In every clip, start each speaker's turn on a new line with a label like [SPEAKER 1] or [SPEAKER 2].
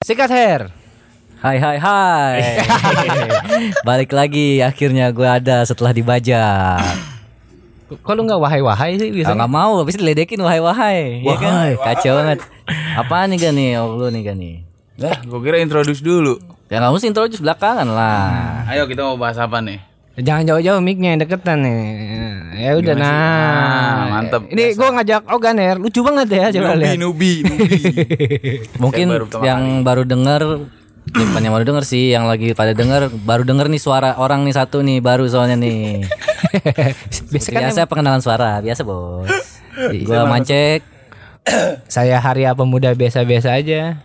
[SPEAKER 1] Sikat hair.
[SPEAKER 2] Hai hai hai. Balik lagi akhirnya gue ada setelah dibajak.
[SPEAKER 1] Kok lu nggak wahai wahai sih
[SPEAKER 2] Ah,
[SPEAKER 1] biasanya?
[SPEAKER 2] nggak mau habis diledekin wahai wahai. Ya kan?
[SPEAKER 3] Wahai.
[SPEAKER 2] Kacau banget. Apaan nih kan nih lu nih kan nih.
[SPEAKER 3] Lah, gue kira introduce dulu.
[SPEAKER 2] Ya nggak mesti introduce belakangan lah.
[SPEAKER 3] Ayo kita mau bahas apa nih?
[SPEAKER 1] Jangan jauh-jauh micnya yang deketan nih. Ya udah nah.
[SPEAKER 3] mantap.
[SPEAKER 1] Ini gue ngajak Ogan hair, lucu banget ya coba
[SPEAKER 3] Nubi,
[SPEAKER 1] lihat.
[SPEAKER 3] nubi, nubi.
[SPEAKER 2] Mungkin
[SPEAKER 3] Saya baru pertama
[SPEAKER 2] yang baru denger ya, Bukan yang baru denger sih Yang lagi pada denger Baru denger nih suara orang nih satu nih Baru soalnya nih
[SPEAKER 1] Biasa
[SPEAKER 2] Biasa,
[SPEAKER 1] kan
[SPEAKER 2] biasa pengenalan suara Biasa bos
[SPEAKER 3] Iya,
[SPEAKER 2] Gua mancek
[SPEAKER 1] saya hari apa muda biasa-biasa aja.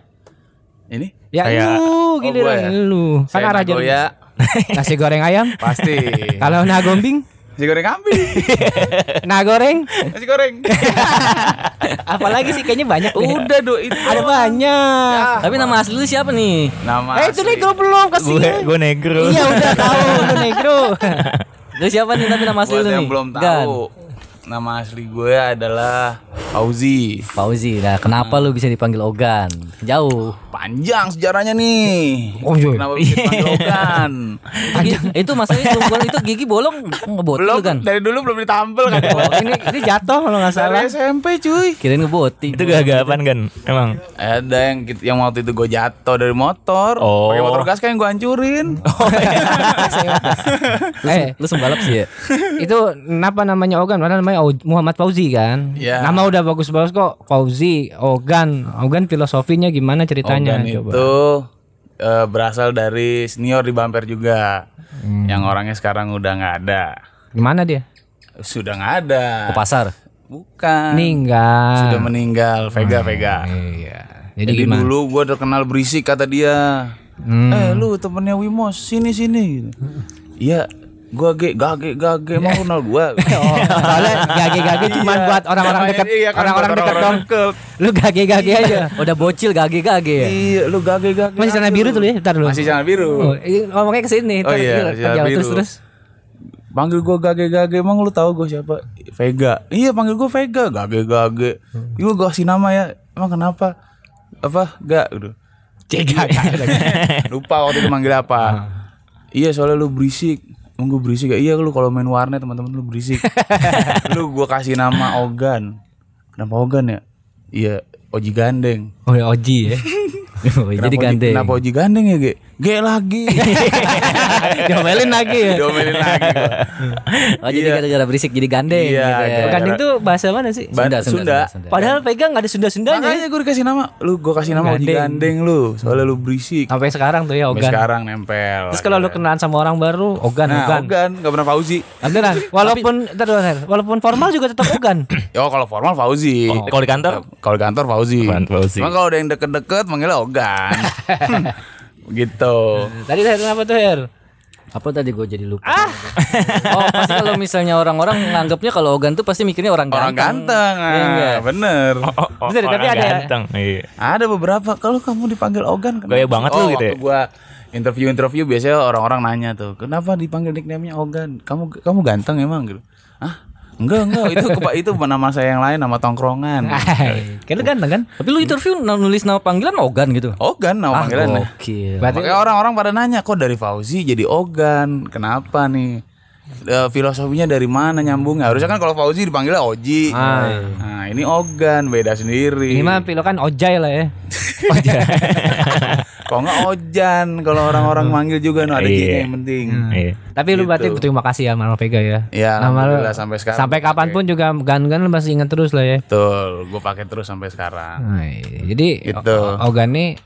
[SPEAKER 3] Ini?
[SPEAKER 1] Ya
[SPEAKER 3] Saya-
[SPEAKER 1] lu giliran
[SPEAKER 3] gua ya.
[SPEAKER 1] lu. Kan
[SPEAKER 3] Saya
[SPEAKER 1] arah
[SPEAKER 3] Nagoya.
[SPEAKER 1] jadi. Nasi goreng ayam.
[SPEAKER 3] Pasti.
[SPEAKER 1] Kalau nah gombing,
[SPEAKER 3] Nasi goreng kambing.
[SPEAKER 1] nah goreng.
[SPEAKER 3] Nasi goreng.
[SPEAKER 1] Apalagi sih kayaknya banyak. deh.
[SPEAKER 3] Udah do itu.
[SPEAKER 1] Ada banyak.
[SPEAKER 2] Tapi nama asli lu siapa nih?
[SPEAKER 3] Nama.
[SPEAKER 1] Eh itu
[SPEAKER 3] asli.
[SPEAKER 1] negro belum kasih.
[SPEAKER 4] gue gue negro
[SPEAKER 1] Iya udah tahu lu negro.
[SPEAKER 2] Lu siapa nih tapi nama asli
[SPEAKER 3] Buat
[SPEAKER 2] lu
[SPEAKER 3] yang
[SPEAKER 2] nih?
[SPEAKER 3] belum
[SPEAKER 2] Gan.
[SPEAKER 3] tahu. Nama asli gue adalah Fauzi.
[SPEAKER 2] Fauzi Nah
[SPEAKER 3] Hmm.
[SPEAKER 2] kenapa lu bisa dipanggil Ogan? Jauh
[SPEAKER 3] Panjang sejarahnya nih.
[SPEAKER 1] Oh, iya.
[SPEAKER 3] Kenapa bisa dipanggil Ogan?
[SPEAKER 2] Itu masalahnya jumbo- itu gigi bolong Ngebotil
[SPEAKER 3] Belum
[SPEAKER 2] lu kan?
[SPEAKER 3] dari dulu belum ditampil kan.
[SPEAKER 1] Oh, ini ini jatuh kalau nggak salah.
[SPEAKER 3] Dari SMP cuy.
[SPEAKER 2] Kirain ngebotil
[SPEAKER 4] itu gagapan kan emang
[SPEAKER 3] Ada yang kit- yang waktu itu gue jatuh dari motor,
[SPEAKER 4] Oh.
[SPEAKER 3] pakai motor gas kan yang gue hancurin.
[SPEAKER 2] Lu,
[SPEAKER 1] Eh.
[SPEAKER 2] lu sembalap sih ya?
[SPEAKER 1] itu kenapa namanya Ogan? Padahal namanya Au- Muhammad Fauzi kan.
[SPEAKER 3] Iya.
[SPEAKER 1] Nama udah bagus-bagus kok. Fauzi, Ogan, Ogan filosofinya gimana ceritanya?
[SPEAKER 3] Ogan iya. itu eh, berasal dari senior di Bamper juga,
[SPEAKER 1] Hmm.
[SPEAKER 3] yang orangnya sekarang udah nggak ada,
[SPEAKER 1] Gimana dia?
[SPEAKER 3] sudah nggak ada,
[SPEAKER 2] Ke pasar?
[SPEAKER 3] bukan,
[SPEAKER 1] Meninggal.
[SPEAKER 3] sudah meninggal, Vega
[SPEAKER 1] Ah,
[SPEAKER 3] Vega.
[SPEAKER 1] Iya. Jadi,
[SPEAKER 3] Jadi
[SPEAKER 1] gimana? Hmm.
[SPEAKER 3] dulu gue terkenal berisik kata dia. Eh lu temennya Wimos sini sini. gitu. Iya, gue gage gage gage mau kenal gue.
[SPEAKER 1] Oh, soalnya gage-gage cuman
[SPEAKER 3] Iya.
[SPEAKER 1] buat orang-orang dekat
[SPEAKER 3] kan
[SPEAKER 1] orang-orang dekat dong. Lu gage-gage aja.
[SPEAKER 2] Udah bocil gage-gage ya?
[SPEAKER 3] Iya, lu gage gage.
[SPEAKER 1] Masih celana biru tuh lu ya, bentar dulu.
[SPEAKER 3] Masih celana biru.
[SPEAKER 1] Oh, ini ngomongnya ke sini.
[SPEAKER 3] Oh
[SPEAKER 1] ntar
[SPEAKER 3] iya,
[SPEAKER 1] kita
[SPEAKER 3] celana
[SPEAKER 1] jauh.
[SPEAKER 3] biru.
[SPEAKER 1] terus terus.
[SPEAKER 3] Panggil gua gage-gage, emang lu tahu gua siapa? Vega. Iya, panggil gua Vega, gage-gage.
[SPEAKER 2] Hmm.
[SPEAKER 3] Iya, gua kasih nama ya. Emang kenapa? Apa? Gak, udah.
[SPEAKER 1] Cegak.
[SPEAKER 3] Lupa waktu itu manggil
[SPEAKER 2] Hmm.
[SPEAKER 3] apa. iya, soalnya lu berisik. Emang gua berisik ya? Iya, lu kalau main warnet teman-teman lu berisik. lu gua kasih nama Ogan. Kenapa Ogan ya? Iya, Oji Gandeng.
[SPEAKER 1] Oh, ya, Oji ya.
[SPEAKER 2] Oh, Jadi
[SPEAKER 3] Kenapa Oji-
[SPEAKER 2] gandeng
[SPEAKER 3] Kenapa Oji Gandeng ya, Ge? Ge lagi.
[SPEAKER 1] Diomelin lagi ya.
[SPEAKER 3] Iya. Diomelin lagi. gua.
[SPEAKER 2] Oh jadi gara-gara berisik jadi gandeng gitu
[SPEAKER 3] Iya,
[SPEAKER 2] ya.
[SPEAKER 3] gara-gara-
[SPEAKER 1] Gandeng tuh bahasa mana sih?
[SPEAKER 3] Ba-
[SPEAKER 2] Sunda, Sunda,
[SPEAKER 3] Sunda.
[SPEAKER 2] Sunda, Sunda.
[SPEAKER 1] Padahal pegang gak ada Sunda-Sundanya.
[SPEAKER 3] Makanya gue dikasih nama Lu gue kasih nama Oji
[SPEAKER 1] Gandeng.
[SPEAKER 3] Gandeng lu Soalnya lu berisik
[SPEAKER 1] Sampai sekarang tuh ya
[SPEAKER 3] Sampai
[SPEAKER 1] Ogan.
[SPEAKER 3] sekarang nempel
[SPEAKER 1] Terus kalau lu kenalan sama orang baru, Ogan,
[SPEAKER 3] Nah
[SPEAKER 1] Ogan.
[SPEAKER 3] Ogan, Gak pernah Fauzi
[SPEAKER 1] Beneran. Walaupun ntar dulu, Her. walaupun formal juga tetap Ogan.
[SPEAKER 3] Yo kalau formal Fauzi
[SPEAKER 4] kalau di kantor
[SPEAKER 3] Kalau di kantor Fauzi
[SPEAKER 4] Apaan Fauzi?
[SPEAKER 3] Cuma kalau udah yang deket-deket Manggilnya Ogan Gitu
[SPEAKER 1] Tadi Her kenapa tuh Her?
[SPEAKER 2] Apa tadi gue jadi lupa?
[SPEAKER 3] Ah!
[SPEAKER 2] oh pasti kalau misalnya orang-orang nganggapnya kalau Ogan tuh pasti mikirnya orang ganteng.
[SPEAKER 3] Orang ganteng
[SPEAKER 2] Iya
[SPEAKER 3] ah,
[SPEAKER 2] nggak?
[SPEAKER 3] Bener
[SPEAKER 1] Bener,
[SPEAKER 4] Oh, orang
[SPEAKER 1] tapi ada ya?
[SPEAKER 4] ganteng iya.
[SPEAKER 3] Ada beberapa Kalau kamu dipanggil Ogan kenapa
[SPEAKER 4] Gaya
[SPEAKER 3] sih?
[SPEAKER 4] banget lu
[SPEAKER 3] oh,
[SPEAKER 4] gitu ya?
[SPEAKER 3] waktu gua interview-interview Biasanya orang-orang nanya tuh Kenapa dipanggil nickname-nya Ogan Kamu kamu ganteng emang gitu Ah Enggak, enggak, itu kepa- itu nama saya yang lain, nama tongkrongan.
[SPEAKER 1] Hai. Kayak lu ganteng kan?
[SPEAKER 2] Tapi lu interview n- nulis nama panggilan Ogan gitu.
[SPEAKER 3] Ogan nama
[SPEAKER 4] Ah,
[SPEAKER 3] panggilannya.
[SPEAKER 2] gokil.
[SPEAKER 1] Berarti
[SPEAKER 3] Makanya orang-orang pada nanya kok dari Fauzi jadi Ogan, kenapa nih? E, filosofinya dari mana nyambungnya? Harusnya kan kalau Fauzi dipanggilnya Oji.
[SPEAKER 4] Ah.
[SPEAKER 3] Nah, ini Ogan beda
[SPEAKER 1] ini
[SPEAKER 3] sendiri.
[SPEAKER 1] mah lo kan ojai lah ya.
[SPEAKER 3] Kok nggak Ojan kalau orang-orang manggil juga no, ada
[SPEAKER 4] Iya.
[SPEAKER 3] gini yang penting.
[SPEAKER 4] Iya.
[SPEAKER 1] Tapi lu berarti terima kasih ya sama Mama Vega ya.
[SPEAKER 3] Ya,
[SPEAKER 1] Nama lu
[SPEAKER 3] alhamdulillah sampai sekarang.
[SPEAKER 1] sampai kapanpun juga gan-gan lu masih ingat terus lah ya.
[SPEAKER 3] Betul, gue pakai terus sampai sekarang.
[SPEAKER 1] Nah, iya. jadi
[SPEAKER 3] Gitu.
[SPEAKER 1] O- Ogan nih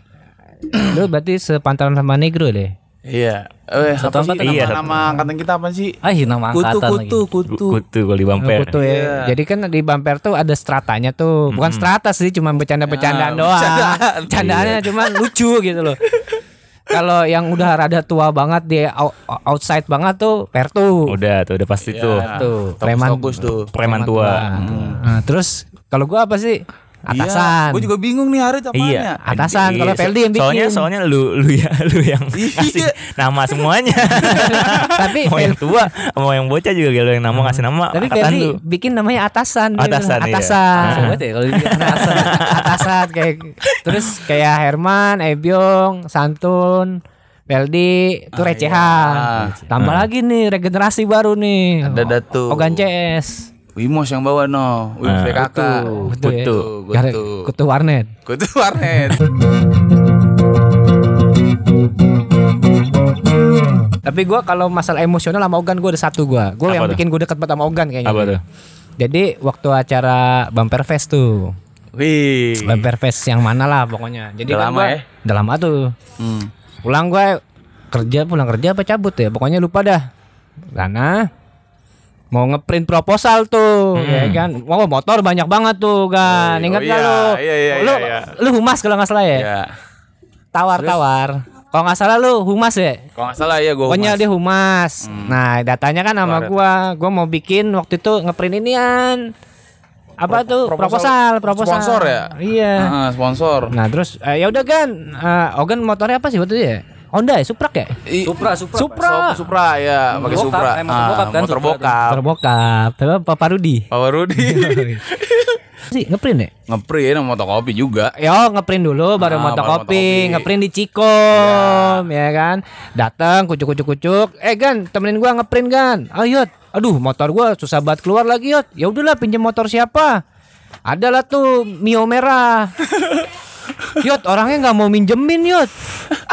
[SPEAKER 1] lu berarti sepantaran sama Negro deh.
[SPEAKER 3] Iya. Eh, apa
[SPEAKER 2] angkatan
[SPEAKER 3] sih nama,
[SPEAKER 4] iya, satu
[SPEAKER 3] nama angkatan kita apa sih?
[SPEAKER 2] Ah, iya, nama
[SPEAKER 3] Kutu,
[SPEAKER 2] angkatan
[SPEAKER 3] kutu, kutu.
[SPEAKER 4] kutu kalau di bumper
[SPEAKER 1] Kutu ya.
[SPEAKER 3] Iya.
[SPEAKER 1] Jadi kan di bumper tuh ada stratanya tuh. Bukan strata sih, cuma bercanda-bercandaan doang.
[SPEAKER 3] Ya, bercandaan. Iya.
[SPEAKER 1] Bercandaannya cuma lucu gitu loh. Kalau yang udah rada tua banget dia out- outside banget tuh Pertu.
[SPEAKER 4] udah tuh udah pasti tuh
[SPEAKER 3] Nah,
[SPEAKER 1] tuh,
[SPEAKER 3] Tokus,
[SPEAKER 1] preman-
[SPEAKER 3] tokus tuh.
[SPEAKER 4] preman Iya. tua Hmm.
[SPEAKER 1] Nah, terus kalau gua apa sih? Atasan.
[SPEAKER 3] Gue Iya, juga bingung nih Harit apaan ya.
[SPEAKER 4] Iya.
[SPEAKER 1] Atasan, kalau
[SPEAKER 4] Iya,
[SPEAKER 1] Peldi yang bikin.
[SPEAKER 4] Soalnya soalnya lu lu ya lu yang
[SPEAKER 3] Iya.
[SPEAKER 4] kasih nama semuanya.
[SPEAKER 1] Tapi
[SPEAKER 4] mau yang
[SPEAKER 1] Pel-
[SPEAKER 4] tua, mau yang bocah juga lu yang nama kasih nama
[SPEAKER 1] Hmm. tapi
[SPEAKER 4] angkatan
[SPEAKER 1] Ferdi
[SPEAKER 4] lu.
[SPEAKER 1] bikin namanya atasan. Dia bilang,
[SPEAKER 4] Atasan, iya.
[SPEAKER 1] atasan.
[SPEAKER 2] Sobat ya kalau dibilang
[SPEAKER 1] atasan atasan kayak terus kayak Herman, Ebyong, Santun, Weldi
[SPEAKER 4] Ah,
[SPEAKER 1] itu
[SPEAKER 4] iya.
[SPEAKER 1] recehan. Tambah lagi nih regenerasi baru nih.
[SPEAKER 3] Ada Datu.
[SPEAKER 1] Ogan CS.
[SPEAKER 3] Wimos yang bawa no. Wimos PKK.
[SPEAKER 4] Nah,
[SPEAKER 1] Betul. ya?
[SPEAKER 3] Kutu,
[SPEAKER 1] Gara-
[SPEAKER 3] kutu.
[SPEAKER 1] kutu warnet.
[SPEAKER 3] Kutu warnet.
[SPEAKER 1] Tapi gua kalau masalah emosional sama Ogan gua ada satu gua. Gua
[SPEAKER 4] Apa
[SPEAKER 1] yang
[SPEAKER 4] tuh?
[SPEAKER 1] bikin gua deket banget sama Ogan kayaknya.
[SPEAKER 4] Apa tuh?
[SPEAKER 1] Jadi waktu acara Bumper Fest tuh.
[SPEAKER 3] Wih.
[SPEAKER 1] Bumper Fest yang mana lah pokoknya. Jadi
[SPEAKER 3] Udah
[SPEAKER 1] kan
[SPEAKER 3] lama
[SPEAKER 1] gua-
[SPEAKER 3] ya?
[SPEAKER 1] Udah lama tuh.
[SPEAKER 3] Hmm.
[SPEAKER 1] pulang gue kerja pulang kerja apa cabut ya pokoknya lupa dah karena mau ngeprint proposal tuh ya kan wow motor banyak banget tuh kan
[SPEAKER 3] Hmm. Oh,
[SPEAKER 1] ingat
[SPEAKER 3] iya,
[SPEAKER 1] nggak lu
[SPEAKER 3] iya, iya,
[SPEAKER 1] lu
[SPEAKER 3] iya,
[SPEAKER 1] lu humas kalau nggak salah ya
[SPEAKER 3] Ya.
[SPEAKER 1] tawar tawar kalau nggak salah lu humas ya
[SPEAKER 3] Kalau nggak salah ya gue.
[SPEAKER 1] pokoknya dia humas
[SPEAKER 3] Hmm.
[SPEAKER 1] nah datanya kan sama gua gua mau bikin waktu itu ngeprint inian apa tuh proposal
[SPEAKER 3] proposal-
[SPEAKER 1] proposal
[SPEAKER 3] sponsor ya? Ah.
[SPEAKER 1] iya
[SPEAKER 3] sponsor.
[SPEAKER 1] nah terus eh, ya udah kan eh, Ogan motornya apa sih waktu itu ya Honda ya Supra ya
[SPEAKER 3] I-
[SPEAKER 2] Supra, Supra.
[SPEAKER 1] Supra.
[SPEAKER 3] Sup- Supra ya, pakai
[SPEAKER 2] Bokap,
[SPEAKER 3] Supra.
[SPEAKER 2] eh, motor bokap kan,
[SPEAKER 3] motor
[SPEAKER 2] Supra tuh.
[SPEAKER 3] bokap.
[SPEAKER 1] Motor bokap Tapi apa Pak Rudi
[SPEAKER 3] Power Rudy.
[SPEAKER 1] sih ngeprint ya?
[SPEAKER 3] Ngeprint sama motokopi juga.
[SPEAKER 1] Yo ngeprint dulu baru
[SPEAKER 3] Ah,
[SPEAKER 1] motokopi,
[SPEAKER 3] baru motokopi.
[SPEAKER 1] ngeprint di Cikom ya kan. Datang kucuk kucuk kucuk. Eh Gan, temenin gua ngeprint Gan. Ayo, aduh motor gua susah banget keluar lagi Yot. Ya udahlah pinjam motor siapa? Adalah tuh Mio merah. Yot orangnya nggak mau minjemin Yot.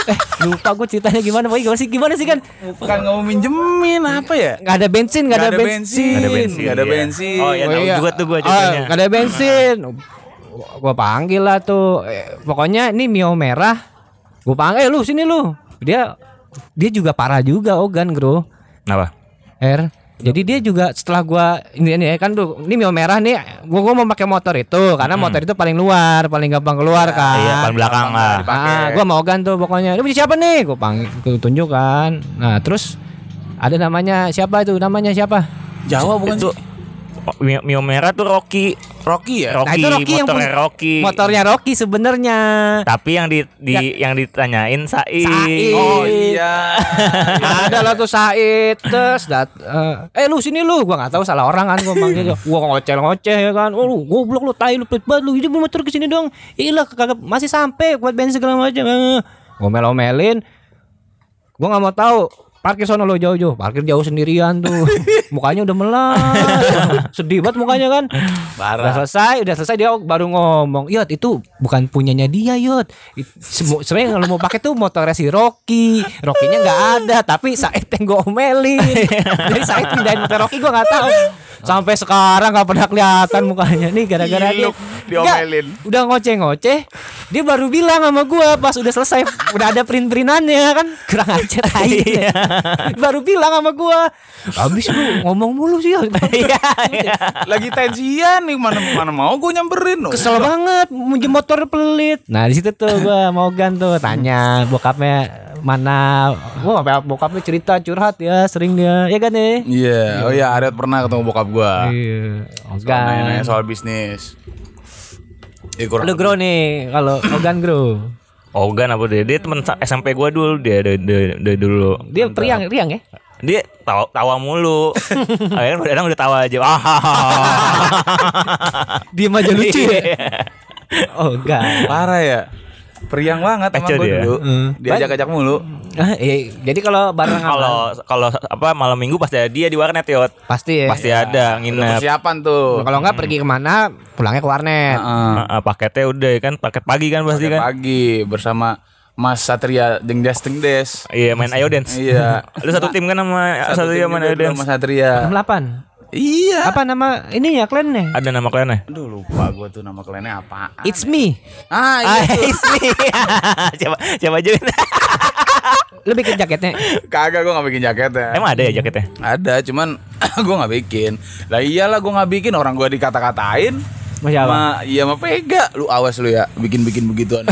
[SPEAKER 1] Eh lupa gue ceritanya gimana, pokoknya gimana sih gimana sih kan?
[SPEAKER 3] Bukan nggak mau minjemin apa ya?
[SPEAKER 1] Nggak ada bensin, nggak ada, bensin.
[SPEAKER 3] Nggak ada bensin.
[SPEAKER 4] bensin,
[SPEAKER 3] Nggak ada
[SPEAKER 4] iya.
[SPEAKER 3] bensin.
[SPEAKER 4] Oh, iya,
[SPEAKER 1] Oh
[SPEAKER 4] tahu
[SPEAKER 1] iya.
[SPEAKER 4] juga tuh gua
[SPEAKER 1] Ah,
[SPEAKER 4] ceritanya.
[SPEAKER 1] nggak ada bensin. Gua panggil lah tuh. Eh, pokoknya ini Mio merah. Gua panggil, eh lu sini lu. Dia dia juga parah juga Ogan, Bro.
[SPEAKER 4] Kenapa?
[SPEAKER 1] R. Jadi dia juga setelah gua ini ini kan tuh ini Mio merah nih gua, gua mau pakai motor itu karena motor itu paling luar, paling gampang keluar kan.
[SPEAKER 4] Hmm. Iya, paling belakang lah.
[SPEAKER 1] Ah, gua mau Ogan tuh pokoknya. Ini punya siapa nih? Gua panggil gua tunjuk kan. Nah, terus ada namanya siapa itu? Namanya siapa?
[SPEAKER 3] Jawa bukan
[SPEAKER 4] Itu Oh, Mio, Mio merah tuh Rocky.
[SPEAKER 3] Rocky
[SPEAKER 1] Nah,
[SPEAKER 3] ya?
[SPEAKER 4] Rocky, motornya
[SPEAKER 1] punya-
[SPEAKER 4] Rocky.
[SPEAKER 1] Motornya Rocky sebenarnya.
[SPEAKER 4] Tapi yang di, di yang ditanyain Said.
[SPEAKER 1] Said.
[SPEAKER 3] Oh
[SPEAKER 4] Oh,
[SPEAKER 3] iya.
[SPEAKER 1] ada lah tuh Said terus dat eh eh, lu sini lu gua nggak tahu salah orang kan gua manggil dia. gua ngoceh ngoceh ya kan oh lu goblok lu tai lu pelit banget lu ini motor ke sini dong iyalah kagak masih sampai buat bensin segala macam Eh, ngomel-ngomelin gua nggak mau tahu parkir sono lo jauh-jauh parkir jauh sendirian tuh mukanya udah melas sedih banget mukanya kan udah selesai udah selesai dia baru ngomong yot itu bukan punyanya dia yot It- semu- sebenarnya kalau mau pakai tuh motornya si Rocky Rocky-nya nggak ada tapi Said yang gue omelin jadi Said pindahin motor Rocky gue nggak tahu sampai sekarang nggak pernah kelihatan mukanya nih gara-gara dia
[SPEAKER 3] Giluk, diomelin.
[SPEAKER 1] Nggak, udah ngoceh-ngoceh dia baru bilang sama gue pas udah selesai udah ada print-printannya kan kurang aja tai baru bilang sama gue habis lu ngomong mulu sih Yot."
[SPEAKER 3] Lagi tensian nih mana mana mau gue nyamperin.
[SPEAKER 1] Kesel banget minjem motor pelit. Nah, di situ tuh gua mau tuh tanya bokapnya mana. Gua sampai bokapnya cerita curhat ya, sering dia. Ya kan nih.
[SPEAKER 3] Iya, oh iya Aret pernah ketemu bokap gua.
[SPEAKER 1] Iya.
[SPEAKER 3] Soal Nanya-nanya
[SPEAKER 1] Ogan.
[SPEAKER 3] soal bisnis. Eh, kurang
[SPEAKER 1] Lu grow nih kalau Ogan grow.
[SPEAKER 4] Ogan apa dia? Dia teman sa- SMP gua dulu dia dari dari- dari dulu.
[SPEAKER 1] Dia periang, riang ya.
[SPEAKER 4] Dia tawa, tawa mulu. Akhirnya udah udah tawa aja. Ah,
[SPEAKER 1] Dia aja lucu ya. Ogan.
[SPEAKER 3] parah ya. Periang banget emang
[SPEAKER 4] Kacau
[SPEAKER 3] gua
[SPEAKER 4] dia.
[SPEAKER 3] dulu.
[SPEAKER 1] Hmm.
[SPEAKER 3] Diajak-ajak mulu.
[SPEAKER 1] Ah, iya. Jadi kalau bareng sama
[SPEAKER 4] Kalau kalau apa malam minggu pasti ada dia di warnet yot.
[SPEAKER 1] pasti ya.
[SPEAKER 4] Pasti ada nginep.
[SPEAKER 3] Persiapan tuh.
[SPEAKER 1] Kalau nggak pergi kemana pulangnya ke warnet.
[SPEAKER 3] Heeh.
[SPEAKER 4] Ah, ah, paketnya udah ya kan paket pagi kan pasti kan.
[SPEAKER 3] Pagi bersama Mas Satria Dengdes Dengdes.
[SPEAKER 4] Iya main Ayo Dance.
[SPEAKER 3] Iya.
[SPEAKER 4] Lu satu tim kan sama satu,
[SPEAKER 3] tim
[SPEAKER 4] tim sama
[SPEAKER 3] juga
[SPEAKER 4] Ayo
[SPEAKER 3] dulu
[SPEAKER 4] Dance.
[SPEAKER 3] Mas Satria.
[SPEAKER 1] 68.
[SPEAKER 3] Iya.
[SPEAKER 1] Apa nama ini ya klannya?
[SPEAKER 4] Ada nama kliennya?
[SPEAKER 3] Aduh lupa gua tuh nama kliennya apa.
[SPEAKER 1] It's me.
[SPEAKER 3] Ah,
[SPEAKER 4] Ah,
[SPEAKER 3] iya.
[SPEAKER 4] it's me. Coba coba aja.
[SPEAKER 1] Lu bikin jaketnya.
[SPEAKER 3] Kagak gua nggak bikin jaketnya.
[SPEAKER 4] Emang ada ya jaketnya?
[SPEAKER 3] Ada, cuman gua nggak bikin. Lah iyalah gua nggak bikin orang gua dikata-katain.
[SPEAKER 1] Masih apa?
[SPEAKER 3] Ma, iya mah pega. Lu awas lu ya, bikin-bikin begituan.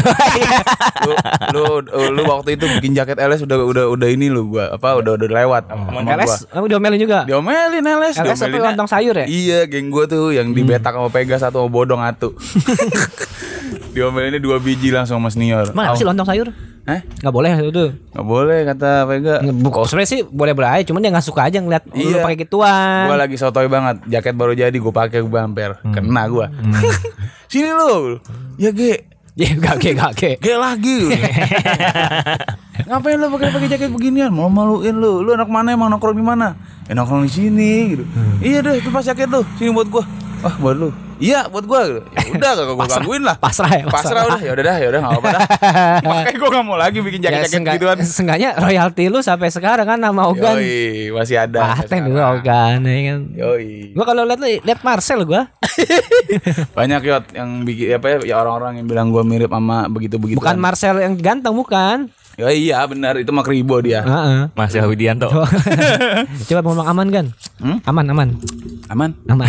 [SPEAKER 3] lu, lu, lu waktu itu bikin jaket LS udah udah udah ini lu gua apa udah udah lewat. sama gua.
[SPEAKER 1] LS, kamu diomelin Eh, juga.
[SPEAKER 3] Diomelin
[SPEAKER 1] LS
[SPEAKER 3] LS,
[SPEAKER 1] sampai
[SPEAKER 3] diomelin.
[SPEAKER 1] lontong sayur ya?
[SPEAKER 3] Iya, geng gua tuh yang dibetak sama Pega satu sama bodong atu. Diomelinnya dua biji langsung sama senior.
[SPEAKER 1] Mana sih lontong sayur?
[SPEAKER 3] Hah?
[SPEAKER 1] Gak boleh itu.
[SPEAKER 3] Gak boleh kata Vega.
[SPEAKER 1] Bukan sebenarnya sih boleh-boleh aja, cuman dia nggak suka aja ngeliat lu
[SPEAKER 3] Iya.
[SPEAKER 1] pakai gituan.
[SPEAKER 3] Gua lagi sotoy banget, jaket baru jadi gue pakai gue hampir
[SPEAKER 1] Hmm.
[SPEAKER 3] kena gua. Sini lu. Ya ge,
[SPEAKER 1] Ya gak ke gak ke.
[SPEAKER 3] ge lagi. Ngapain lu pakai pakai jaket beginian? Mau maluin lu. Lu anak mana emang nongkrong di mana? Ya nongkrong di sini gitu.
[SPEAKER 1] Hmm.
[SPEAKER 3] Iya deh, itu pas jaket lu. Sini buat gua. Wah, buat lu. Iya, buat gua. gitu. Ya udah kagak gua gangguin lah.
[SPEAKER 1] pasrah ya, pasrah.
[SPEAKER 3] Pasrah udah, ya udah dah, ya udah enggak apa-apa dah. Makanya gua enggak mau lagi bikin jaket-jaket gituan.
[SPEAKER 1] Seenggaknya Ya, royalti lu sampai sekarang kan nama Ogan.
[SPEAKER 3] Yoi, masih ada.
[SPEAKER 1] Paten lu Ogan ya kan.
[SPEAKER 3] Yoi.
[SPEAKER 1] Gua kalau lihat lu- lihat Marcel gua.
[SPEAKER 3] banyak yot yang bikin apa ya, ya orang-orang yang bilang gua mirip sama begitu begitu
[SPEAKER 1] Bukan Marcel yang ganteng bukan.
[SPEAKER 3] ya iya benar itu mah kribo dia
[SPEAKER 1] Heeh.
[SPEAKER 4] Masih Widianto.
[SPEAKER 1] Coba ngomong aman kan? Aman aman.
[SPEAKER 3] aman
[SPEAKER 1] Aman.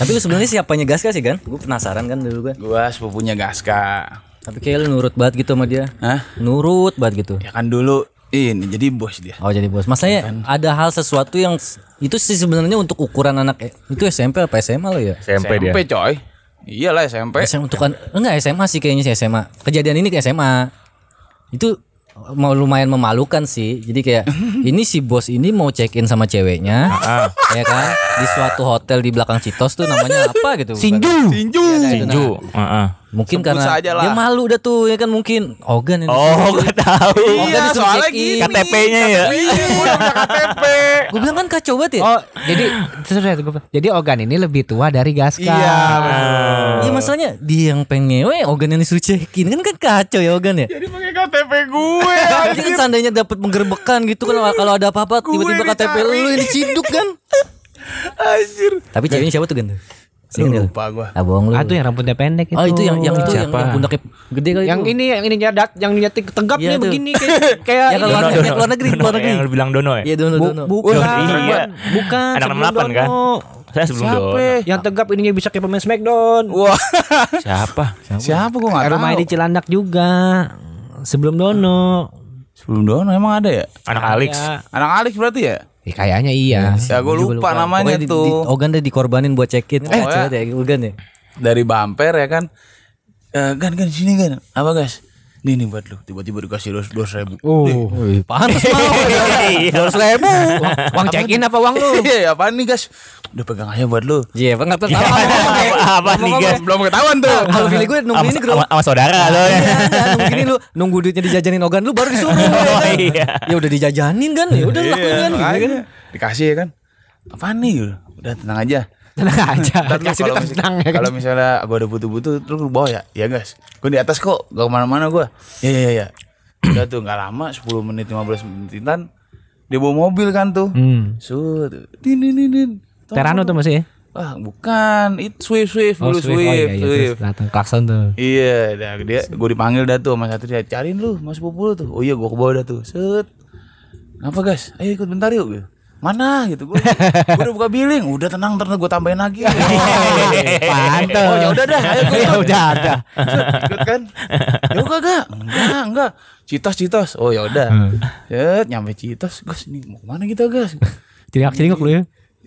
[SPEAKER 2] Tapi lu sebenarnya siapanya Gaska sih kan? Gue penasaran kan dulu gue.
[SPEAKER 3] gua sepupunya Gaska
[SPEAKER 2] Tapi kayak lu nurut banget gitu sama dia.
[SPEAKER 3] Hah?
[SPEAKER 2] Nurut banget gitu.
[SPEAKER 3] ya kan dulu ini jadi bos dia
[SPEAKER 2] Oh jadi bos. Maksudnya ada hal sesuatu yang s- itu sih sebenarnya untuk ukuran anak eh, itu SMP apa SMA lo
[SPEAKER 3] Eh.
[SPEAKER 2] ya?
[SPEAKER 4] SMP dia.
[SPEAKER 3] coy iyalah SMP
[SPEAKER 2] SMA untuk kan enggak SMA sih kayaknya sih SMA. Kejadian ini ke SMA. Itu mau lumayan memalukan sih. Jadi kayak ini si bos ini mau check in sama ceweknya,
[SPEAKER 3] Ah.
[SPEAKER 2] ya kan? Di suatu hotel di belakang Citos tuh namanya apa gitu?
[SPEAKER 1] Sinju.
[SPEAKER 3] tinju
[SPEAKER 4] Sinju. Heeh.
[SPEAKER 2] Mungkin
[SPEAKER 3] Sebut
[SPEAKER 2] karena
[SPEAKER 3] saja
[SPEAKER 2] dia
[SPEAKER 3] lah.
[SPEAKER 2] malu dah tuh ya kan mungkin Ogan ini.
[SPEAKER 4] Oh, gak tahu.
[SPEAKER 2] Ogan disuruh check in.
[SPEAKER 4] KTP-nya ya.
[SPEAKER 3] iya gua udah punya KTP
[SPEAKER 2] Gue bilang kan kacau banget ya.
[SPEAKER 1] Oh, jadi terus ya, gua- jadi Ogan ini lebih tua dari Gaska.
[SPEAKER 3] iya
[SPEAKER 2] Iya
[SPEAKER 3] Eh.
[SPEAKER 2] masalahnya dia yang pengen ngewe Ogan yang disuruh check in kan kan kacau ya Ogan ya.
[SPEAKER 3] jadi pakai KTP gue
[SPEAKER 2] Jadi kan seandainya dapat penggerbekan gitu kan kalau ada apa-apa tiba-tiba KTP
[SPEAKER 3] dicari.
[SPEAKER 2] lu yang diciduk kan.
[SPEAKER 3] anjir
[SPEAKER 2] Tapi ceweknya siapa tuh Gan?
[SPEAKER 3] Lu
[SPEAKER 2] Single.
[SPEAKER 3] lupa gua
[SPEAKER 2] Ah bohong lu.
[SPEAKER 1] Ah, tuh yang rambutnya pendek itu.
[SPEAKER 2] Oh itu yang yang itu yang,
[SPEAKER 4] Siapa?
[SPEAKER 2] yang pundaknya gede kali
[SPEAKER 1] yang
[SPEAKER 2] itu.
[SPEAKER 1] ini yang ini nyadat yang ini tegap
[SPEAKER 2] Iya,
[SPEAKER 1] nih
[SPEAKER 2] tuh.
[SPEAKER 1] begini kayak kayak
[SPEAKER 2] Ya,
[SPEAKER 1] ini.
[SPEAKER 2] kalau-
[SPEAKER 4] Dono,
[SPEAKER 2] Yang luar negeri,
[SPEAKER 4] Dono,
[SPEAKER 2] luar negeri.
[SPEAKER 4] Yang lu bilang Dono ya?
[SPEAKER 2] Iya dono
[SPEAKER 1] Bu-
[SPEAKER 2] dono.
[SPEAKER 1] bukan,
[SPEAKER 4] Dono, iya.
[SPEAKER 1] bukan
[SPEAKER 4] Anak
[SPEAKER 1] sebelum
[SPEAKER 4] 68 kan?
[SPEAKER 1] Dono.
[SPEAKER 4] Saya sebelum
[SPEAKER 3] Siapa?
[SPEAKER 4] Dono.
[SPEAKER 1] Yang tegap ininya bisa kayak pemain Smackdown.
[SPEAKER 3] wah
[SPEAKER 4] Siapa?
[SPEAKER 3] siapa gua nggak
[SPEAKER 1] Rumahnya di
[SPEAKER 3] tahu
[SPEAKER 1] Cilandak juga. Sebelum Dono.
[SPEAKER 3] sebelum Dono emang ada ya
[SPEAKER 4] Anak Alex.
[SPEAKER 1] Ya.
[SPEAKER 3] anak Alex berarti ya
[SPEAKER 1] Eh, kayaknya iya.
[SPEAKER 3] ya gua lupa namanya
[SPEAKER 2] Pokoknya di-
[SPEAKER 3] tuh
[SPEAKER 2] di- Ogan deh dikorbanin buat check-in. Eh,
[SPEAKER 3] Pokoknya-
[SPEAKER 2] ya Ogan ya.
[SPEAKER 3] dari bumper ya kan Eh, gan gan sini gan apa guys nih nih buat lu tiba-tiba dikasih dos dos ribu
[SPEAKER 1] Oh,
[SPEAKER 2] Pantes mau. Harus ribu.
[SPEAKER 1] uang check in apa uang lu?
[SPEAKER 3] iya apa nih guys udah pegang aja buat lu
[SPEAKER 2] Iya, apa nggak tahu.
[SPEAKER 4] Apa, apa nih
[SPEAKER 1] Iya,
[SPEAKER 4] guys?
[SPEAKER 3] belum ketahuan tuh
[SPEAKER 1] Ah, Nah,
[SPEAKER 2] Kalau pilih gue nunggu
[SPEAKER 4] Sama,
[SPEAKER 2] ini gerobak.
[SPEAKER 4] sama- sama saudara lo
[SPEAKER 1] Iya,
[SPEAKER 4] ya.
[SPEAKER 2] Nunggu gini lu nunggu duitnya dijajanin Ogan lu baru disuruh. ya kan?
[SPEAKER 4] Oh, iya.
[SPEAKER 2] Ya udah dijajanin kan, ya udah
[SPEAKER 3] Iya,
[SPEAKER 2] lakuin kan. gitu
[SPEAKER 3] makanya.
[SPEAKER 2] kan.
[SPEAKER 3] dikasih ya kan apa nih udah tenang aja
[SPEAKER 1] Tenang aja.
[SPEAKER 3] Ntar lu
[SPEAKER 1] Kasih dia
[SPEAKER 3] kalau mis-
[SPEAKER 1] Nah, tenang ya kan.
[SPEAKER 3] kalau misalnya gua ada butuh-butuh lu bawa ya ya guys gua di atas kok gak kemana-mana gua ya ya ya ya udah tuh nggak lama 10 menit 15 menitan dia bawa mobil kan tuh
[SPEAKER 1] Hmm.
[SPEAKER 3] Sud, din din din, din. Tong,
[SPEAKER 1] Terano tuh masih? ya?
[SPEAKER 3] Ah, bukan. Itu Swift Swift, dulu Swift,
[SPEAKER 1] Oh, iya,
[SPEAKER 3] Swift.
[SPEAKER 1] iya, terus datang klakson tuh.
[SPEAKER 3] Iya, dah dia gue dipanggil dah tuh sama satu dia cariin lu Mas Pupu lu tuh. Oh iya, gua ke bawah dah tuh. Set. Apa guys? Ayo ikut bentar yuk. Gitu. Mana gitu gue udah buka billing udah tenang ntar gue tambahin lagi oh,
[SPEAKER 1] Pantes.
[SPEAKER 3] oh ya udah dah ayo ikut.
[SPEAKER 1] Ya udah ada.
[SPEAKER 3] Set, ikut kan ya kagak enggak enggak citos citos oh ya
[SPEAKER 1] Hmm.
[SPEAKER 3] udah set nyampe citos gas ini mau kemana kita gas
[SPEAKER 1] Ciriak-ciriak lu ya.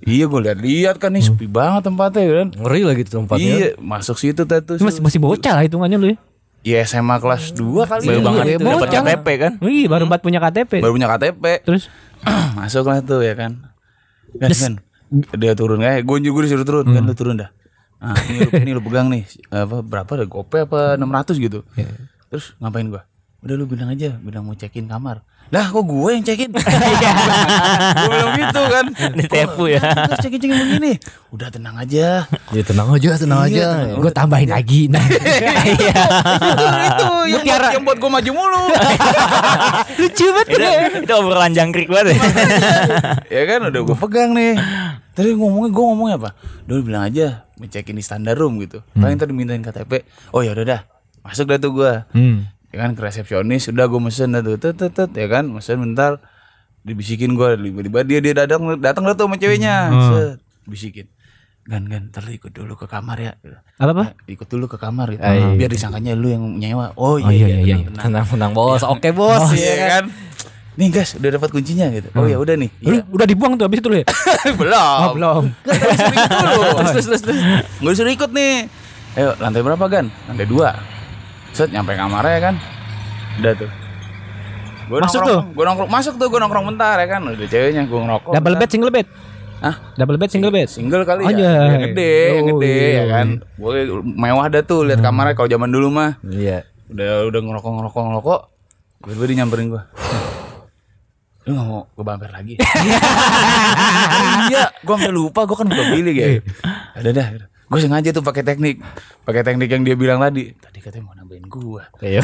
[SPEAKER 3] iya gue lihat-lihat kan nih sepi banget tempatnya ya kan
[SPEAKER 2] Ngeri lah gitu tempatnya.
[SPEAKER 3] Iya, masuk situ dah tuh.
[SPEAKER 1] Lu Masih masih bocah lah hitungannya lu ya.
[SPEAKER 3] Iya SMA kelas 2 kali.
[SPEAKER 4] Baru
[SPEAKER 3] ya.
[SPEAKER 4] banget
[SPEAKER 1] Iya,
[SPEAKER 4] dapat
[SPEAKER 1] bocah.
[SPEAKER 4] KTP kan?
[SPEAKER 1] Wih,
[SPEAKER 2] Hmm.
[SPEAKER 1] baru empat punya KTP.
[SPEAKER 3] Baru punya KTP.
[SPEAKER 1] Terus
[SPEAKER 3] masuk lah tuh ya kan. Gan, Gan. Dia turun eh, kayak gue juga disuruh turun. Kan lu turun dah. Nah, ini lu, ini lu pegang nih. Apa berapa deh? Gope apa 600 gitu. Terus ngapain gua? Udah lu bilang aja, bilang mau check-in kamar. Lah kok gue yang check-in? gue bilang gitu kan.
[SPEAKER 4] Ditepu ya.
[SPEAKER 3] Terus check-in-check-in begini. Udah tenang aja.
[SPEAKER 2] Ya tenang aja, tenang aja. Iya.
[SPEAKER 1] gue Iya, tambahin lagi. Nah.
[SPEAKER 3] itu yang buat, yang buat gue maju mulu.
[SPEAKER 1] Lucu banget
[SPEAKER 4] Itu, itu obrolan jangkrik banget. ya.
[SPEAKER 3] ya kan udah gue pegang nih tadi ngomongnya gue ngomongnya apa dulu bilang aja ngecekin di standar room gitu paling tadi mintain KTP oh ya udah dah masuk dah tuh gue ya kan ke resepsionis udah gue mesen dah tuh tet tet, tet, ya kan mesen bentar Hmm. dibisikin gue tiba-tiba dia dia datang datang dah tuh sama ceweknya Set, bisikin gan gan ntar lu ikut dulu ke kamar ya Gitu.
[SPEAKER 1] Apa apa?
[SPEAKER 3] ikut dulu ke kamar ya. biar disangkanya lu yang nyewa oh iya iya, iya, tenang, tenang.
[SPEAKER 2] Tenang, tenang bos. Oke bos.
[SPEAKER 3] Iya kan nih guys udah dapat kuncinya gitu oh ya udah nih
[SPEAKER 1] Lu
[SPEAKER 3] Iya.
[SPEAKER 1] udah dibuang tuh habis itu lu ya?
[SPEAKER 3] Eh, belum
[SPEAKER 1] Oh, belum.
[SPEAKER 3] Nggak, tadi disuruh ikut dulu. terus terus terus terus gue disuruh ikut nih ayo lantai berapa gan lantai dua set nyampe kamarnya kan udah tuh Gua
[SPEAKER 1] Masuk
[SPEAKER 3] nongkrong,
[SPEAKER 1] tuh?
[SPEAKER 3] Gue nongkrong, masuk tuh gue nongkrong bentar ya kan Udah ceweknya gue ngerokok
[SPEAKER 1] Double
[SPEAKER 3] bentar.
[SPEAKER 1] bed single bed.
[SPEAKER 3] Hah?
[SPEAKER 1] Double bed single bed.
[SPEAKER 3] single kali ya
[SPEAKER 1] Anjay.
[SPEAKER 3] yang gede yang
[SPEAKER 1] Oh,
[SPEAKER 3] gede
[SPEAKER 1] iya, Hmm.
[SPEAKER 3] ya kan gue mewah dah tuh lihat kamarnya kalau zaman dulu mah
[SPEAKER 2] Iya.
[SPEAKER 3] udah udah ngerokok ngerokok ngerokok tiba-tiba dia nyamperin gue lu gak mau gue bumper lagi iya gue sampai lupa gue kan udah pilih ya ada dah gue sengaja tuh pakai teknik pakai teknik yang dia bilang tadi tadi katanya mau nambahin gue
[SPEAKER 2] Iya.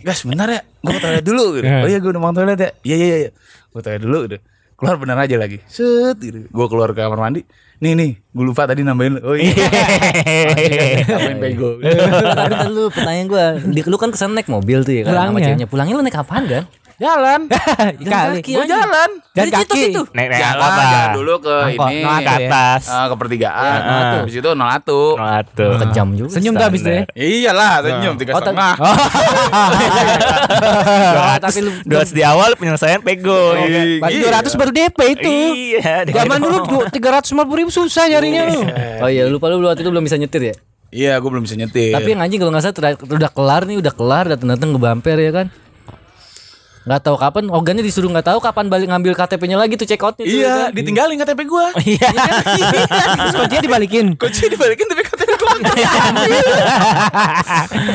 [SPEAKER 3] Gas bentar ya Gue mau toilet dulu gitu. Oh iya gue udah mau toilet ya Iya iya iya Gue toilet dulu udah Keluar bener aja lagi Set gitu Gue keluar ke kamar mandi Nih nih Gue lupa tadi nambahin Oh iya Nambahin pego
[SPEAKER 2] Tapi kan lu pertanyaan gua, di- lu kan kesana naik mobil tuh ya kan sama
[SPEAKER 1] Pulangnya.
[SPEAKER 2] ceweknya. Pulangnya lu naik apaan kan?
[SPEAKER 1] Jalan.
[SPEAKER 2] Jalan
[SPEAKER 1] Kali.
[SPEAKER 2] kaki
[SPEAKER 1] Gua
[SPEAKER 2] aja.
[SPEAKER 1] jalan. Dan
[SPEAKER 2] Dari situ
[SPEAKER 1] kaki.
[SPEAKER 2] situ.
[SPEAKER 4] Nek nek
[SPEAKER 3] Jalan,
[SPEAKER 4] apa
[SPEAKER 3] jalan
[SPEAKER 4] bang?
[SPEAKER 3] dulu ke
[SPEAKER 1] Angkot,
[SPEAKER 3] ini
[SPEAKER 1] no atu
[SPEAKER 4] Ke
[SPEAKER 1] ya.
[SPEAKER 4] atas.
[SPEAKER 3] eh, Ke pertigaan
[SPEAKER 4] Ya, no atu.
[SPEAKER 3] Habis itu nolatu
[SPEAKER 4] Satu.
[SPEAKER 2] Kejam juga.
[SPEAKER 1] Senyum tuh habis itu ya.
[SPEAKER 3] Iyalah senyum tiga
[SPEAKER 2] Oh,
[SPEAKER 3] setengah
[SPEAKER 4] tapi lu dua di awal penyelesaian pego. Iya.
[SPEAKER 1] Pas 200 baru DP itu.
[SPEAKER 4] Iya. dari
[SPEAKER 1] Zaman dulu
[SPEAKER 4] awal.
[SPEAKER 1] tuh 350 ribu susah nyarinya lu.
[SPEAKER 2] Oh iya, lupa lu waktu itu belum bisa nyetir ya.
[SPEAKER 3] Iya gue belum bisa nyetir
[SPEAKER 2] Tapi yang anjing kalau nggak salah terakhir- udah kelar nih, udah kelar datang datang ke bumper ya kan. Nggak tahu kapan organnya disuruh nggak tahu kapan balik ngambil KTP-nya lagi tuh check out-nya tuh, ya
[SPEAKER 3] Iya
[SPEAKER 2] kan?
[SPEAKER 3] ditinggalin KTP gue
[SPEAKER 1] Iya. Terus kuncinya dibalikin.
[SPEAKER 3] Kunci dibalikin tapi KTP gue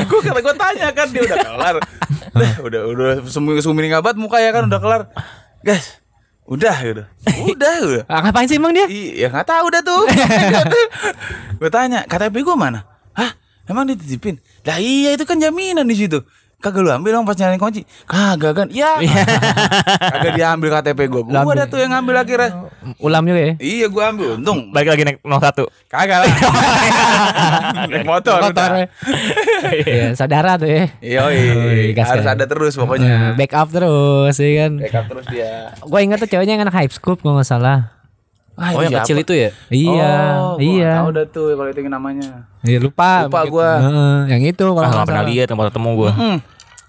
[SPEAKER 3] Gue kata gue tanya kan dia udah kelar. Lah, udah udah sumir sumiring abad muka ya kan udah kelar. Guys, udah gitu. Udah udah.
[SPEAKER 1] Ah, ngapain sih emang dia?
[SPEAKER 3] Iya nggak tahu dah tuh. gue tanya KTP gue mana? Hah? Emang dititipin? Lah iya itu kan jaminan di situ. Kagak lu ambil dong pas nyariin kunci Kagak kan Ya Kagak diambil KTP gue Gue ada tuh yang ngambil akhirnya
[SPEAKER 1] Ulam juga ya.
[SPEAKER 3] Iya gue ambil Untung
[SPEAKER 4] balik lagi naik 01.
[SPEAKER 3] Kagak lah Naik motor,
[SPEAKER 1] Motor.
[SPEAKER 3] udah.
[SPEAKER 1] Iya, saudara tuh ya.
[SPEAKER 3] Yoi,
[SPEAKER 1] gas
[SPEAKER 3] harus
[SPEAKER 1] kan?
[SPEAKER 3] ada terus pokoknya.
[SPEAKER 1] Back up terus ya kan.
[SPEAKER 3] Backup terus dia.
[SPEAKER 1] Gue ingat tuh ceweknya yang anak hype scoop kalau nggak salah.
[SPEAKER 2] Oh yang kecil itu ya?
[SPEAKER 1] Iya, iya.
[SPEAKER 3] Oh, Tahu dah tuh kalau itu namanya.
[SPEAKER 1] Iya lupa.
[SPEAKER 3] Lupa
[SPEAKER 1] Mungkin-
[SPEAKER 3] gua.
[SPEAKER 1] Heeh, yang itu kalau
[SPEAKER 4] Ah,
[SPEAKER 1] nggak
[SPEAKER 4] nggak pernah
[SPEAKER 1] salah.
[SPEAKER 4] lihat tempat ketemu gue.
[SPEAKER 3] Hmm.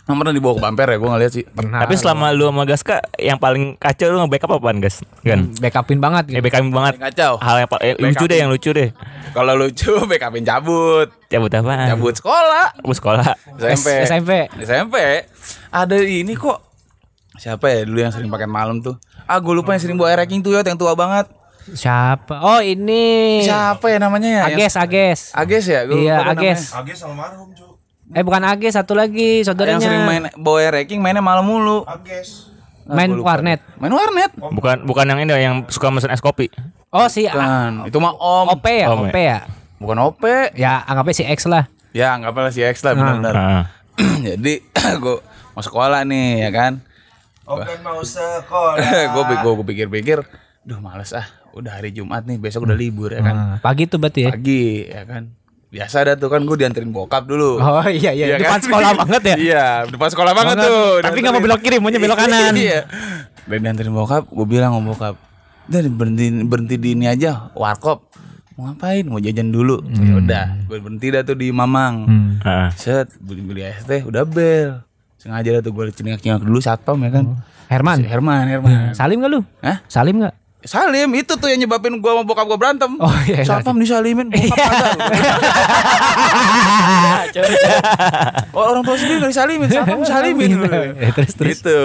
[SPEAKER 3] Yang pernah dibawa ke bumper ya, gue ngeliat sih. Pernah.
[SPEAKER 4] Tapi selama lu sama Gaska yang paling kacau lu nge-backup apaan, Gas? Kan.
[SPEAKER 1] Backupin banget.
[SPEAKER 4] Eh backup banget.
[SPEAKER 3] Kacau.
[SPEAKER 4] Hal yang pa- eh, lucu deh yang lucu deh.
[SPEAKER 3] Kalau lucu backupin cabut,
[SPEAKER 4] Cabut apaan?
[SPEAKER 3] cabut sekolah,
[SPEAKER 4] Lu sekolah.
[SPEAKER 3] SMP.
[SPEAKER 1] Ah. S- SMP.
[SPEAKER 3] SMP. Ada ini kok. Siapa ya dulu yang sering pakai malam tuh? Ah, gue lupa yang sering bawa air racking tuh ya, yang tua banget.
[SPEAKER 1] Siapa? Oh ini.
[SPEAKER 3] Siapa ya namanya ya? Yang-
[SPEAKER 1] Ages, Ages.
[SPEAKER 3] Ages ya? Gua
[SPEAKER 1] Iya,
[SPEAKER 3] lupa gua
[SPEAKER 1] Ages.
[SPEAKER 3] namanya.
[SPEAKER 5] Agis almarhum cu
[SPEAKER 1] Eh bukan Ages satu lagi saudaranya.
[SPEAKER 3] Yang sering main bawa air racking mainnya malam mulu.
[SPEAKER 5] Agis
[SPEAKER 3] Ah,
[SPEAKER 1] Main
[SPEAKER 3] gua lupa.
[SPEAKER 1] warnet.
[SPEAKER 3] Main warnet.
[SPEAKER 4] Bukan bukan yang ini yang suka mesen es kopi.
[SPEAKER 1] Oh si A-
[SPEAKER 3] Bukan. Itu mah Om.
[SPEAKER 1] OP ya,
[SPEAKER 4] Om,
[SPEAKER 1] OP ya.
[SPEAKER 3] Bukan OP.
[SPEAKER 1] Ya anggapnya si X lah.
[SPEAKER 3] Ya anggaplah si
[SPEAKER 1] Ah.
[SPEAKER 3] X lah benar-benar.
[SPEAKER 4] Heeh.
[SPEAKER 3] Jadi gua mau sekolah nih ya kan.
[SPEAKER 5] Open mau sekolah
[SPEAKER 3] gua pi- gua gua pikir-pikir, duh males ah. Udah hari Jumat nih, besok
[SPEAKER 1] Hmm.
[SPEAKER 3] udah libur ya kan.
[SPEAKER 1] Pagi tuh berarti ya.
[SPEAKER 3] Pagi ya kan. Biasa dah tuh kan gua dianterin bokap dulu.
[SPEAKER 1] Oh iya iya, depan
[SPEAKER 3] kan?
[SPEAKER 1] sekolah banget ya.
[SPEAKER 3] Iya, depan sekolah banget,
[SPEAKER 1] Banget.
[SPEAKER 3] tuh.
[SPEAKER 1] Tapi nggak mau belok kiri, maunya belok kanan.
[SPEAKER 3] iya. Dan dianterin bokap, gue bilang sama bokap, "Dan berhenti berhenti di ini aja, warkop." Mau ngapain? Mau jajan dulu. Ya
[SPEAKER 1] Hmm.
[SPEAKER 3] udah, gue berhenti dah tuh di Mamang.
[SPEAKER 4] Heeh.
[SPEAKER 3] Set, beli beli es teh, udah bel. Sengaja dah tuh gue cengak-cengak dulu satpam ya kan.
[SPEAKER 1] Oh.
[SPEAKER 3] Si
[SPEAKER 1] Herman,
[SPEAKER 3] Herman, Herman.
[SPEAKER 1] Salim gak lu?
[SPEAKER 3] Hah?
[SPEAKER 1] Salim gak?
[SPEAKER 3] Salim itu tuh yang nyebabin gua sama bokap gua berantem.
[SPEAKER 1] Oh, iya,
[SPEAKER 3] Satpam disalimin bokap kagak.
[SPEAKER 1] Iya.
[SPEAKER 3] Oh, orang tua sendiri gak disalimin, satpam disalimin.
[SPEAKER 1] Ya, terus, terus.
[SPEAKER 3] Gitu.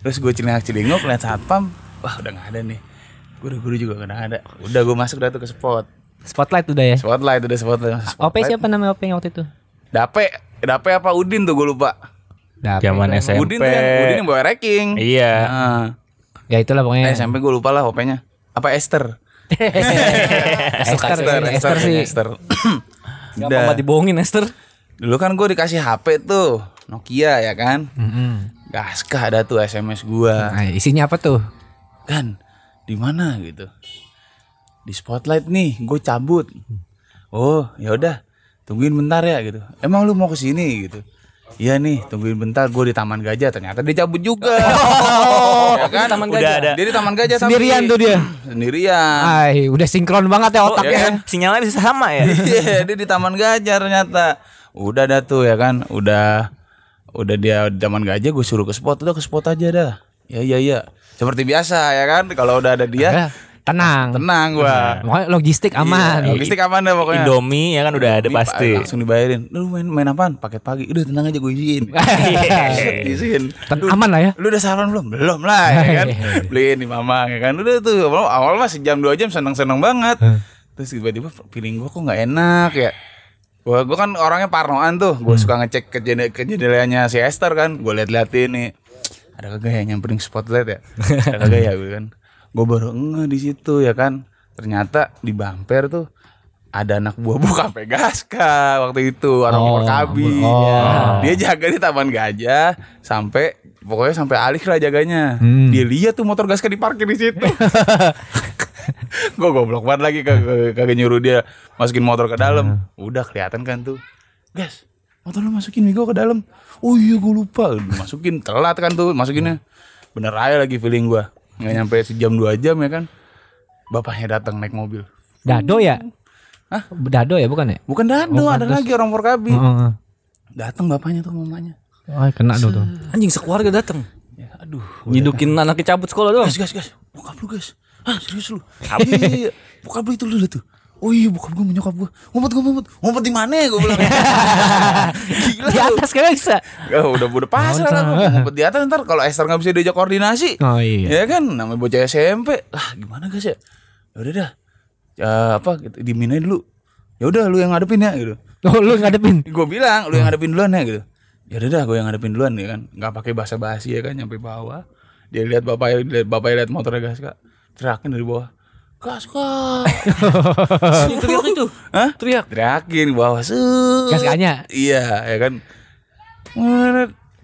[SPEAKER 3] terus gue celengak celengok liat satpam, wah udah gak ada nih. Guru-guru juga gak ada. Udah gue masuk dah tuh ke spot.
[SPEAKER 1] Spotlight udah ya.
[SPEAKER 3] Spotlight udah spotlight. masuk
[SPEAKER 1] OP
[SPEAKER 3] spotlight.
[SPEAKER 1] siapa namanya OP yang waktu itu?
[SPEAKER 3] Dape, Dape apa Udin tuh gue lupa.
[SPEAKER 4] Zaman SMP.
[SPEAKER 3] Udin tuh yang, Udin yang bawa ranking.
[SPEAKER 4] Iya.
[SPEAKER 1] Ya itulah
[SPEAKER 3] Eh,
[SPEAKER 1] pokoknya.
[SPEAKER 3] SMP gue lupa lah OP-nya. Apa Esther?
[SPEAKER 2] Eh,
[SPEAKER 1] Esther,
[SPEAKER 3] Esther, iya, Esther,
[SPEAKER 1] Esther sih.
[SPEAKER 3] Esther.
[SPEAKER 2] Gak apa-apa dibohongin Esther.
[SPEAKER 3] Dulu kan gue dikasih HP tuh Nokia ya kan Gaskah ada tuh SMS gua
[SPEAKER 1] Nah, isinya apa tuh?
[SPEAKER 3] Kan di mana gitu Di spotlight nih gue cabut Oh ya udah Tungguin bentar ya gitu Emang lu mau kesini gitu Iya nih, tungguin bentar gue di Taman Gajah. Ternyata dia cabut juga. ya kan? Taman
[SPEAKER 4] Udah Gajah. ada.
[SPEAKER 3] Dia di Taman Gajah tapi-
[SPEAKER 1] Sendirian tuh dia.
[SPEAKER 3] Sendirian.
[SPEAKER 1] Ay, udah sinkron banget ya otaknya.
[SPEAKER 3] kan?
[SPEAKER 4] Iya Sinyalnya bisa sama ya.
[SPEAKER 3] Iya, dia di Taman Gajah ternyata. Udah dah tuh ya kan, udah udah dia di Taman Gajah gue suruh ke spot, udah ke spot aja dah. Ya iya iya. Seperti biasa ya kan, kalau udah ada
[SPEAKER 1] Eh,
[SPEAKER 3] dia
[SPEAKER 1] tenang.
[SPEAKER 3] tenang gua. Iya,
[SPEAKER 1] Makanya logistik aman.
[SPEAKER 3] Logistik aman dah pokoknya.
[SPEAKER 4] Indomie ya kan udah ada
[SPEAKER 3] Ini
[SPEAKER 4] pasti.
[SPEAKER 3] Langsung dibayarin. Lu main main apaan? Paket pagi. Udah tenang aja gue izin. izin.
[SPEAKER 1] Ten- aman lah ya.
[SPEAKER 3] Lu udah sarapan belum? Belum lah ya kan. Beliin di mama ya kan. Udah tuh awal, awal mah sejam dua jam seneng-seneng banget. Terus tiba-tiba feeling gue kok nggak enak ya. Gue gue kan orangnya parnoan tuh.
[SPEAKER 1] Hmm.
[SPEAKER 3] Gue suka ngecek ke, jendela, ke jendelanya si Esther kan. Gue liat-liatin nih. Ada kagak ya nyamperin spotlight ya? Ada kagak ya gue kan. Gue baru ngeh di situ ya kan. Ternyata di bumper tuh ada anak buah buka Pegaska waktu itu orang oh, Kabi. Dia jaga di Taman Gajah sampai pokoknya sampai alih lah jaganya. Dia lihat tuh motor Gaska diparkir di situ. gue goblok banget lagi kagak kagak nyuruh dia masukin motor ke dalam. Udah kelihatan kan tuh. Gas, motor lu masukin Migo ke dalam. Oh iya gue lupa. Masukin telat kan tuh masukinnya. Bener aja lagi feeling gua. Nggak nyampe sejam dua jam ya kan. Bapaknya datang naik mobil.
[SPEAKER 1] Dado ya?
[SPEAKER 3] Hah?
[SPEAKER 1] Dado ya bukan ya?
[SPEAKER 3] Bukan Dando, ada lagi orang Porkabi.
[SPEAKER 1] Heeh.
[SPEAKER 3] Datang bapaknya tuh mamanya.
[SPEAKER 1] Oh, kena dulu tuh.
[SPEAKER 2] Anjing sekeluarga datang.
[SPEAKER 3] Ya, aduh.
[SPEAKER 2] Nyidukin anak cabut sekolah doang.
[SPEAKER 3] Gas, gas, gas. Bokap lu, gas. Hah, serius lu? Iya, iya, iya. Bokap lu itu lu liat tuh. Oh iya, bokap gue menyokap gue. Ngumpet, ngumpet, ngumpet. Ngumpet di mana ya? Gue bilang. Gila
[SPEAKER 1] Di
[SPEAKER 3] lu.
[SPEAKER 1] atas kan bisa.
[SPEAKER 3] Eh, udah udah pasrah lah gua. ngumpet di atas ntar kalau Esther nggak bisa diajak koordinasi.
[SPEAKER 1] Oh, iya.
[SPEAKER 3] Ya kan, namanya bocah SMP. Ah, gimana guys ya? Ya udah dah. Ya, apa diminai dulu. Ya udah lu yang ngadepin ya gitu.
[SPEAKER 1] Oh, lu ngadepin.
[SPEAKER 3] gue bilang lu yang ngadepin duluan ya gitu ya udah dah gue yang ngadepin duluan ya kan nggak pakai bahasa basi ya kan nyampe bawah dia lihat bapak lihat bapak lihat motornya gas kak teriakin dari bawah gas kak
[SPEAKER 2] Teriak itu.
[SPEAKER 3] Hah?
[SPEAKER 2] Teriak.
[SPEAKER 3] teriakin di bawah Set.
[SPEAKER 1] Gas kaknya.
[SPEAKER 3] iya ya kan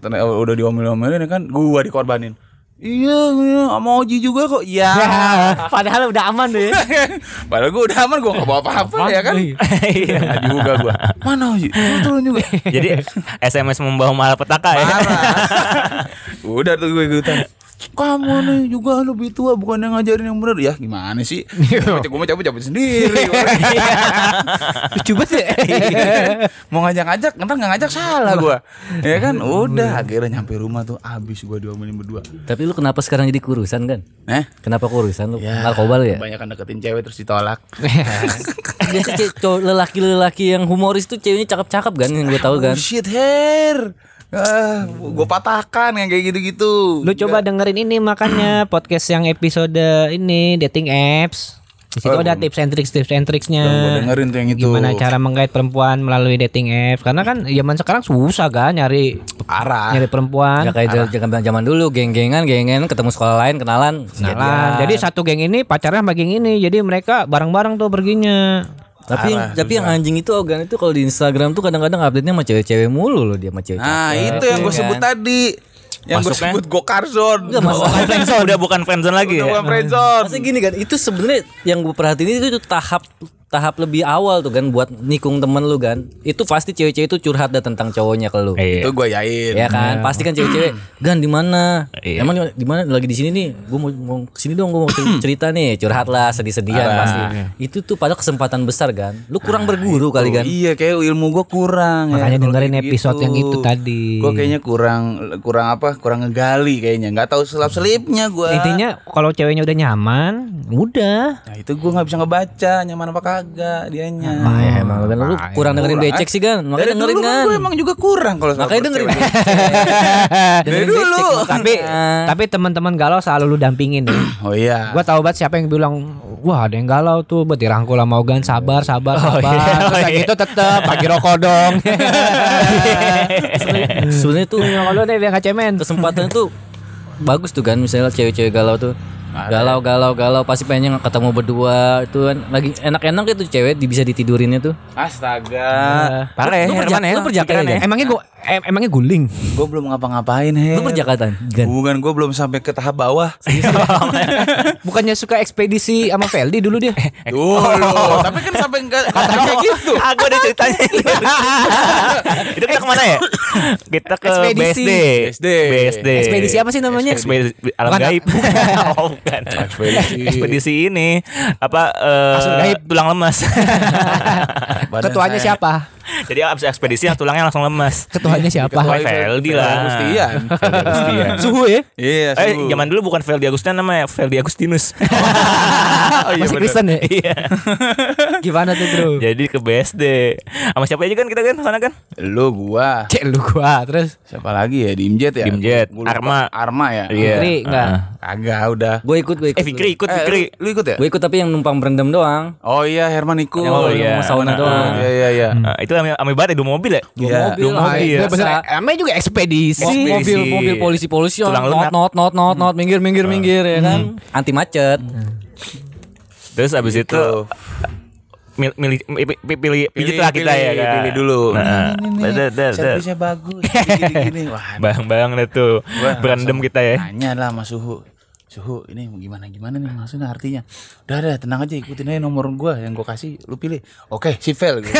[SPEAKER 3] Ternyata udah diomel-omelin ya kan gua dikorbanin iya iya, sama Oji juga kok iya
[SPEAKER 2] Ah,
[SPEAKER 1] Padahal udah aman deh.
[SPEAKER 3] padahal gue udah aman gue gak bawa apa-apa ya kan Iya juga gue mana Oji turun juga
[SPEAKER 4] Jadi SMS membawa malapetaka ya.
[SPEAKER 3] Parah. Udah tuh gue ikutan. Kamu nih juga lebih tua bukan yang ngajarin yang bener ya gimana sih? Gue mau cabut cabut sendiri.
[SPEAKER 1] Lucu banget ya.
[SPEAKER 3] mau ngajak-ngajak ntar nggak ngajak salah gue. Ya kan udah akhirnya nyampe rumah tuh abis gue diomelin berdua.
[SPEAKER 2] Tapi lu kenapa sekarang jadi kurusan kan?
[SPEAKER 3] Eh?
[SPEAKER 2] Kenapa kurusan lu? Narkoba lu ya?
[SPEAKER 3] Kebanyakan deketin cewek terus ditolak. Iya.
[SPEAKER 2] Biasa ce- cowok- lelaki-lelaki yang humoris tuh ceweknya cakep-cakep kan yang gue tahu kan.
[SPEAKER 3] Bullshit hair. Oh, Ah, gue patahkan yang kayak gitu-gitu.
[SPEAKER 1] Lu coba dengerin ini makanya podcast yang episode ini dating apps. Di situ ada tips and tricks tips and tricksnya.
[SPEAKER 3] Gua dengerin tuh yang itu.
[SPEAKER 1] Gimana cara menggait perempuan melalui dating apps? Karena kan zaman sekarang susah kan nyari
[SPEAKER 3] Parah.
[SPEAKER 1] nyari perempuan.
[SPEAKER 2] Ya kayak j- jangan zaman dulu geng-gengan, gengan ketemu sekolah lain kenalan. Nah,
[SPEAKER 1] Kenalan. Jadi satu geng ini pacarnya sama geng ini. Jadi mereka bareng-bareng tuh perginya.
[SPEAKER 2] Tapi yang, tapi yang anjing itu organ itu kalau di Instagram tuh kadang-kadang update-nya sama cewek-cewek mulu loh dia sama cewek.
[SPEAKER 3] Nah itu yang gue sebut tadi. Yang gue
[SPEAKER 4] Masuknya?
[SPEAKER 3] sebut gokarzon.
[SPEAKER 4] Bukan friendzone. Udah bukan friendzone lagi
[SPEAKER 3] Udah
[SPEAKER 4] ya.
[SPEAKER 3] bukan friendzone.
[SPEAKER 2] Maksudnya gini kan, itu sebenarnya yang gue perhatiin itu tuh tahap tahap lebih awal tuh kan buat nikung temen lu kan. Itu pasti cewek-cewek itu curhat dah tentang cowoknya ke lu.
[SPEAKER 4] Iya.
[SPEAKER 3] Itu gue yain.
[SPEAKER 2] Ya kan, pasti kan cewek-cewek, "Gan di mana?
[SPEAKER 4] Iya.
[SPEAKER 2] Emang di mana? Lagi di sini nih. Gue mau mau sini dong, gue mau
[SPEAKER 3] Hmm.
[SPEAKER 2] cer- cerita nih, curhat lah, sedih-sedihan pasti." Itu tuh pada kesempatan besar kan. Lu kurang berguru kali kan.
[SPEAKER 3] Nah, Iya kayak ilmu gue kurang. ya.
[SPEAKER 1] Makanya
[SPEAKER 3] kalau
[SPEAKER 1] dengerin
[SPEAKER 3] kayak
[SPEAKER 1] episode yang itu tadi.
[SPEAKER 3] Gue kayaknya kurang kurang apa? Kurang ngegali kayaknya. Gak tahu selap selipnya gue.
[SPEAKER 1] Intinya kalau ceweknya udah nyaman, udah.
[SPEAKER 3] Nah itu gue nggak bisa ngebaca nyaman apa kagak dianya.
[SPEAKER 1] Nah,
[SPEAKER 2] Ya, emang lu kan lu kurang dengerin becek sih kan. Makanya
[SPEAKER 3] Dari
[SPEAKER 2] dengerin
[SPEAKER 3] dulu kan
[SPEAKER 2] kan.
[SPEAKER 3] gue emang juga kurang kalau soal
[SPEAKER 2] Makanya dengerin.
[SPEAKER 3] percewek. Dari dulu.
[SPEAKER 1] Tapi
[SPEAKER 2] Iya.
[SPEAKER 1] tapi teman-teman galau selalu lu dampingin ya.
[SPEAKER 3] Oh iya.
[SPEAKER 1] Gua tahu banget siapa yang bilang, "Wah, ada yang galau tuh, buat dirangkul sama Ogan, sabar, sabar,
[SPEAKER 2] Oh,
[SPEAKER 4] Oh, iya.
[SPEAKER 1] sabar."
[SPEAKER 2] iya,
[SPEAKER 1] Terus kayak gitu tetep bagi rokok dong.
[SPEAKER 2] Sebenarnya tuh
[SPEAKER 1] Kalau deh biar nggak cemen.
[SPEAKER 2] kesempatan tuh bagus tuh kan misalnya cewek-cewek galau tuh galau galau galau pasti pengen ketemu berdua itu kan lagi enak-enak itu cewek di- bisa ditidurinnya tuh
[SPEAKER 3] Astaga.
[SPEAKER 4] Parah
[SPEAKER 3] Ah,
[SPEAKER 4] ya,
[SPEAKER 2] lu, perja-
[SPEAKER 1] Nah. eh,
[SPEAKER 4] Herman ya.
[SPEAKER 2] lu perjaka ya,
[SPEAKER 4] pikirannya.
[SPEAKER 2] Gan?
[SPEAKER 1] Emangnya gua em- emangnya guling.
[SPEAKER 3] Gue belum ngapa-ngapain he.
[SPEAKER 2] Lu
[SPEAKER 4] Iya.
[SPEAKER 2] perjakatan Gan.
[SPEAKER 3] Bukan gue belum sampai ke tahap bawah.
[SPEAKER 1] Bukannya suka ekspedisi sama Feldi dulu dia.
[SPEAKER 3] Duh, loh. tapi kan sampai enggak katanya gitu.
[SPEAKER 4] Aku ada ceritanya itu. itu kita kemana ya? Kita ke
[SPEAKER 1] Ekspedisi.
[SPEAKER 4] BSD.
[SPEAKER 3] BSD.
[SPEAKER 4] BSD.
[SPEAKER 1] Ekspedisi apa sih namanya?
[SPEAKER 4] Ekspedisi alam
[SPEAKER 1] Bukan.
[SPEAKER 4] gaib. oh, bukan. Ekspedisi. ini apa eh,
[SPEAKER 1] Kasur gaib.
[SPEAKER 4] tulang lemas.
[SPEAKER 3] Badan
[SPEAKER 1] Ketuanya
[SPEAKER 3] saya-
[SPEAKER 1] siapa?
[SPEAKER 4] Jadi abis ekspedisi yang tulangnya langsung lemas.
[SPEAKER 1] Ketuanya
[SPEAKER 4] Ketua
[SPEAKER 1] siapa?
[SPEAKER 4] Feldi lah. iya.
[SPEAKER 3] Agustian. Feldi Agustian.
[SPEAKER 1] Suhu ya?
[SPEAKER 3] Iya,
[SPEAKER 4] Eh,
[SPEAKER 3] sungguh.
[SPEAKER 4] zaman dulu bukan Feldi Agustinus namanya Feldi Agustinus.
[SPEAKER 1] Oh, Masih Kristen ya?
[SPEAKER 4] Iya.
[SPEAKER 1] Gimana tuh bro?
[SPEAKER 4] Jadi ke BSD. Sama siapa aja kan kita kan sana kan?
[SPEAKER 3] Lu gua
[SPEAKER 1] Cek lu gua terus.
[SPEAKER 3] siapa lagi ya Dimjet ya
[SPEAKER 4] Dimjet,
[SPEAKER 3] Gua lupa.
[SPEAKER 4] Arma.
[SPEAKER 3] Arma ya
[SPEAKER 4] Iya.
[SPEAKER 1] Fikri enggak?
[SPEAKER 3] kagak udah
[SPEAKER 2] Gue ikut gue ikut
[SPEAKER 4] Eh Fikri ikut
[SPEAKER 3] Eh,
[SPEAKER 4] Fikri.
[SPEAKER 3] lu, lu ikut ya
[SPEAKER 2] Gue ikut tapi yang numpang berendam doang
[SPEAKER 3] oh iya Herman ikut
[SPEAKER 2] Yang mau-
[SPEAKER 4] Oh
[SPEAKER 2] yang mau sauna doang.
[SPEAKER 3] iya iya iya
[SPEAKER 4] Ah, itu ame ame banget ya dua mobil ya.
[SPEAKER 3] Dua Iya. mobil,
[SPEAKER 4] Dua mobil.
[SPEAKER 1] Iya, bener. Namanya juga ekspedisi.
[SPEAKER 4] Ekspedisi.
[SPEAKER 2] mobil mobil polisi polisi
[SPEAKER 4] Eh,
[SPEAKER 2] oh,
[SPEAKER 4] Tulang
[SPEAKER 2] not
[SPEAKER 4] lunak. Hmm.
[SPEAKER 2] not not not not minggir minggir minggir ya kan anti macet
[SPEAKER 4] Terus abis itu
[SPEAKER 3] Tuh.
[SPEAKER 4] mil- milih pi- pi- pi- pilih pijit lah kita
[SPEAKER 3] pilih,
[SPEAKER 4] ya kan.
[SPEAKER 3] pilih dulu.
[SPEAKER 4] Nah, dah, dah, dah.
[SPEAKER 3] servisnya bagus gini gini wah
[SPEAKER 4] Bang-bang deh tuh. Berendam kita ya.
[SPEAKER 3] Tanya lah Mas Suhu. Suhu ini gimana gimana nih maksudnya artinya. Udah udah tenang aja ikutin aja nomor gua yang gua kasih lu pilih. Oke, si Vel. Gitu.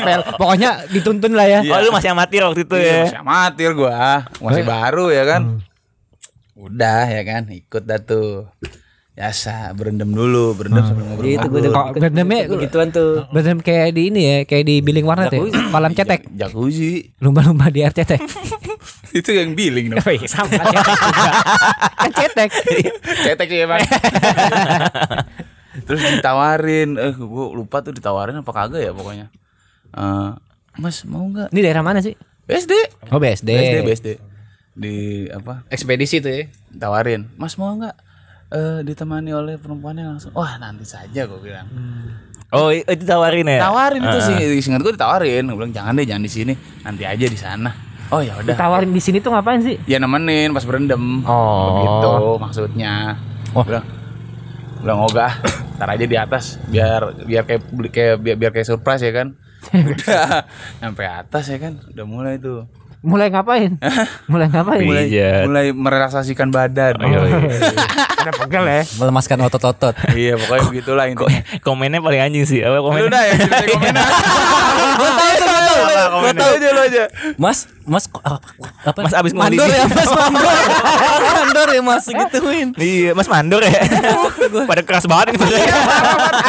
[SPEAKER 1] Pel. Pokoknya dituntun lah ya.
[SPEAKER 4] Oh lu masih amatir waktu itu
[SPEAKER 3] Iya,
[SPEAKER 4] ya.
[SPEAKER 3] masih amatir gua. Masih baru ya kan. Udah ya kan ikut dah tuh. Biasa berendam dulu, berendam sambil ngobrol.
[SPEAKER 2] itu gue
[SPEAKER 1] Kok berdamnya
[SPEAKER 2] gituan tuh
[SPEAKER 1] Bener kayak di ini ya, kayak di billing warnet ya, kolam cetek,
[SPEAKER 3] Jacuzzi.
[SPEAKER 1] lumba-lumba di air cetek.
[SPEAKER 3] itu yang billing dong.
[SPEAKER 1] Eh, Sama ya. cetek juga. Kan cetek.
[SPEAKER 3] Cetek sih emang. Terus ditawarin, eh gua lupa tuh ditawarin apa kagak ya pokoknya. Eh, mas mau nggak
[SPEAKER 1] Ini daerah mana sih?
[SPEAKER 3] BSD.
[SPEAKER 1] Oh BSD.
[SPEAKER 3] BSD, BSD. Di apa?
[SPEAKER 1] Ekspedisi tuh ya.
[SPEAKER 3] Tawarin. Mas mau nggak eh, ditemani oleh perempuannya langsung. Wah, nanti saja gue bilang.
[SPEAKER 4] Oh i- itu tawarin ya.
[SPEAKER 3] Tawarin itu sih, singkat gue ditawarin. Gue bilang jangan deh, jangan di sini. Nanti aja di sana. Oh ya udah.
[SPEAKER 1] Tawarin di sini tuh ngapain sih?
[SPEAKER 3] Ya nemenin pas berendam.
[SPEAKER 1] Oh.
[SPEAKER 3] Begitu maksudnya.
[SPEAKER 2] Oh.
[SPEAKER 3] Bilang bilang ogah. Ntar aja di atas biar biar kayak kayak biar, biar kayak surprise ya kan. Udah sampai atas ya kan. Udah mulai tuh.
[SPEAKER 1] Mulai ngapain? Mulai ngapain?
[SPEAKER 4] Iya.
[SPEAKER 3] Mulai
[SPEAKER 4] Pijat.
[SPEAKER 3] mulai merelaksasikan badan.
[SPEAKER 4] Oh, iya, iya.
[SPEAKER 1] Ada pegel ya.
[SPEAKER 2] Eh, melemaskan otot-otot
[SPEAKER 3] Iya pokoknya begitulah intinya.
[SPEAKER 4] Komennya paling anjing sih. Apa
[SPEAKER 3] Lu dah
[SPEAKER 4] komennya?
[SPEAKER 3] ya cerita komennya.
[SPEAKER 4] iya,
[SPEAKER 3] Gua tahu tuh, gua tahu. Gua tahu aja lu aja.
[SPEAKER 2] Mas Mas ko- apa, apa?
[SPEAKER 4] Mas abis ngulik.
[SPEAKER 2] mandor ya Mas mandor mandor ya Mas gituin
[SPEAKER 4] Iya, Mas mandor ya. Pada keras banget ini padahal.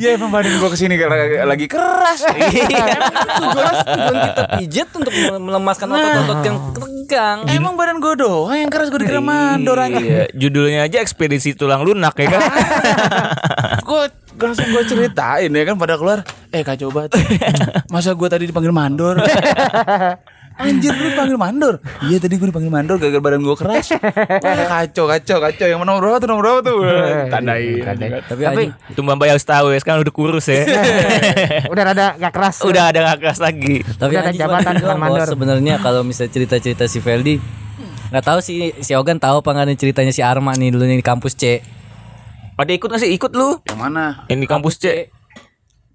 [SPEAKER 3] Ya emang badan gua kesini lagi- lagi keras.
[SPEAKER 2] tujuan tujuan kita pijat untuk melemaskan otot-otot
[SPEAKER 1] Nah.
[SPEAKER 2] yang tegang
[SPEAKER 3] Emang badan gua doang yang keras gua dikira mandor anjing.
[SPEAKER 4] Iya, judulnya aja ekspedisi tulang lunak ya kan.
[SPEAKER 3] Gue langsung gue ceritain ya kan pada keluar Eh kacau banget Masa gue tadi dipanggil mandor Anjir lu dipanggil mandor Iya tadi gue dipanggil mandor gara-gara badan gue keras Wah, Kacau kacau kacau Yang nomor berapa tuh nomor berapa tuh Tandain
[SPEAKER 2] tapi, tapi
[SPEAKER 4] Tumbuhan bayar setahu ya, sekarang udah kurus ya.
[SPEAKER 1] Udah rada gak keras.
[SPEAKER 4] udah ada nggak keras lagi.
[SPEAKER 2] tapi
[SPEAKER 1] Udah ada
[SPEAKER 2] ada
[SPEAKER 1] jabatan
[SPEAKER 2] jabatan
[SPEAKER 1] tukang mandor.
[SPEAKER 2] sebenarnya kalau misalnya cerita-cerita si Feldi nggak tahu si si Ogan tahu apa nggak nih ceritanya si Arma nih dulu nih di kampus C
[SPEAKER 4] Pada ikut nggak sih? Ikut lu.
[SPEAKER 3] Yang mana
[SPEAKER 4] Yang di kampus C.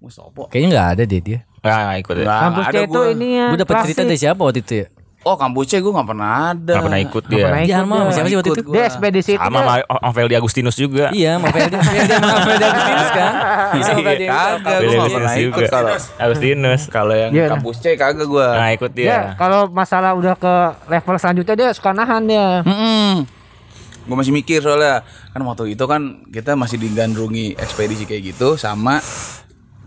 [SPEAKER 3] Mustopo
[SPEAKER 2] kayaknya nggak ada deh dia
[SPEAKER 4] Nah, ikut ya.
[SPEAKER 3] Nah,
[SPEAKER 1] Kampus C
[SPEAKER 3] ada
[SPEAKER 1] itu
[SPEAKER 3] gua.
[SPEAKER 1] ini ya.
[SPEAKER 2] gue dapat cerita dari siapa waktu itu ya
[SPEAKER 3] Oh kampus C gue gak pernah ada Iya,
[SPEAKER 4] Nggak pernah ikut dia.
[SPEAKER 1] Nggak pernah
[SPEAKER 2] Di Arma sama siapa sih waktu
[SPEAKER 3] Ikut
[SPEAKER 2] itu
[SPEAKER 3] gua.
[SPEAKER 1] Dia ekspedisi itu.
[SPEAKER 4] Sama
[SPEAKER 1] dia-
[SPEAKER 4] sama sama Feldi Agustinus juga.
[SPEAKER 2] Iya, sama Feldi, Feldi sama Feldi Agustinus kan? Bisa sama Feldi
[SPEAKER 3] Kagak gue gak
[SPEAKER 4] Feldi Agustinus
[SPEAKER 3] pernah ikut
[SPEAKER 4] juga.
[SPEAKER 3] kalau
[SPEAKER 4] Agustinus.
[SPEAKER 3] kalau yang
[SPEAKER 1] Iya,
[SPEAKER 3] kampus C kagak gue
[SPEAKER 4] iya, Nah, ikut
[SPEAKER 5] Iya.
[SPEAKER 1] Dia
[SPEAKER 4] dia.
[SPEAKER 1] kalau masalah udah ke level selanjutnya dia suka nahan dia.
[SPEAKER 3] Mm Gue masih mikir soalnya kan waktu itu kan kita masih digandrungi ekspedisi kayak gitu sama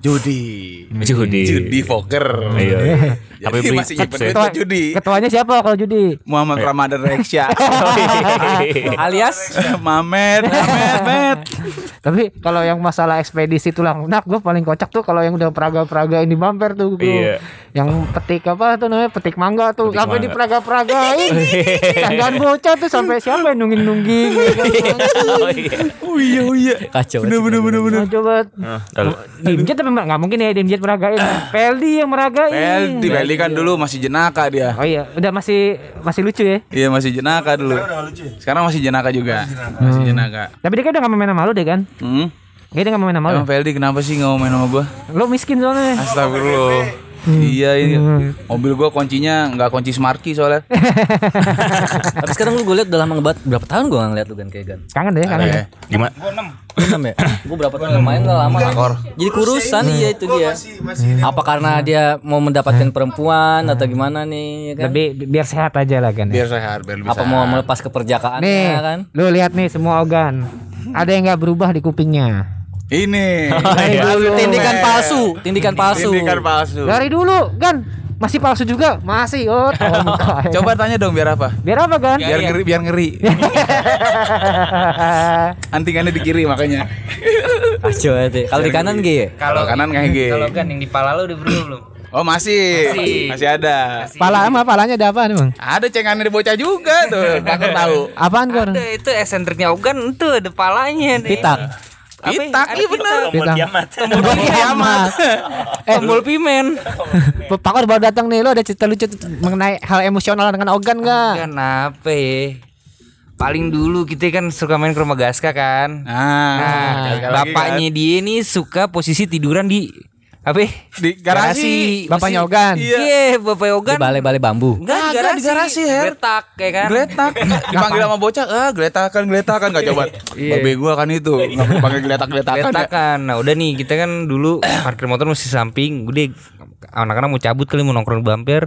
[SPEAKER 3] judi.
[SPEAKER 4] Judi.
[SPEAKER 3] Judi poker.
[SPEAKER 4] Iya.
[SPEAKER 3] Tapi
[SPEAKER 4] Tapi beli Iya.
[SPEAKER 3] masih
[SPEAKER 4] chips
[SPEAKER 3] nyimpen
[SPEAKER 4] ya.
[SPEAKER 3] duit buat judi.
[SPEAKER 1] Ketuanya siapa kalau judi?
[SPEAKER 3] Muhammad Ramadan Reksya.
[SPEAKER 4] Oh, iya.
[SPEAKER 2] Alias
[SPEAKER 3] Mamet, Mamet, Mamet.
[SPEAKER 1] Tapi kalau yang masalah ekspedisi tulang lunak gue paling kocak tuh kalau yang udah peraga-peragain di bumper tuh gua.
[SPEAKER 4] Iya.
[SPEAKER 1] Yang petik apa tuh namanya? Petik mangga tuh.
[SPEAKER 4] Petik
[SPEAKER 1] Sampai
[SPEAKER 4] mangga.
[SPEAKER 1] di peraga-peragain. Candaan bocah tuh sampai siapa yang nungging-nungging. ya kan?
[SPEAKER 4] Oh iya.
[SPEAKER 3] Oh iya, oh iya.
[SPEAKER 2] kacau.
[SPEAKER 3] Bener, bener, bener, bener.
[SPEAKER 1] Nah, coba
[SPEAKER 3] ya.
[SPEAKER 4] Nah, lalu.
[SPEAKER 1] Dimjet tapi nggak mungkin ya Dimjet meragain. Peldi yang meragain.
[SPEAKER 3] Pel, di Bali kan dulu masih jenaka dia.
[SPEAKER 1] Oh iya, udah masih masih lucu ya.
[SPEAKER 3] Iya masih jenaka dulu.
[SPEAKER 5] Udah lucu ya?
[SPEAKER 3] Sekarang masih jenaka juga. Masih jenaka.
[SPEAKER 1] Tapi dia kan udah gak main sama lu deh kan?
[SPEAKER 3] Hmm.
[SPEAKER 4] Oh,
[SPEAKER 1] Iya dia gak main sama lu.
[SPEAKER 3] Emang Feldi kenapa sih nggak mau main sama gua?
[SPEAKER 1] Lu miskin soalnya.
[SPEAKER 3] Astagfirullah.
[SPEAKER 4] Hmm.
[SPEAKER 3] Iya ini mobil gua kuncinya nggak kunci Smarky soalnya.
[SPEAKER 2] Tapi sekarang lu gue liat udah lama banget berapa tahun gue ngeliat lu Gan kayak Gan.
[SPEAKER 5] Kangen deh, kangen deh.
[SPEAKER 6] Gimana?
[SPEAKER 2] Enam ya? Gue berapa tahun nggak main lah lama. Jadi kurusan iya itu dia. Apa karena dia mau
[SPEAKER 5] Iya.
[SPEAKER 2] mendapatkan perempuan atau gimana nih? ya kan?
[SPEAKER 5] Lebih bi- biar sehat aja lah kan. ya.
[SPEAKER 4] Iya.
[SPEAKER 3] Biar sehat, biar bisa.
[SPEAKER 2] Apa mau melepas keperjakaannya
[SPEAKER 5] Nih,
[SPEAKER 2] kan?
[SPEAKER 5] lu lihat nih semua organ. Ada yang nggak berubah di kupingnya.
[SPEAKER 3] Ini.
[SPEAKER 5] Dari
[SPEAKER 4] Iya,
[SPEAKER 5] dulu,
[SPEAKER 2] Tindikan palsu, tindikan palsu.
[SPEAKER 3] Ini kan palsu.
[SPEAKER 5] dari dulu kan masih palsu juga, masih oh. tolong buka.
[SPEAKER 3] Coba tanya dong biar apa?
[SPEAKER 5] Biar apa kan?
[SPEAKER 3] Biar
[SPEAKER 4] Iya,
[SPEAKER 3] ngeri, biar ngeri. Antingannya di kiri makanya.
[SPEAKER 2] Kacau ya, Ti. Kalau di kanan G.
[SPEAKER 3] Kalau kanan kayak gini.
[SPEAKER 4] Kalau kan yang di pala lu udah berubah belum?
[SPEAKER 3] Oh masih. masih, ada.
[SPEAKER 5] Pala sama palanya ada apa nih, Bang?
[SPEAKER 3] Ada cengannya di bocah juga tuh. Kakak tahu.
[SPEAKER 5] Apaan kor?
[SPEAKER 4] Ada itu esentriknya Ogan itu ada palanya nih.
[SPEAKER 2] Pitak.
[SPEAKER 4] Apa ya?
[SPEAKER 3] Pitak,
[SPEAKER 4] Ada
[SPEAKER 3] iya bener.
[SPEAKER 4] pitak.
[SPEAKER 6] Tombol
[SPEAKER 5] Bintang.
[SPEAKER 6] kiamat.
[SPEAKER 5] Kiamat. Eh,
[SPEAKER 4] Tombol pimen.
[SPEAKER 5] Pak Kor baru datang nih, lu ada cerita lucu mengenai hal emosional dengan organ enggak?
[SPEAKER 4] Kenapa ya? Paling dulu kita kan suka main ke rumah Gaska kan.
[SPEAKER 3] Nah,
[SPEAKER 4] Nah,
[SPEAKER 3] sekali-sekali lagi
[SPEAKER 4] bapaknya dia ini suka posisi tiduran di apa? ya?
[SPEAKER 3] kan. di garasi.
[SPEAKER 5] Bapaknya
[SPEAKER 4] Masih-
[SPEAKER 5] Ogan.
[SPEAKER 4] Iya, Bapak
[SPEAKER 2] Di
[SPEAKER 4] Ogan.
[SPEAKER 2] balai-balai bambu.
[SPEAKER 4] Enggak, di
[SPEAKER 3] Kagak,
[SPEAKER 4] garasi.
[SPEAKER 3] di garasi, Her.
[SPEAKER 4] Geletak, ya kan.
[SPEAKER 3] Geletak Dipanggil sama bocah Ah geletakan geletakan Gak coba Babe gua kan itu Gak perlu panggil geletak geletakan ya.
[SPEAKER 4] Geletakan. Nah, udah nih kita kan dulu parkir motor masih samping. Udah anak-anak mau cabut kali mau nongkrong di bumper.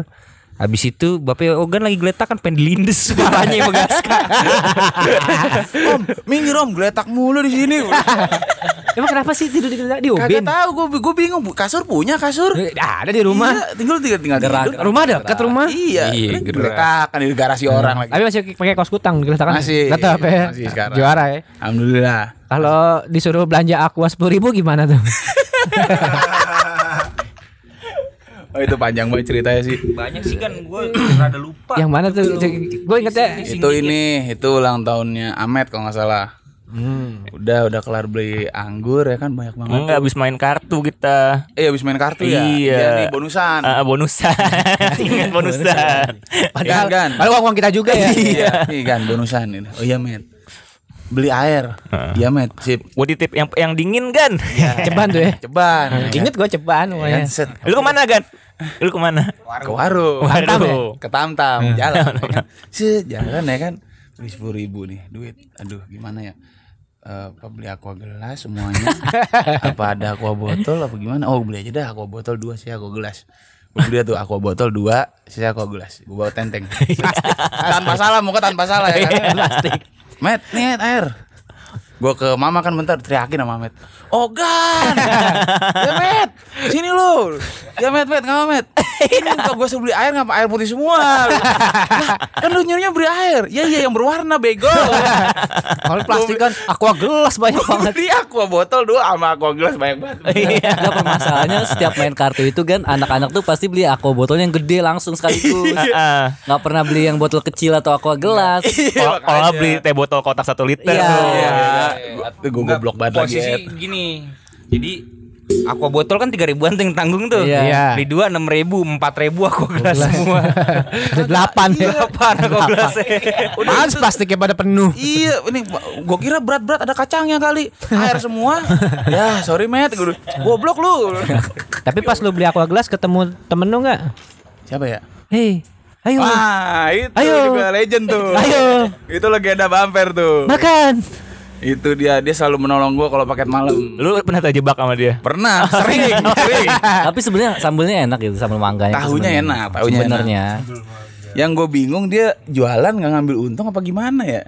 [SPEAKER 4] Habis itu Bapak Ogan lagi geletakan pengen dilindes kepalanya sama Gaska.
[SPEAKER 3] Om minggir om Geletak mulu di sini
[SPEAKER 5] Emang kenapa sih tidur di di
[SPEAKER 3] Kagak
[SPEAKER 5] ubin?
[SPEAKER 3] tahu gua gua bingung Kasur punya kasur
[SPEAKER 5] Eh, Ada di rumah.
[SPEAKER 3] Iya, Tinggal tinggal tinggal
[SPEAKER 2] Gerak.
[SPEAKER 3] tidur.
[SPEAKER 5] Rumah dekat rumah.
[SPEAKER 3] Iya
[SPEAKER 4] Iya, gerak.
[SPEAKER 3] Geletakan di garasi orang lagi
[SPEAKER 5] Tapi masih pakai kaos kutang diletakkan.
[SPEAKER 3] Masih.
[SPEAKER 5] Tetap ya.
[SPEAKER 3] Masih sekarang.
[SPEAKER 5] Juara ya.
[SPEAKER 3] Alhamdulillah
[SPEAKER 5] Kalau disuruh belanja aqua sepuluh ribu gimana tuh?
[SPEAKER 3] Oh itu panjang banget ceritanya sih
[SPEAKER 4] Banyak sih kan gue rada lupa.
[SPEAKER 5] Yang mana tuh? Gue ingetnya
[SPEAKER 3] Itu ini Itu ulang tahunnya Ahmed kalau nggak salah Udah udah kelar beli anggur ya kan Banyak banget
[SPEAKER 6] Enggak habis main kartu kita.
[SPEAKER 3] Eh habis main kartu ya
[SPEAKER 6] Iya.
[SPEAKER 3] nih, bonusan
[SPEAKER 6] Ah, bonusan. Ingat bonusan.
[SPEAKER 3] Padahal kan
[SPEAKER 5] Padahal uang, uang kita juga ya.
[SPEAKER 3] Iya. Nih kan bonusan ini. Oh iya, Met. Beli air. Iya, Met. Sip.
[SPEAKER 6] Gua titip yang yang dingin kan.
[SPEAKER 4] Iya.
[SPEAKER 5] ceban tuh ya.
[SPEAKER 3] Ceban. ya
[SPEAKER 5] Ingat gue ceban
[SPEAKER 2] Iya.
[SPEAKER 3] kan? Ya kan,
[SPEAKER 5] pokoknya.
[SPEAKER 3] set.
[SPEAKER 6] Lu kemana kan? Lu kemana?
[SPEAKER 3] Ke warung.
[SPEAKER 6] Waduh.
[SPEAKER 3] Ke Tamtam, ya? jalan. ya kan. Set, jalan ya kan. Beli 10 ribu nih duit. Aduh, gimana ya? Eh, apa beli aqua gelas semuanya apa ada aqua botol apa gimana oh beli aja dah aqua botol dua sih aqua gelas gue beli tuh aqua botol dua sisa aqua gelas gue bawa tenteng tanpa salah muka tanpa salah ya kan Met, nih Met, air. Gue ke mama kan bentar teriakin sama Met. Oh, Ogan. ya Met, sini lu. Ya Met, Met, enggak Met. Ini muka gue sebeli air ngapa air putih semua. Lah, kan lu nyuruhnya beri air. Ya iya yang berwarna bego.
[SPEAKER 5] Kalau plastik kan aqua gelas banyak
[SPEAKER 3] Gua
[SPEAKER 5] banget.
[SPEAKER 3] beli aqua botol dua sama aqua gelas banyak banget.
[SPEAKER 2] Iya. masalahnya setiap main kartu itu kan anak-anak tuh pasti beli aqua botol yang gede langsung sekaligus.
[SPEAKER 3] Iya.
[SPEAKER 4] iya.
[SPEAKER 6] Heeh.
[SPEAKER 2] Nggak pernah beli yang botol kecil atau aqua gelas.
[SPEAKER 6] Kalau kalau beli teh botol kotak satu liter
[SPEAKER 2] Iya.
[SPEAKER 6] tuh.
[SPEAKER 3] Iya. Gue goblok banget lagi.
[SPEAKER 4] Posisi
[SPEAKER 3] Ed.
[SPEAKER 4] gini. Jadi aqua botol kan 3000 ribuan tuh yang tanggung tuh.
[SPEAKER 2] Iya.
[SPEAKER 5] Iya.
[SPEAKER 4] Beli dua enam ribu, empat ribu aku gelas semua.
[SPEAKER 5] Ada delapan
[SPEAKER 1] Iya,
[SPEAKER 5] ya.
[SPEAKER 6] Iya.
[SPEAKER 4] Delapan aku gelasnya.
[SPEAKER 5] Males plastiknya pada penuh.
[SPEAKER 3] Iya, ini gue kira berat-berat ada kacangnya kali. Air semua. ya, sorry Met, Gua- goblok lu.
[SPEAKER 5] Tapi pas lu beli aqua gelas ketemu temen lu nggak?
[SPEAKER 3] Siapa ya?
[SPEAKER 5] Hei, ayo
[SPEAKER 3] Wah, itu
[SPEAKER 5] Ayo.
[SPEAKER 3] juga legend tuh.
[SPEAKER 5] Ayo.
[SPEAKER 3] Itu legenda bumper tuh.
[SPEAKER 5] makan.
[SPEAKER 3] Itu dia, dia selalu menolong gua kalau paket malam.
[SPEAKER 6] Lu pernah terjebak sama dia?
[SPEAKER 3] Pernah, sering, sering.
[SPEAKER 2] Tapi sebenarnya sambelnya enak gitu, sambel mangganya. itu
[SPEAKER 3] Tahunya
[SPEAKER 2] sebenarnya.
[SPEAKER 3] enak, tahunya enak.
[SPEAKER 2] Sebenarnya.
[SPEAKER 3] Yang gue bingung dia jualan nggak ngambil untung apa gimana ya?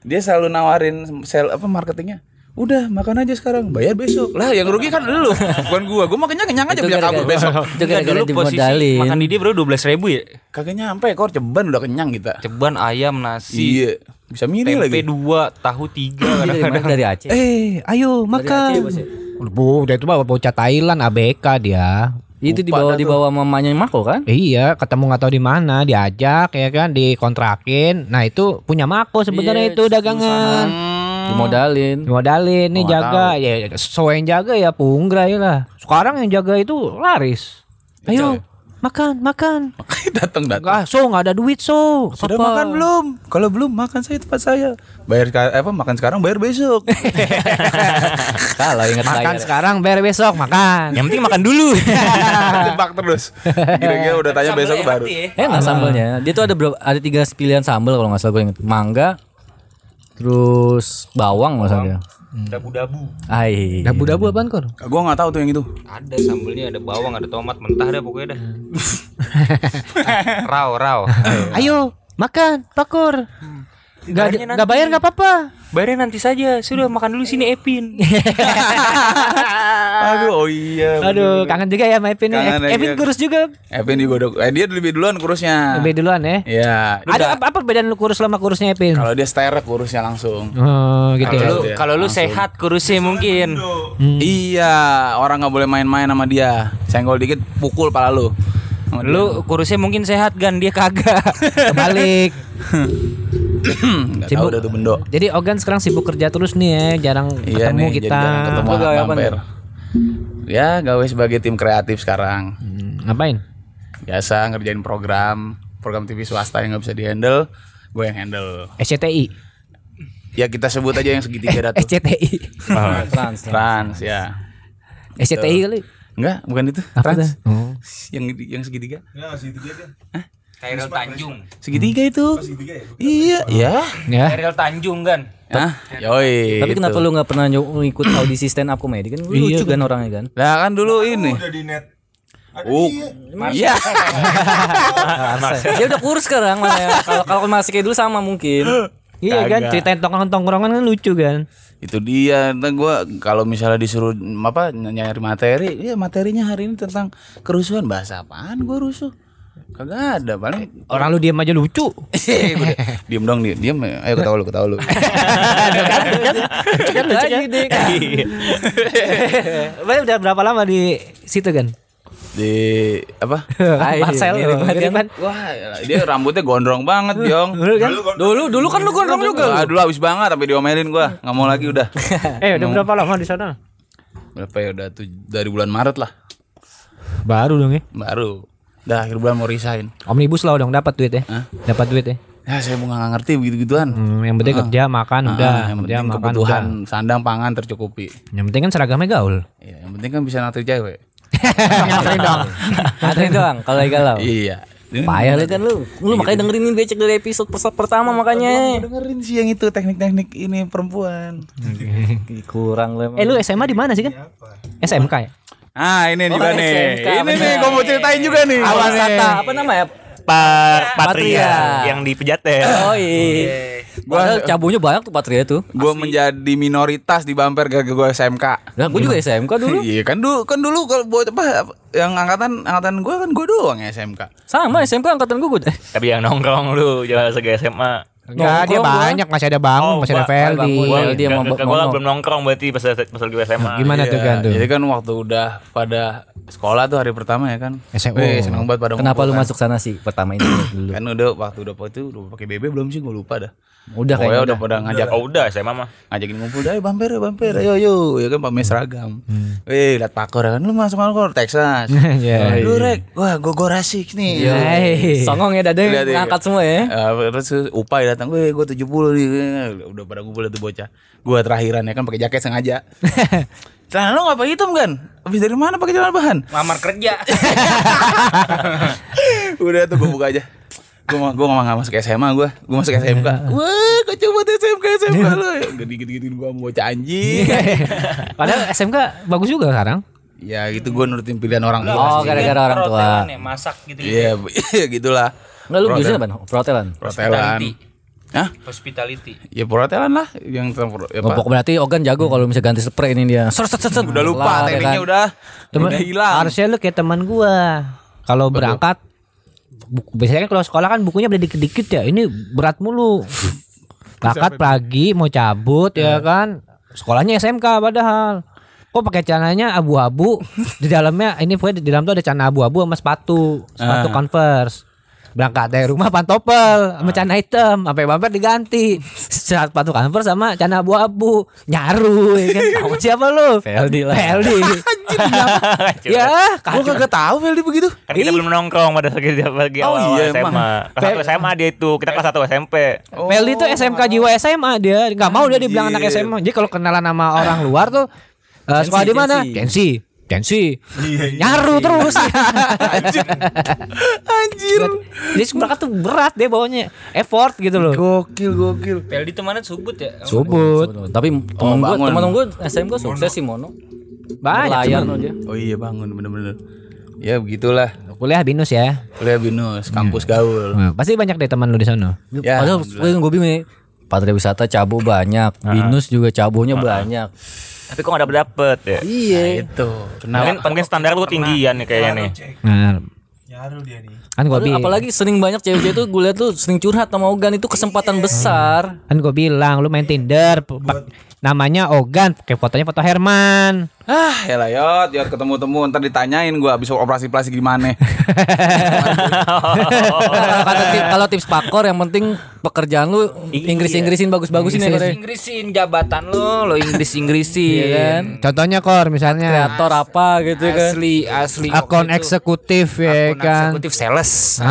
[SPEAKER 3] Dia selalu nawarin sel apa marketingnya. Udah makan aja sekarang, bayar besok. Lah yang rugi kan lu, bukan gua. Gua mau kenyang-kenyang aja
[SPEAKER 2] Itu
[SPEAKER 3] biar
[SPEAKER 2] gara-gara
[SPEAKER 3] kabur besok.
[SPEAKER 2] Itu
[SPEAKER 7] Kan
[SPEAKER 2] gara-gara dimodalin.
[SPEAKER 4] makan di dia bro 12 ribu ya.
[SPEAKER 3] Kagak nyampe kor ceban udah kenyang kita.
[SPEAKER 4] Ceban ayam nasi.
[SPEAKER 3] Iya, bisa milih
[SPEAKER 4] Tempe
[SPEAKER 3] lagi.
[SPEAKER 4] dua, tahu tiga.
[SPEAKER 2] Dia dari mana? Dari Aceh.
[SPEAKER 5] Eh,
[SPEAKER 2] Aceh,
[SPEAKER 5] ayo makan.
[SPEAKER 2] Bos, ya?
[SPEAKER 5] Bu, dia itu bawa bocah Thailand ABK dia.
[SPEAKER 2] Itu dibawa dibawa mamanya Mako kan?
[SPEAKER 5] Iya, ketemu nggak tahu di mana, diajak ya kan, dikontrakin. Nah itu punya Mako
[SPEAKER 2] Iya,
[SPEAKER 5] sebenarnya itu dagangan.
[SPEAKER 3] Hmm.
[SPEAKER 2] Dimodalin.
[SPEAKER 5] Modalin nih
[SPEAKER 3] Nggak
[SPEAKER 5] jaga, ya so yang jaga ya punggra ya lah. Sekarang yang jaga itu laris. Ayo,
[SPEAKER 1] makan, makan.
[SPEAKER 3] datang
[SPEAKER 1] Enggak,
[SPEAKER 3] datang.
[SPEAKER 1] so nggak ada duit so.
[SPEAKER 3] Sudah
[SPEAKER 1] Apa?
[SPEAKER 3] makan belum? Kalau belum makan saya tempat saya. Bayar seka- apa makan sekarang bayar besok.
[SPEAKER 2] Kalau ingat
[SPEAKER 1] Makan
[SPEAKER 2] bayar.
[SPEAKER 1] sekarang, bayar besok makan.
[SPEAKER 4] Yang penting makan dulu.
[SPEAKER 3] Jebak terus. Kira-kira udah tanya besok baru.
[SPEAKER 2] Enak Eh, sambelnya. Dia tuh ada berapa, ada tiga pilihan sambel kalau nggak salah gue inget. Mangga, terus bawang nggak salah. dia. Hmm.
[SPEAKER 4] Dabu-dabu.
[SPEAKER 2] Ai.
[SPEAKER 1] Dabu-dabu apaan kor?
[SPEAKER 3] Gua nggak tahu tuh yang itu.
[SPEAKER 7] Ada sambelnya, ada bawang, ada tomat mentah dah pokoknya dah. raw, raw.
[SPEAKER 1] Ayo makan, pakor. Gak,
[SPEAKER 7] Bayarnya
[SPEAKER 1] gak
[SPEAKER 7] nanti.
[SPEAKER 1] bayar gak apa-apa.
[SPEAKER 7] Bayarnya nanti saja. Sudah makan dulu sini Epin.
[SPEAKER 1] Ah.
[SPEAKER 3] Aduh, oh iya.
[SPEAKER 1] Aduh, kangen juga ya sama Epin. ya.
[SPEAKER 3] Kangen
[SPEAKER 1] Epin
[SPEAKER 3] lagi.
[SPEAKER 1] Eh, kurus juga.
[SPEAKER 3] Evin juga udah, eh, dia lebih duluan kurusnya.
[SPEAKER 1] Lebih duluan ya.
[SPEAKER 3] Iya.
[SPEAKER 1] Ada apa, apa bedaan lu kurus sama kurusnya Epin?
[SPEAKER 3] Kalau dia sterek kurusnya langsung.
[SPEAKER 1] Oh, gitu ya.
[SPEAKER 2] Iya.
[SPEAKER 7] Kalau lu, kalau lu sehat kurusnya mungkin.
[SPEAKER 1] Hmm.
[SPEAKER 3] Iya, orang nggak boleh main-main sama dia. Senggol dikit pukul pala lu. Sama dia.
[SPEAKER 7] Lu kurusnya mungkin sehat gan dia kagak.
[SPEAKER 1] Kebalik.
[SPEAKER 3] nggak tahu udah tuh bendo.
[SPEAKER 1] Jadi Ogan sekarang sibuk kerja terus nih ya, jarang
[SPEAKER 3] Iya
[SPEAKER 1] ketemu
[SPEAKER 3] nih, jadi
[SPEAKER 1] kita.
[SPEAKER 3] jarang ketemu
[SPEAKER 2] Lu gawe
[SPEAKER 3] sama
[SPEAKER 2] apa
[SPEAKER 3] Bamper. Ya, gawe sebagai tim kreatif sekarang.
[SPEAKER 1] Hmm, ngapain?
[SPEAKER 3] Biasa ngerjain program, program TV swasta yang nggak bisa dihandle, gue yang handle.
[SPEAKER 1] SCTI.
[SPEAKER 3] Ya kita sebut aja yang segitiga
[SPEAKER 1] Eh,
[SPEAKER 3] datu.
[SPEAKER 1] SCTI.
[SPEAKER 2] Trans.
[SPEAKER 3] Trans ya.
[SPEAKER 1] SCTI kali.
[SPEAKER 3] Enggak, bukan itu.
[SPEAKER 1] Apa tuh? Oh.
[SPEAKER 3] Trans. Hmm. Yang yang segitiga.
[SPEAKER 5] Ya, situ dia deh.
[SPEAKER 7] Khairil Tanjung.
[SPEAKER 3] Segitiga itu. Iya, ya.
[SPEAKER 1] Ya.
[SPEAKER 7] Khairil Tanjung kan.
[SPEAKER 3] Hah? Yoi. gitu.
[SPEAKER 2] Tapi
[SPEAKER 7] Gitu.
[SPEAKER 3] itu.
[SPEAKER 2] kenapa lu nggak pernah ny- ikut audisi stand up comedy kan? Lu
[SPEAKER 1] Iya,
[SPEAKER 2] lucu kan orangnya kan?
[SPEAKER 3] Lah kan dulu ini.
[SPEAKER 5] Udah di net. Ada
[SPEAKER 3] Oh.
[SPEAKER 5] dia.
[SPEAKER 3] Iya.
[SPEAKER 1] Ah.
[SPEAKER 2] Dia udah kurus sekarang malah. ya. Kalau kalau masih kayak dulu sama mungkin.
[SPEAKER 1] Iya kan
[SPEAKER 3] Kagak.
[SPEAKER 1] ceritain tongkrongan-tongkrongan kan lucu kan.
[SPEAKER 3] itu dia ntar gua kalau misalnya disuruh mm, apa ny- nyari materi ya materinya hari ini tentang kerusuhan bahasa apaan gua rusuh kagak ada paling Iya,
[SPEAKER 1] Orang lu diam aja lucu.
[SPEAKER 3] Gua di- diem dong diem, diem ayo ketawa lu ketawa lu
[SPEAKER 1] Kan lucu kan? Berarti udah berapa lama di situ kan?
[SPEAKER 3] di apa
[SPEAKER 1] Marcel
[SPEAKER 2] mirip banget
[SPEAKER 1] mirip kan?
[SPEAKER 3] wah dia rambutnya gondrong banget Jong
[SPEAKER 2] Dulu dulu kan lu gondrong juga.
[SPEAKER 3] Aduh, dulu habis banget tapi diomelin gua nggak mau lagi udah
[SPEAKER 1] Eh udah berapa lama di sana?
[SPEAKER 3] berapa ya udah tuj- dari bulan Maret lah
[SPEAKER 1] Baru dong ya.
[SPEAKER 3] baru dah akhir bulan mau resign
[SPEAKER 1] Omnibus law dong dapat duit ya. Dapat duit ya.
[SPEAKER 3] ya saya mau nggak ngerti begitu gituan
[SPEAKER 1] Hmm, yang penting kerja makan udah,
[SPEAKER 3] yang
[SPEAKER 1] kerja
[SPEAKER 3] penting
[SPEAKER 1] makan
[SPEAKER 3] kebutuhan
[SPEAKER 1] udah.
[SPEAKER 3] sandang pangan tercukupi.
[SPEAKER 1] Yang penting kan seragamnya gaul.
[SPEAKER 3] Iya, yang penting kan bisa nanti cewek.
[SPEAKER 1] Nganterin dong.
[SPEAKER 2] Katrin doang kalau lagi
[SPEAKER 1] Oh.
[SPEAKER 2] galau.
[SPEAKER 3] Iya.
[SPEAKER 2] Payah lu kan lu. Lu makanya dengerin ini becek dari episode persa- pertama makanya.
[SPEAKER 3] Dengerin sih yang itu teknik-teknik ini perempuan.
[SPEAKER 1] Hmm.
[SPEAKER 2] Kurang lu.
[SPEAKER 1] Eh lu SMA di mana sih kan? SMK ya?
[SPEAKER 3] Ah, ini
[SPEAKER 1] Oh,
[SPEAKER 3] juga nih.
[SPEAKER 2] SMK,
[SPEAKER 3] ini
[SPEAKER 2] bener.
[SPEAKER 3] nih gua mau ceritain juga nih.
[SPEAKER 2] Awas kata Eh, apa namanya?
[SPEAKER 4] Pak
[SPEAKER 2] Patria.
[SPEAKER 4] Patria Eh, yang di ya. pejaten.
[SPEAKER 2] Oh iya. Padahal cabunya banyak tuh Patria tuh.
[SPEAKER 3] Gua menjadi minoritas di bumper gara-gara gua SMK.
[SPEAKER 2] Nah, gue juga SMK dulu.
[SPEAKER 3] Iya kan dulu kan dulu kalau buat apa yang angkatan angkatan gua kan gua doang ya SMK.
[SPEAKER 2] Sama SMK angkatan gue. Eh,
[SPEAKER 4] Tapi yang nongkrong lu jangan segi SMA.
[SPEAKER 1] Enggak, dia
[SPEAKER 2] Nongkrong gua.
[SPEAKER 1] banyak masih ada Bangun,
[SPEAKER 4] Oh,
[SPEAKER 1] masih ada
[SPEAKER 4] ba-
[SPEAKER 1] Feldi.
[SPEAKER 2] Bangun, Iya,
[SPEAKER 4] Gua
[SPEAKER 2] dia mau-
[SPEAKER 4] gua-
[SPEAKER 2] mau-
[SPEAKER 4] gua belum nongkrong berarti pas pas gue SMA.
[SPEAKER 1] Gimana tuh kan tuh?
[SPEAKER 3] Jadi kan waktu udah pada sekolah tuh hari pertama ya kan.
[SPEAKER 1] SEO.
[SPEAKER 3] Wih, seneng banget pada
[SPEAKER 2] kenapa
[SPEAKER 3] ngumpul
[SPEAKER 2] lu
[SPEAKER 3] kan.
[SPEAKER 2] masuk sana sih pertama ini dulu?
[SPEAKER 3] Kan udah waktu udah itu udah pakai BB belum sih gue lupa dah.
[SPEAKER 2] Udah
[SPEAKER 3] Pokoknya
[SPEAKER 2] kayak
[SPEAKER 3] udah pada ngajak
[SPEAKER 4] Oh udah SMA mah.
[SPEAKER 3] ngajakin ngumpul dah, "Ayo, bamper ya bamper ayo yo ya kan
[SPEAKER 2] Hmm.
[SPEAKER 3] pamer seragam. Wih, lihat pakor kan lu masuk pakor Texas.
[SPEAKER 1] Iya.
[SPEAKER 3] Lu rek, wah gue gue rasik nih.
[SPEAKER 2] Iya,
[SPEAKER 1] Hai.
[SPEAKER 2] Songong ya dada
[SPEAKER 3] Lihat, iya.
[SPEAKER 2] ngangkat semua ya.
[SPEAKER 3] Eh, terus Upay datang, gue gue 70 nih, udah pada gue tuh bocah. Gue terakhiran ya kan pakai jaket sengaja. Celana lu nggak pakai hitam kan? Habis dari mana pakai celana bahan?
[SPEAKER 7] Lamar kerja.
[SPEAKER 3] Udah tuh gue buka aja. Gue mah gue mah nggak masuk SMA gue, gue masuk SMK. Wah, kau coba tuh SMK SMK lu. Gede gede gede gue mau bocah anjing.
[SPEAKER 1] Padahal SMK bagus juga sekarang.
[SPEAKER 3] ya gitu gue nurutin pilihan orang
[SPEAKER 2] Oh,
[SPEAKER 3] tua.
[SPEAKER 2] gara-gara orang tua.
[SPEAKER 7] Protelan ya, masak gitu.
[SPEAKER 3] Iya, gitulah.
[SPEAKER 2] Enggak lu jurusan apa? Protelan.
[SPEAKER 3] Protelan. Hah?
[SPEAKER 7] Hospitality.
[SPEAKER 3] Ya protelan lah yang terpro- ya, apa?
[SPEAKER 2] Pokok berarti Ogan jago kalau bisa ganti spray ini dia. Ser, set, set, set.
[SPEAKER 3] Udah lupa
[SPEAKER 2] Lah, ya
[SPEAKER 3] tekniknya
[SPEAKER 2] kan.
[SPEAKER 3] udah.
[SPEAKER 1] Temen-
[SPEAKER 3] udah hilang.
[SPEAKER 1] Harusnya lu kayak teman gua. Kalau berangkat buku- biasanya kan kalau sekolah kan bukunya beli dikit-dikit ya. Ini berat mulu. Bakat pagi mau cabut
[SPEAKER 3] Eh.
[SPEAKER 1] ya kan. Sekolahnya SMK padahal. Kok pakai celananya
[SPEAKER 3] Ah.
[SPEAKER 1] abu-abu? di dalamnya ini pokoknya di dalam tuh ada celana abu-abu sama sepatu, sepatu Converse. berangkat dari rumah pantopel
[SPEAKER 3] Ah.
[SPEAKER 1] sama cana hitam sampai bumper diganti saat sepatu kanver sama cana abu-abu nyaru ya kan tahu siapa lu
[SPEAKER 2] Feldi lah.
[SPEAKER 1] Feldi ya
[SPEAKER 3] Gue
[SPEAKER 1] kacau
[SPEAKER 3] kagak tahu Feldi begitu.
[SPEAKER 4] Kan kita belum nongkrong pada saat kita lagi
[SPEAKER 3] Oh,
[SPEAKER 4] awal
[SPEAKER 3] iya, emang.
[SPEAKER 4] SMA. Kelas 1 SMA dia itu, kita kelas 1 SMP.
[SPEAKER 1] Feldi itu SMK jiwa SMA dia nggak mau dia dibilang anak SMA jadi kalau kenalan sama orang luar tuh eh, sekolah di mana Tensi Tensi nyaru terus
[SPEAKER 3] Anjir.
[SPEAKER 1] jadi mereka tuh berat deh bawanya effort gitu loh
[SPEAKER 3] Gokil gokil.
[SPEAKER 7] Peldi temannya subut ya.
[SPEAKER 1] subut
[SPEAKER 2] Tapi temen gue,
[SPEAKER 3] bangun.
[SPEAKER 2] temen gue SM gue sukses sih Mono.
[SPEAKER 1] banyak
[SPEAKER 2] Berlayar
[SPEAKER 1] temen.
[SPEAKER 2] aja.
[SPEAKER 3] Oh iya bangun bener-bener. Ya begitulah.
[SPEAKER 1] kuliah binus ya
[SPEAKER 3] Kuliah binus, kampus gaul.
[SPEAKER 1] Nah, pasti banyak deh teman lu di sana.
[SPEAKER 3] Ya,
[SPEAKER 2] Padahal gue bingung ya. Patria wisata cabo banyak,
[SPEAKER 7] Ah.
[SPEAKER 2] binus juga cabonya banyak.
[SPEAKER 4] Tapi kok gak dapet-dapet ya?
[SPEAKER 2] Iya.
[SPEAKER 3] Itu.
[SPEAKER 4] Mungkin, mungkin standar lu ketinggian nih kayaknya nih.
[SPEAKER 1] Nah,
[SPEAKER 5] Nyaru dia nih.
[SPEAKER 1] kan gua
[SPEAKER 2] Padahal
[SPEAKER 1] bilang,
[SPEAKER 2] Apalagi sering banyak cewek-cewek itu gue liat tuh sering curhat sama Ogan itu
[SPEAKER 7] Iya.
[SPEAKER 2] kesempatan besar.
[SPEAKER 1] kan gua bilang lu main Tinder, p- pak- namanya Ogan, kayak fotonya foto Herman.
[SPEAKER 3] Ah, ya lah yot, yot ketemu temu ntar ditanyain gua abis operasi plastik gimana.
[SPEAKER 7] Oh.
[SPEAKER 2] Kalau kata tip- kalau tips pakor yang penting pekerjaan lu Inggris-Inggrisin bagus-bagusin ya Kore.
[SPEAKER 7] Iya. Inggrisin jabatan lo, lo Inggris Inggrisin.
[SPEAKER 2] Iya kan?
[SPEAKER 1] Contohnya kor misalnya
[SPEAKER 2] Kreator apa gitu kan.
[SPEAKER 7] Asli asli.
[SPEAKER 1] akun
[SPEAKER 7] waktu itu
[SPEAKER 1] eksekutif ya
[SPEAKER 7] akun
[SPEAKER 1] kan.
[SPEAKER 7] Eksekutif sales.
[SPEAKER 1] Ah,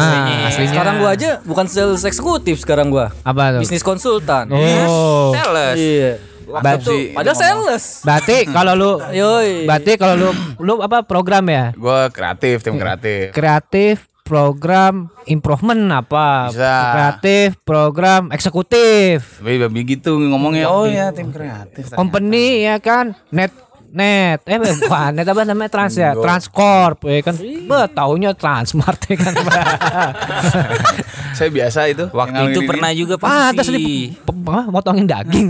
[SPEAKER 1] aslinya.
[SPEAKER 2] Sekarang gua aja bukan sales eksekutif sekarang gua.
[SPEAKER 1] Apa tuh?
[SPEAKER 2] Bisnis konsultan.
[SPEAKER 1] Oh.
[SPEAKER 7] Sales.
[SPEAKER 2] Iya.
[SPEAKER 1] Ba-
[SPEAKER 2] Tuh, padahal sales.
[SPEAKER 1] berarti kalau lu
[SPEAKER 2] Yoi.
[SPEAKER 1] berarti kalau lu lu apa program ya?
[SPEAKER 3] gua kreatif, tim kreatif.
[SPEAKER 1] Kreatif program improvement apa?
[SPEAKER 3] Bisa.
[SPEAKER 1] Kreatif program eksekutif.
[SPEAKER 3] Tapi begitu ngomongnya, oh ya tim kreatif.
[SPEAKER 1] company ya kan net net eh bukan net apa namanya trans ya transcorp ya kan bet taunya transmart ya kan
[SPEAKER 3] Saya biasa itu.
[SPEAKER 7] Waktu
[SPEAKER 3] yang
[SPEAKER 7] itu
[SPEAKER 3] gini-gini.
[SPEAKER 7] pernah
[SPEAKER 2] Ah,
[SPEAKER 7] juga
[SPEAKER 1] pantas
[SPEAKER 7] posisi.
[SPEAKER 1] di pe- apa, motongin daging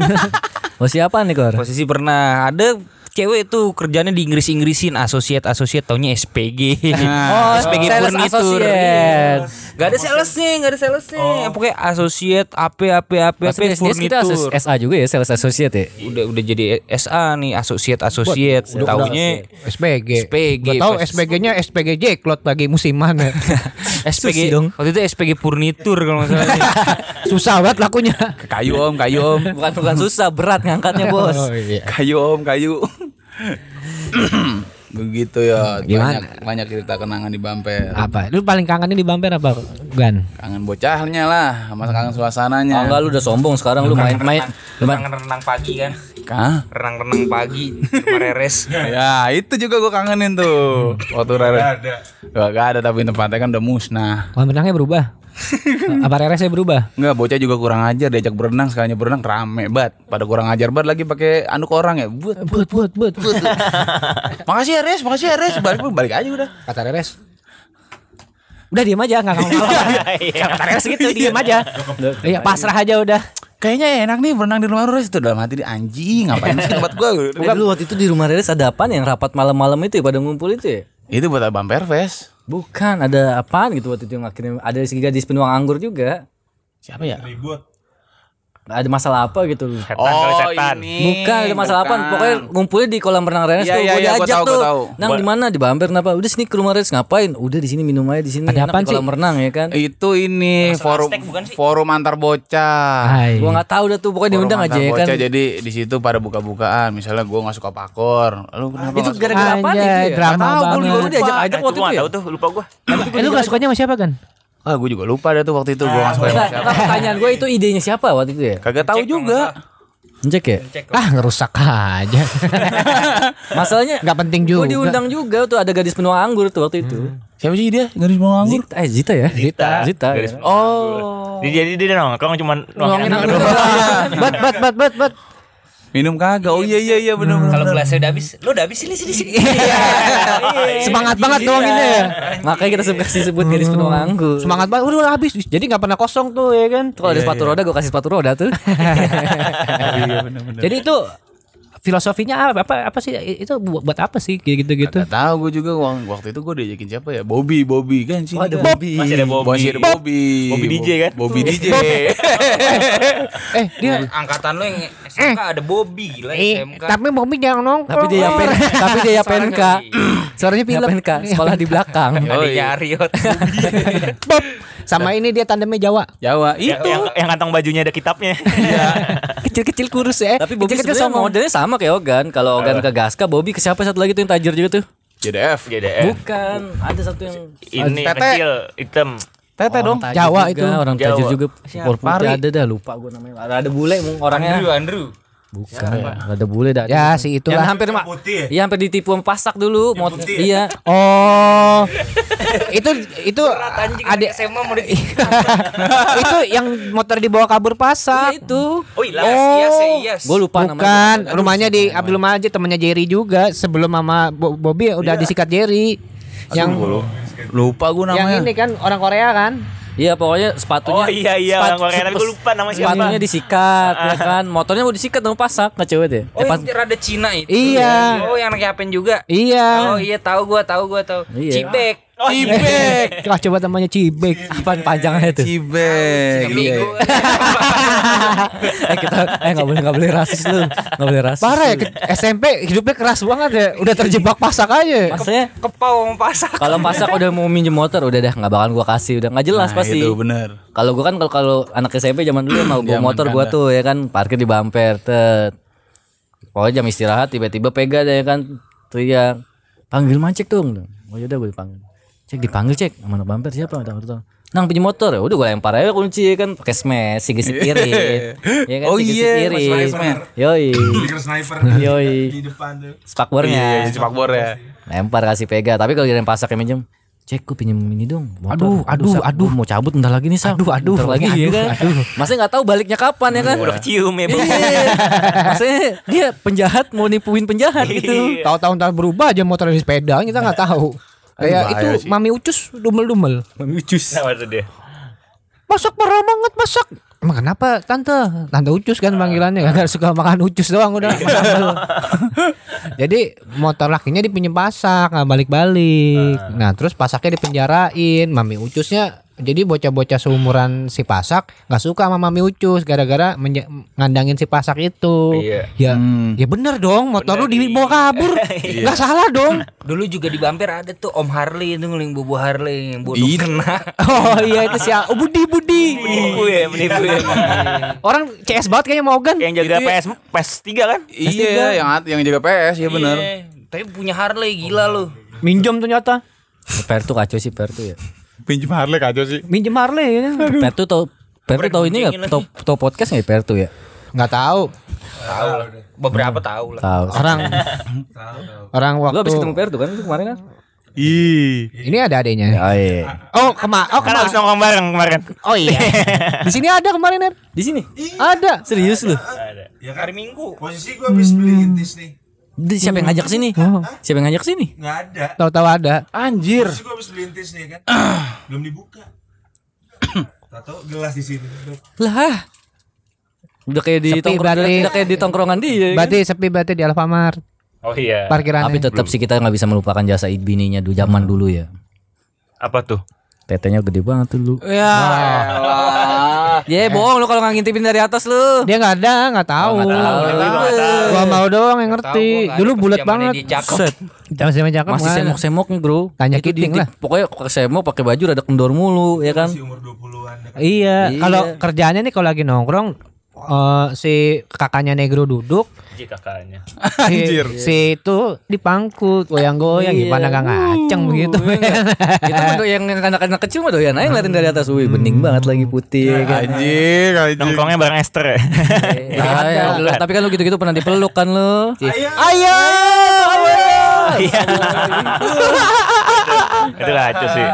[SPEAKER 2] Oh siapa nih Kor?
[SPEAKER 7] Posisi pernah ada cewek itu kerjanya di Inggris Inggrisin associate associate taunya SPG.
[SPEAKER 3] Nah.
[SPEAKER 7] Oh, SPG
[SPEAKER 2] sales
[SPEAKER 7] furnitur. Iya.
[SPEAKER 2] associate. Iya. Oh.
[SPEAKER 7] Gak ada salesnya, gak ada salesnya. Pokoknya associate AP AP AP AP
[SPEAKER 2] Maksudnya SDS kita
[SPEAKER 7] furnitur.
[SPEAKER 2] SS SA juga ya sales associate ya.
[SPEAKER 7] Udah udah jadi SA nih associate associate. Taunya
[SPEAKER 1] SPG
[SPEAKER 7] SPG,
[SPEAKER 1] Gua tahu
[SPEAKER 7] pas-
[SPEAKER 1] SPG-nya SPG Jacklot lagi musiman ya.
[SPEAKER 7] SPG Waktu itu SPG Furnitur kalau nggak salah.
[SPEAKER 1] susah banget lakunya
[SPEAKER 3] Kayu om, kayu om,
[SPEAKER 2] Bukan bukan susah berat ngangkatnya bos.
[SPEAKER 1] Oh, iya.
[SPEAKER 3] kayu om, kayu. begitu ya.
[SPEAKER 1] Gimana?
[SPEAKER 3] Banyak banyak cerita kenangan di Bamper.
[SPEAKER 1] apa lu paling kangenin di Bamper apa Gan
[SPEAKER 3] Kangen bocahnya lah, sama kangen suasananya.
[SPEAKER 2] Oh, enggak lu udah sombong sekarang lu main main lu main-
[SPEAKER 7] Renang-renang pagi kan.
[SPEAKER 3] Kah?
[SPEAKER 7] Renang-renang pagi mereres.
[SPEAKER 3] Ya itu juga gua kangenin tuh Waktu Rere
[SPEAKER 5] Gak ada.
[SPEAKER 3] Gak, ada tapi tempatnya kan udah musnah
[SPEAKER 1] kolam renangnya berubah apa reresnya berubah
[SPEAKER 3] Enggak, bocah juga kurang ajar diajak berenang sekalinya berenang rame bat. Pada kurang ajar bat lagi pakai anduk orang ya. Buat.
[SPEAKER 1] buat buat buat
[SPEAKER 3] Makasih ya Res, makasih ya Res. Balik balik aja udah.
[SPEAKER 1] kata Reres udah diem aja nggak ngomong kata Reres gitu diem aja iya pasrah aja udah
[SPEAKER 3] Kayaknya enak nih berenang di rumah lu, Res itu dalam hati di anjing ngapain sih tempat gua.
[SPEAKER 2] Bukan. Dulu waktu itu di rumah Reres ada apaan yang rapat malam-malam itu ya pada ngumpul itu ya?
[SPEAKER 3] Itu buat Abang Perves.
[SPEAKER 2] Bukan, ada apaan gitu waktu itu yang akhirnya ada si gadis penuang anggur juga.
[SPEAKER 3] Siapa ya?
[SPEAKER 5] Ribut.
[SPEAKER 2] Ada masalah apa gitu loh.
[SPEAKER 4] Setan kali
[SPEAKER 3] Oh,
[SPEAKER 4] setan.
[SPEAKER 2] Bukan ada masalah apa, pokoknya ngumpulnya di kolam renang Reres tuh
[SPEAKER 3] Iya, iya,
[SPEAKER 2] gua
[SPEAKER 3] iya, gua
[SPEAKER 2] diajak
[SPEAKER 3] tahu,
[SPEAKER 2] tuh.
[SPEAKER 3] gua tahu.
[SPEAKER 2] Nang di mana di Bamber kenapa? Udah sini ke rumah Reres ngapain? Udah di sini minum aja di sini
[SPEAKER 1] Ada
[SPEAKER 2] enak
[SPEAKER 1] apaan
[SPEAKER 2] di kolam
[SPEAKER 1] sih?
[SPEAKER 2] renang ya kan.
[SPEAKER 3] Itu ini forum forum antar bocah.
[SPEAKER 1] Hai.
[SPEAKER 2] Gua nggak tahu dah tuh pokoknya Ah, iya,
[SPEAKER 3] Forum
[SPEAKER 2] diundang aja
[SPEAKER 3] antar
[SPEAKER 2] ya kan.
[SPEAKER 3] bocah jadi di situ pada buka-bukaan. Misalnya gua nggak suka pakor. Lu kenapa?
[SPEAKER 2] Itu
[SPEAKER 3] nggak suka?
[SPEAKER 2] gara-gara apaan itu
[SPEAKER 1] Anjay,
[SPEAKER 2] ya?
[SPEAKER 1] drama
[SPEAKER 2] Nggak tahu, gua
[SPEAKER 1] banget.
[SPEAKER 2] juga diajak-ajak
[SPEAKER 4] Gua
[SPEAKER 2] waktu itu
[SPEAKER 4] nggak
[SPEAKER 2] ya.
[SPEAKER 4] Eh, tahu tuh, lupa
[SPEAKER 3] Oh.
[SPEAKER 4] gua.
[SPEAKER 1] Eh, lu gak sukanya sama siapa kan?
[SPEAKER 3] Ah, gua juga lupa deh tuh waktu itu gua nggak suka sama
[SPEAKER 2] Nah,
[SPEAKER 3] siapa.
[SPEAKER 2] pertanyaan gue itu idenya siapa waktu itu ya?
[SPEAKER 3] Kagak tahu juga.
[SPEAKER 2] Cek ya?
[SPEAKER 1] Ah ngerusak aja.
[SPEAKER 2] Masalahnya
[SPEAKER 1] Gak penting
[SPEAKER 2] Gue
[SPEAKER 1] juga.
[SPEAKER 2] diundang juga tuh ada gadis penuang anggur tuh waktu itu.
[SPEAKER 3] Siapa sih dia? Garis bawah
[SPEAKER 2] Hmm.
[SPEAKER 3] anggur.
[SPEAKER 2] Zita, eh Zita ya? Zita. Zita.
[SPEAKER 4] Garis
[SPEAKER 2] ya.
[SPEAKER 4] Oh. Jadi dia nongkrong cuman nongkrong doang.
[SPEAKER 1] bet bet bet bet bet.
[SPEAKER 3] Minum kagak. Oh iya iya iya benar
[SPEAKER 1] Hmm.
[SPEAKER 3] benar.
[SPEAKER 7] Kalau gelasnya udah habis, lu udah habis sini sini sini.
[SPEAKER 1] Iya. Semangat banget doang ini
[SPEAKER 2] Iya.
[SPEAKER 1] ya.
[SPEAKER 2] Makanya kita suka kasih sebut gadis penuang anggur.
[SPEAKER 1] Semangat banget. Udah udah habis. Jadi gak pernah kosong tuh ya kan.
[SPEAKER 2] Kalau ada sepatu roda gue kasih sepatu roda tuh.
[SPEAKER 1] Jadi itu filosofinya apa, apa apa sih itu bu- buat apa sih gitu gitu
[SPEAKER 3] Gak tahu gue juga wak- waktu itu gue diajakin siapa ya? Bobby, Bobby kan sih.
[SPEAKER 2] Oh, ada Bobby.
[SPEAKER 4] Masih ada Bobby.
[SPEAKER 3] Masih ada Iya, Bobby.
[SPEAKER 4] Bobby DJ kan?
[SPEAKER 3] Bobby DJ.
[SPEAKER 1] eh dia
[SPEAKER 7] Angkatan lu yang SMK ada Bobby gila SMK.
[SPEAKER 1] Eh, tapi Bobby jangan nongkrong.
[SPEAKER 2] Tapi dia ya PNK, tapi dia ya PNK.
[SPEAKER 1] Suaranya
[SPEAKER 2] Dia PNK, sekolah di belakang.
[SPEAKER 7] Ada Yariot.
[SPEAKER 1] Bob. eh, Sama ini dia tandemnya Jawa.
[SPEAKER 3] Jawa itu
[SPEAKER 4] Yang, yang kantong bajunya ada kitabnya.
[SPEAKER 1] Kecil-kecil kurus ya.
[SPEAKER 2] Tapi Bobby
[SPEAKER 1] Kecil-kecil
[SPEAKER 2] sebenarnya
[SPEAKER 1] songong.
[SPEAKER 2] modelnya sama kayak Ogan. Kalau Ogan ke Gaska, Bobby ke siapa satu lagi tuh yang tajir juga tuh?
[SPEAKER 3] JDF
[SPEAKER 2] Eh.
[SPEAKER 4] JDF.
[SPEAKER 2] Bukan, ada satu yang
[SPEAKER 4] Ini
[SPEAKER 3] Tete.
[SPEAKER 4] kecil hitam.
[SPEAKER 3] Tete dong
[SPEAKER 2] tajir
[SPEAKER 1] Jawa
[SPEAKER 2] juga,
[SPEAKER 1] itu.
[SPEAKER 2] orang
[SPEAKER 4] Jawa.
[SPEAKER 2] tajir juga Pur putih ada dah lupa gue namanya ada, ada bule mung,
[SPEAKER 7] Andrew
[SPEAKER 2] orangnya
[SPEAKER 7] Andrew.
[SPEAKER 2] bukan ada bule dah
[SPEAKER 1] Ya si
[SPEAKER 2] yang
[SPEAKER 1] itulah.
[SPEAKER 2] hampir ma-
[SPEAKER 5] putih ya?
[SPEAKER 2] iya hampir ditipu sama pasak dulu mot
[SPEAKER 5] putih
[SPEAKER 2] iya
[SPEAKER 1] Oh. itu itu adik
[SPEAKER 7] SMA mau di
[SPEAKER 1] itu yang motor dibawa kabur pasak.
[SPEAKER 2] itu
[SPEAKER 7] Oh iya, iya, iya.
[SPEAKER 2] gue lupa
[SPEAKER 1] Bukan,
[SPEAKER 2] namanya Iya.
[SPEAKER 1] rumahnya di Abdul Majid temannya Jerry juga sebelum mama Bo- Bobby udah disikat Jerry.
[SPEAKER 2] Oh,
[SPEAKER 1] Yang
[SPEAKER 3] lupa gue
[SPEAKER 1] yang
[SPEAKER 3] namanya
[SPEAKER 1] ini kan orang Korea kan?
[SPEAKER 2] iya pokoknya sepatunya
[SPEAKER 4] Oh iya iya
[SPEAKER 2] sepat-
[SPEAKER 4] orang Korea tapi gue lupa nama siapa.
[SPEAKER 2] sepatunya disikat ya kan motornya mau disikat sama pasak nggak cewek deh
[SPEAKER 7] Oh,
[SPEAKER 2] eh, pas-
[SPEAKER 7] yang rada Cina itu.
[SPEAKER 1] Iya.
[SPEAKER 2] ya.
[SPEAKER 7] Oh, yang pakai apen juga.
[SPEAKER 1] Iya.
[SPEAKER 7] Oh iya, tahu gua, tahu gua, tahu.
[SPEAKER 2] Iya.
[SPEAKER 7] Cibek.
[SPEAKER 4] Oh, iya.
[SPEAKER 1] Wah, coba temannya Cibek.
[SPEAKER 2] apaan panjangnya itu
[SPEAKER 3] Cibek iya.
[SPEAKER 7] Bigo.
[SPEAKER 2] eh kita eh nggak boleh nggak boleh rasis lu nggak boleh rasis
[SPEAKER 1] Parah ya
[SPEAKER 2] lu.
[SPEAKER 1] ke- SMP hidupnya keras banget ya. Udah terjebak pasak aja.
[SPEAKER 2] maksudnya
[SPEAKER 7] Kepau sama pasak.
[SPEAKER 2] kalau pasak udah mau minjem motor udah dah nggak bakalan gua kasih udah nggak jelas
[SPEAKER 3] Nah,
[SPEAKER 2] pasti
[SPEAKER 3] itu bener
[SPEAKER 2] kalau gua kan kalau kalau anak SMP zaman dulu mau gua
[SPEAKER 3] Zaman
[SPEAKER 2] motor gua
[SPEAKER 3] janda.
[SPEAKER 2] tuh ya kan parkir di bumper tet pokoknya jam istirahat tiba-tiba pega deh ya kan teriak panggil mancek dong oh yaudah gua dipanggil cek dipanggil cek sama anak bumper siapa tahu tahu nang pinjem motor ya udah gua lempar aja kunci ya kan pakai smash sigi sikirin ya kan
[SPEAKER 3] Oh
[SPEAKER 2] sigi
[SPEAKER 3] iya,
[SPEAKER 2] sikirin
[SPEAKER 3] smash-smash.
[SPEAKER 2] yoi
[SPEAKER 5] Stiker sniper
[SPEAKER 2] Yoi.
[SPEAKER 5] di depan tuh. Iya,
[SPEAKER 2] spakbornya
[SPEAKER 3] sepak bola ya
[SPEAKER 2] lempar kasih pega tapi kalau yang pasak yang minjem cek gue pinjem ini dong motor. aduh aduh aduh mau cabut ntar lagi nih sam aduh aduh lagi ya kan masnya nggak tahu baliknya kapan ya kan udah
[SPEAKER 4] Cium ya. Bu.
[SPEAKER 2] masnya dia penjahat mau nipuin penjahat gitu
[SPEAKER 1] Tahu tahun tahun berubah aja motor di sepeda kita
[SPEAKER 2] Iya.
[SPEAKER 1] nggak tahu. Kayak
[SPEAKER 3] bahaya
[SPEAKER 1] itu
[SPEAKER 3] sih.
[SPEAKER 1] mami ucus dumel-dumel.
[SPEAKER 4] Nah, itu dia.
[SPEAKER 1] Masak parah banget masak. Emang kenapa tante? Tante ucus kan panggilannya kan suka makan ucus doang udah. sama sambel. Jadi motor lakinya dipinjem pasak nggak balik-balik. Nah terus pasaknya dipenjarain. Mami ucusnya jadi bocah-bocah seumuran si pasak nggak suka sama mami ucus gara-gara menja- ngandangin si pasak itu.
[SPEAKER 4] Iya.
[SPEAKER 1] Ya,
[SPEAKER 5] Hmm.
[SPEAKER 1] ya bener dong motor lu dibawa kabur. Nggak salah dong.
[SPEAKER 7] Iya. Dulu juga di Bamper ada tuh Om Harley itu ngeling bobo Harley yang bodoh
[SPEAKER 5] Iya.
[SPEAKER 3] Ih.
[SPEAKER 7] kena.
[SPEAKER 1] Oh iya itu si A- oh, Budi Budi.
[SPEAKER 4] Menipu ya, menipu ya.
[SPEAKER 1] Orang CS banget kayaknya mau gan.
[SPEAKER 4] Yang
[SPEAKER 3] ya?
[SPEAKER 4] jaga PS PS 3 kan?
[SPEAKER 3] iya yang at- yang jaga PS ya bener
[SPEAKER 7] Iya, Tapi punya Harley gila lu.
[SPEAKER 1] Minjem ternyata.
[SPEAKER 2] Pertu kacau sih Pertu ya
[SPEAKER 3] pinjam Harley kacau sih
[SPEAKER 1] Minjem Harley ya.
[SPEAKER 2] Pertu tau Pertu tau ini nggak tau tau podcast nggak ya, Pertu ya
[SPEAKER 1] Nggak tahu.
[SPEAKER 7] Tahu lah. Beberapa tahu lah.
[SPEAKER 2] tahu
[SPEAKER 1] Orang orang
[SPEAKER 2] lu
[SPEAKER 1] waktu
[SPEAKER 2] habis ketemu Pertu kan lu kemarin kan
[SPEAKER 3] ih
[SPEAKER 1] ini ada adanya.
[SPEAKER 2] oh, iya.
[SPEAKER 1] Oh kema oh
[SPEAKER 4] Kan
[SPEAKER 1] kema
[SPEAKER 4] harus nongkrong bareng kemarin.
[SPEAKER 1] oh iya. Di sini ada kemarin Ed.
[SPEAKER 2] di sini
[SPEAKER 1] Ada.
[SPEAKER 2] serius lu
[SPEAKER 5] Ya hari Minggu. Posisi gua habis beli intis nih.
[SPEAKER 2] Di- siapa yang ngajak sini
[SPEAKER 1] Oh.
[SPEAKER 2] siapa yang ngajak sini
[SPEAKER 5] Enggak ada.
[SPEAKER 1] Tahu-tahu ada.
[SPEAKER 3] anjir
[SPEAKER 5] Posisi gua habis beli intis nih kan. Belum dibuka. Tato gelas di sini.
[SPEAKER 2] Lah. Udah kayak di
[SPEAKER 1] Sepi
[SPEAKER 2] tongkrongan
[SPEAKER 1] berarti.
[SPEAKER 2] udah kayak di tongkrongan dia. ya
[SPEAKER 5] kan.
[SPEAKER 1] Berarti sepi berarti di Alfamart
[SPEAKER 4] Oh iya.
[SPEAKER 2] kan?
[SPEAKER 1] parkirannya.
[SPEAKER 2] Tapi tetap sih kita nggak bisa melupakan jasa bininya dulu zaman dulu ya.
[SPEAKER 4] Apa tuh?
[SPEAKER 2] Tetenya gede banget dulu.
[SPEAKER 3] ya
[SPEAKER 2] Ya bohong lu kalau nggak ngintipin dari atas lu.
[SPEAKER 1] Dia nggak ada, nggak tahu. Gua mau doang yang ngerti. Dulu bulat banget.
[SPEAKER 7] Set.
[SPEAKER 1] Jangan sama cakep.
[SPEAKER 2] Masih
[SPEAKER 1] nggak ada.
[SPEAKER 2] semok-semoknya bro.
[SPEAKER 1] Tanya
[SPEAKER 2] Itu
[SPEAKER 1] kiting
[SPEAKER 2] di-
[SPEAKER 1] lah.
[SPEAKER 2] Pokoknya kalau semok pakai baju ada kendor mulu ya kan.
[SPEAKER 5] Di umur 20-an. dekat.
[SPEAKER 1] Iya,
[SPEAKER 2] Iya.
[SPEAKER 1] kalau kerjaannya nih kalau lagi nongkrong eh, si kakaknya negro duduk,
[SPEAKER 4] Ji kakaknya.
[SPEAKER 1] si,
[SPEAKER 3] Anjir.
[SPEAKER 1] si itu Iya. Uh, dipangku goyang-goyang gimana gak ngaceng gitu. begitu.
[SPEAKER 2] Kita mah doyan yang anak-anak kecil mah doyan aja ngeliatin dari atas. Wih bening
[SPEAKER 1] Hmm.
[SPEAKER 2] banget lagi putih ya kan.
[SPEAKER 3] anjir anjir
[SPEAKER 4] Nongkrongnya bareng Esther ya.
[SPEAKER 2] Eh, ada. Lu- Tapi kan lu gitu-gitu pernah dipeluk kan lu.
[SPEAKER 1] Ayo,
[SPEAKER 4] Iya. Itu kacau sih.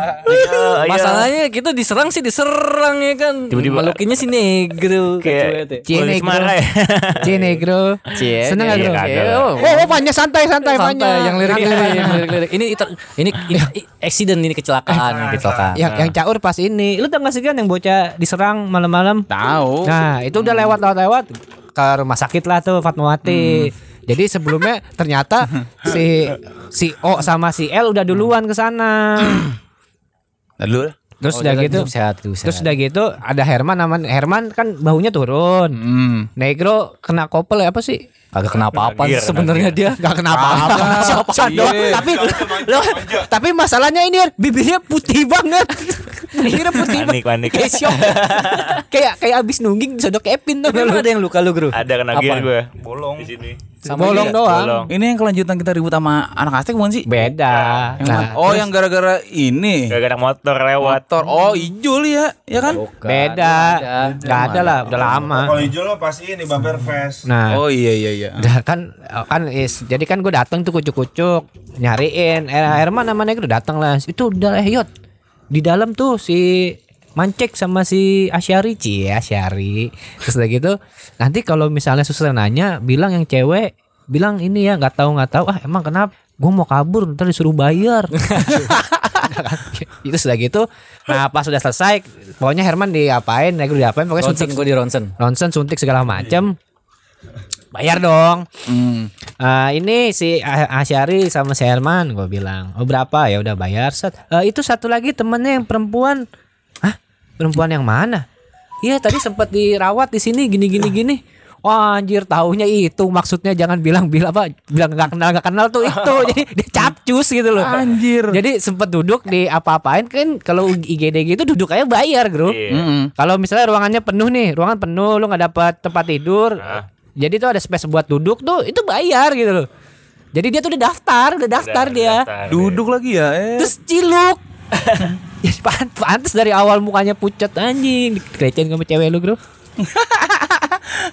[SPEAKER 2] Masalahnya kita diserang sih diserang ya kan.
[SPEAKER 4] Tiba-tiba-
[SPEAKER 2] Melukinya si negro. Kacau banget ya.
[SPEAKER 1] Cie
[SPEAKER 4] kayak Cie
[SPEAKER 1] negro,
[SPEAKER 4] marah ya.
[SPEAKER 1] cie negro,
[SPEAKER 2] Cie,
[SPEAKER 1] seneng gak
[SPEAKER 4] iya,
[SPEAKER 1] bro?
[SPEAKER 4] kagak.
[SPEAKER 1] Oh, oh panjang santai santai panjang.
[SPEAKER 2] yang lirik yang lirik, lirik. ini iter- ini ini i- accident ini kecelakaan
[SPEAKER 1] Ah,
[SPEAKER 2] ini kecelakaan
[SPEAKER 1] Yang, Ya, yang caur pas ini, lu tau gak sih kan yang bocah diserang malam-malam?
[SPEAKER 3] tahu
[SPEAKER 1] Nah, itu udah lewat lewat lewat ke rumah sakit lah tuh Fatmawati. Jadi sebelumnya ternyata
[SPEAKER 5] Hmm.
[SPEAKER 1] si si O sama si L udah duluan ke sana.
[SPEAKER 3] Nah, dulu lah.
[SPEAKER 1] Terus
[SPEAKER 2] Oh,
[SPEAKER 1] udah
[SPEAKER 2] jalan
[SPEAKER 1] gitu
[SPEAKER 2] hidup sehat, hidup
[SPEAKER 1] Terus
[SPEAKER 2] sehat.
[SPEAKER 1] udah gitu ada Herman aman Herman kan baunya turun.
[SPEAKER 3] Hmm.
[SPEAKER 1] Negro kena kopel ya apa sih?
[SPEAKER 2] Kagak kenapa apa
[SPEAKER 1] Iya,
[SPEAKER 4] Kagak gear,
[SPEAKER 2] sebenarnya dia.
[SPEAKER 1] Gak kenapa apa Siapa dong Tapi loh, Tapi masalahnya ini Er, Bibirnya putih banget Bibirnya putih
[SPEAKER 4] Panik,
[SPEAKER 1] banget
[SPEAKER 4] panik.
[SPEAKER 1] Kayak syok
[SPEAKER 5] Iya,
[SPEAKER 1] Kayak kayak abis nungging Sodok Kevin tuh
[SPEAKER 2] Lu ada yang luka lu, Gru?
[SPEAKER 4] Ada kena gear gue. Bolong di sini.
[SPEAKER 1] Bolong doang
[SPEAKER 4] Bolong.
[SPEAKER 3] Ini yang kelanjutan kita ribut sama anak Aztek bukan sih?
[SPEAKER 1] Beda
[SPEAKER 3] Yang
[SPEAKER 1] Nah
[SPEAKER 3] mana? oh, yang gara-gara ini.
[SPEAKER 4] Gak ada motor lewat.
[SPEAKER 3] Motor. Oh, hijau ya, ya kan?
[SPEAKER 1] Beda Gak ada lah Udah lama
[SPEAKER 5] Kalau hijau lo pasti ini bumper fest.
[SPEAKER 1] Nah
[SPEAKER 3] Oh iya iya iya.
[SPEAKER 1] Udah kan kan is, jadi kan gue datang tuh kucuk-kucuk nyariin eh, Herman sama Negro datang lah itu udah eh yot di dalam tuh si Mancek sama si Asyari Ci ya, Asyari terus udah gitu nanti kalau misalnya susah nanya bilang yang cewek bilang ini ya nggak tahu nggak tahu ah emang kenapa gue mau kabur ntar disuruh bayar itu sudah gitu nah pas sudah selesai pokoknya Herman diapain Negro diapain pokoknya
[SPEAKER 2] Ronsen
[SPEAKER 1] suntik
[SPEAKER 2] gue di ronsen.
[SPEAKER 1] ronsen suntik segala macem bayar dong
[SPEAKER 3] Hmm.
[SPEAKER 1] Eh, ini si A- Asyari sama si Herman gue bilang oh berapa ya udah bayar set Eh, itu satu lagi temennya yang perempuan Hah? perempuan yang mana iya tadi sempat dirawat di sini gini gini gini Wah anjir taunya itu maksudnya jangan bilang bilang apa bilang nggak kenal nggak kenal tuh itu jadi dia capcus gitu loh
[SPEAKER 3] Anjir.
[SPEAKER 1] jadi sempat duduk di apa-apain kan kalau IGD gitu duduk aja bayar bro
[SPEAKER 3] Mm-mm.
[SPEAKER 1] kalau misalnya ruangannya penuh nih, ruangan penuh, lu nggak dapat tempat tidur. Jadi tuh ada space buat duduk tuh, itu bayar gitu loh. Jadi dia tuh udah daftar, udah daftar dia.
[SPEAKER 3] Duduk lagi ya. Eh.
[SPEAKER 1] Terus ciluk. ya pan- pantes dari awal mukanya pucat anjing, dikelecehin sama cewek lu, Bro.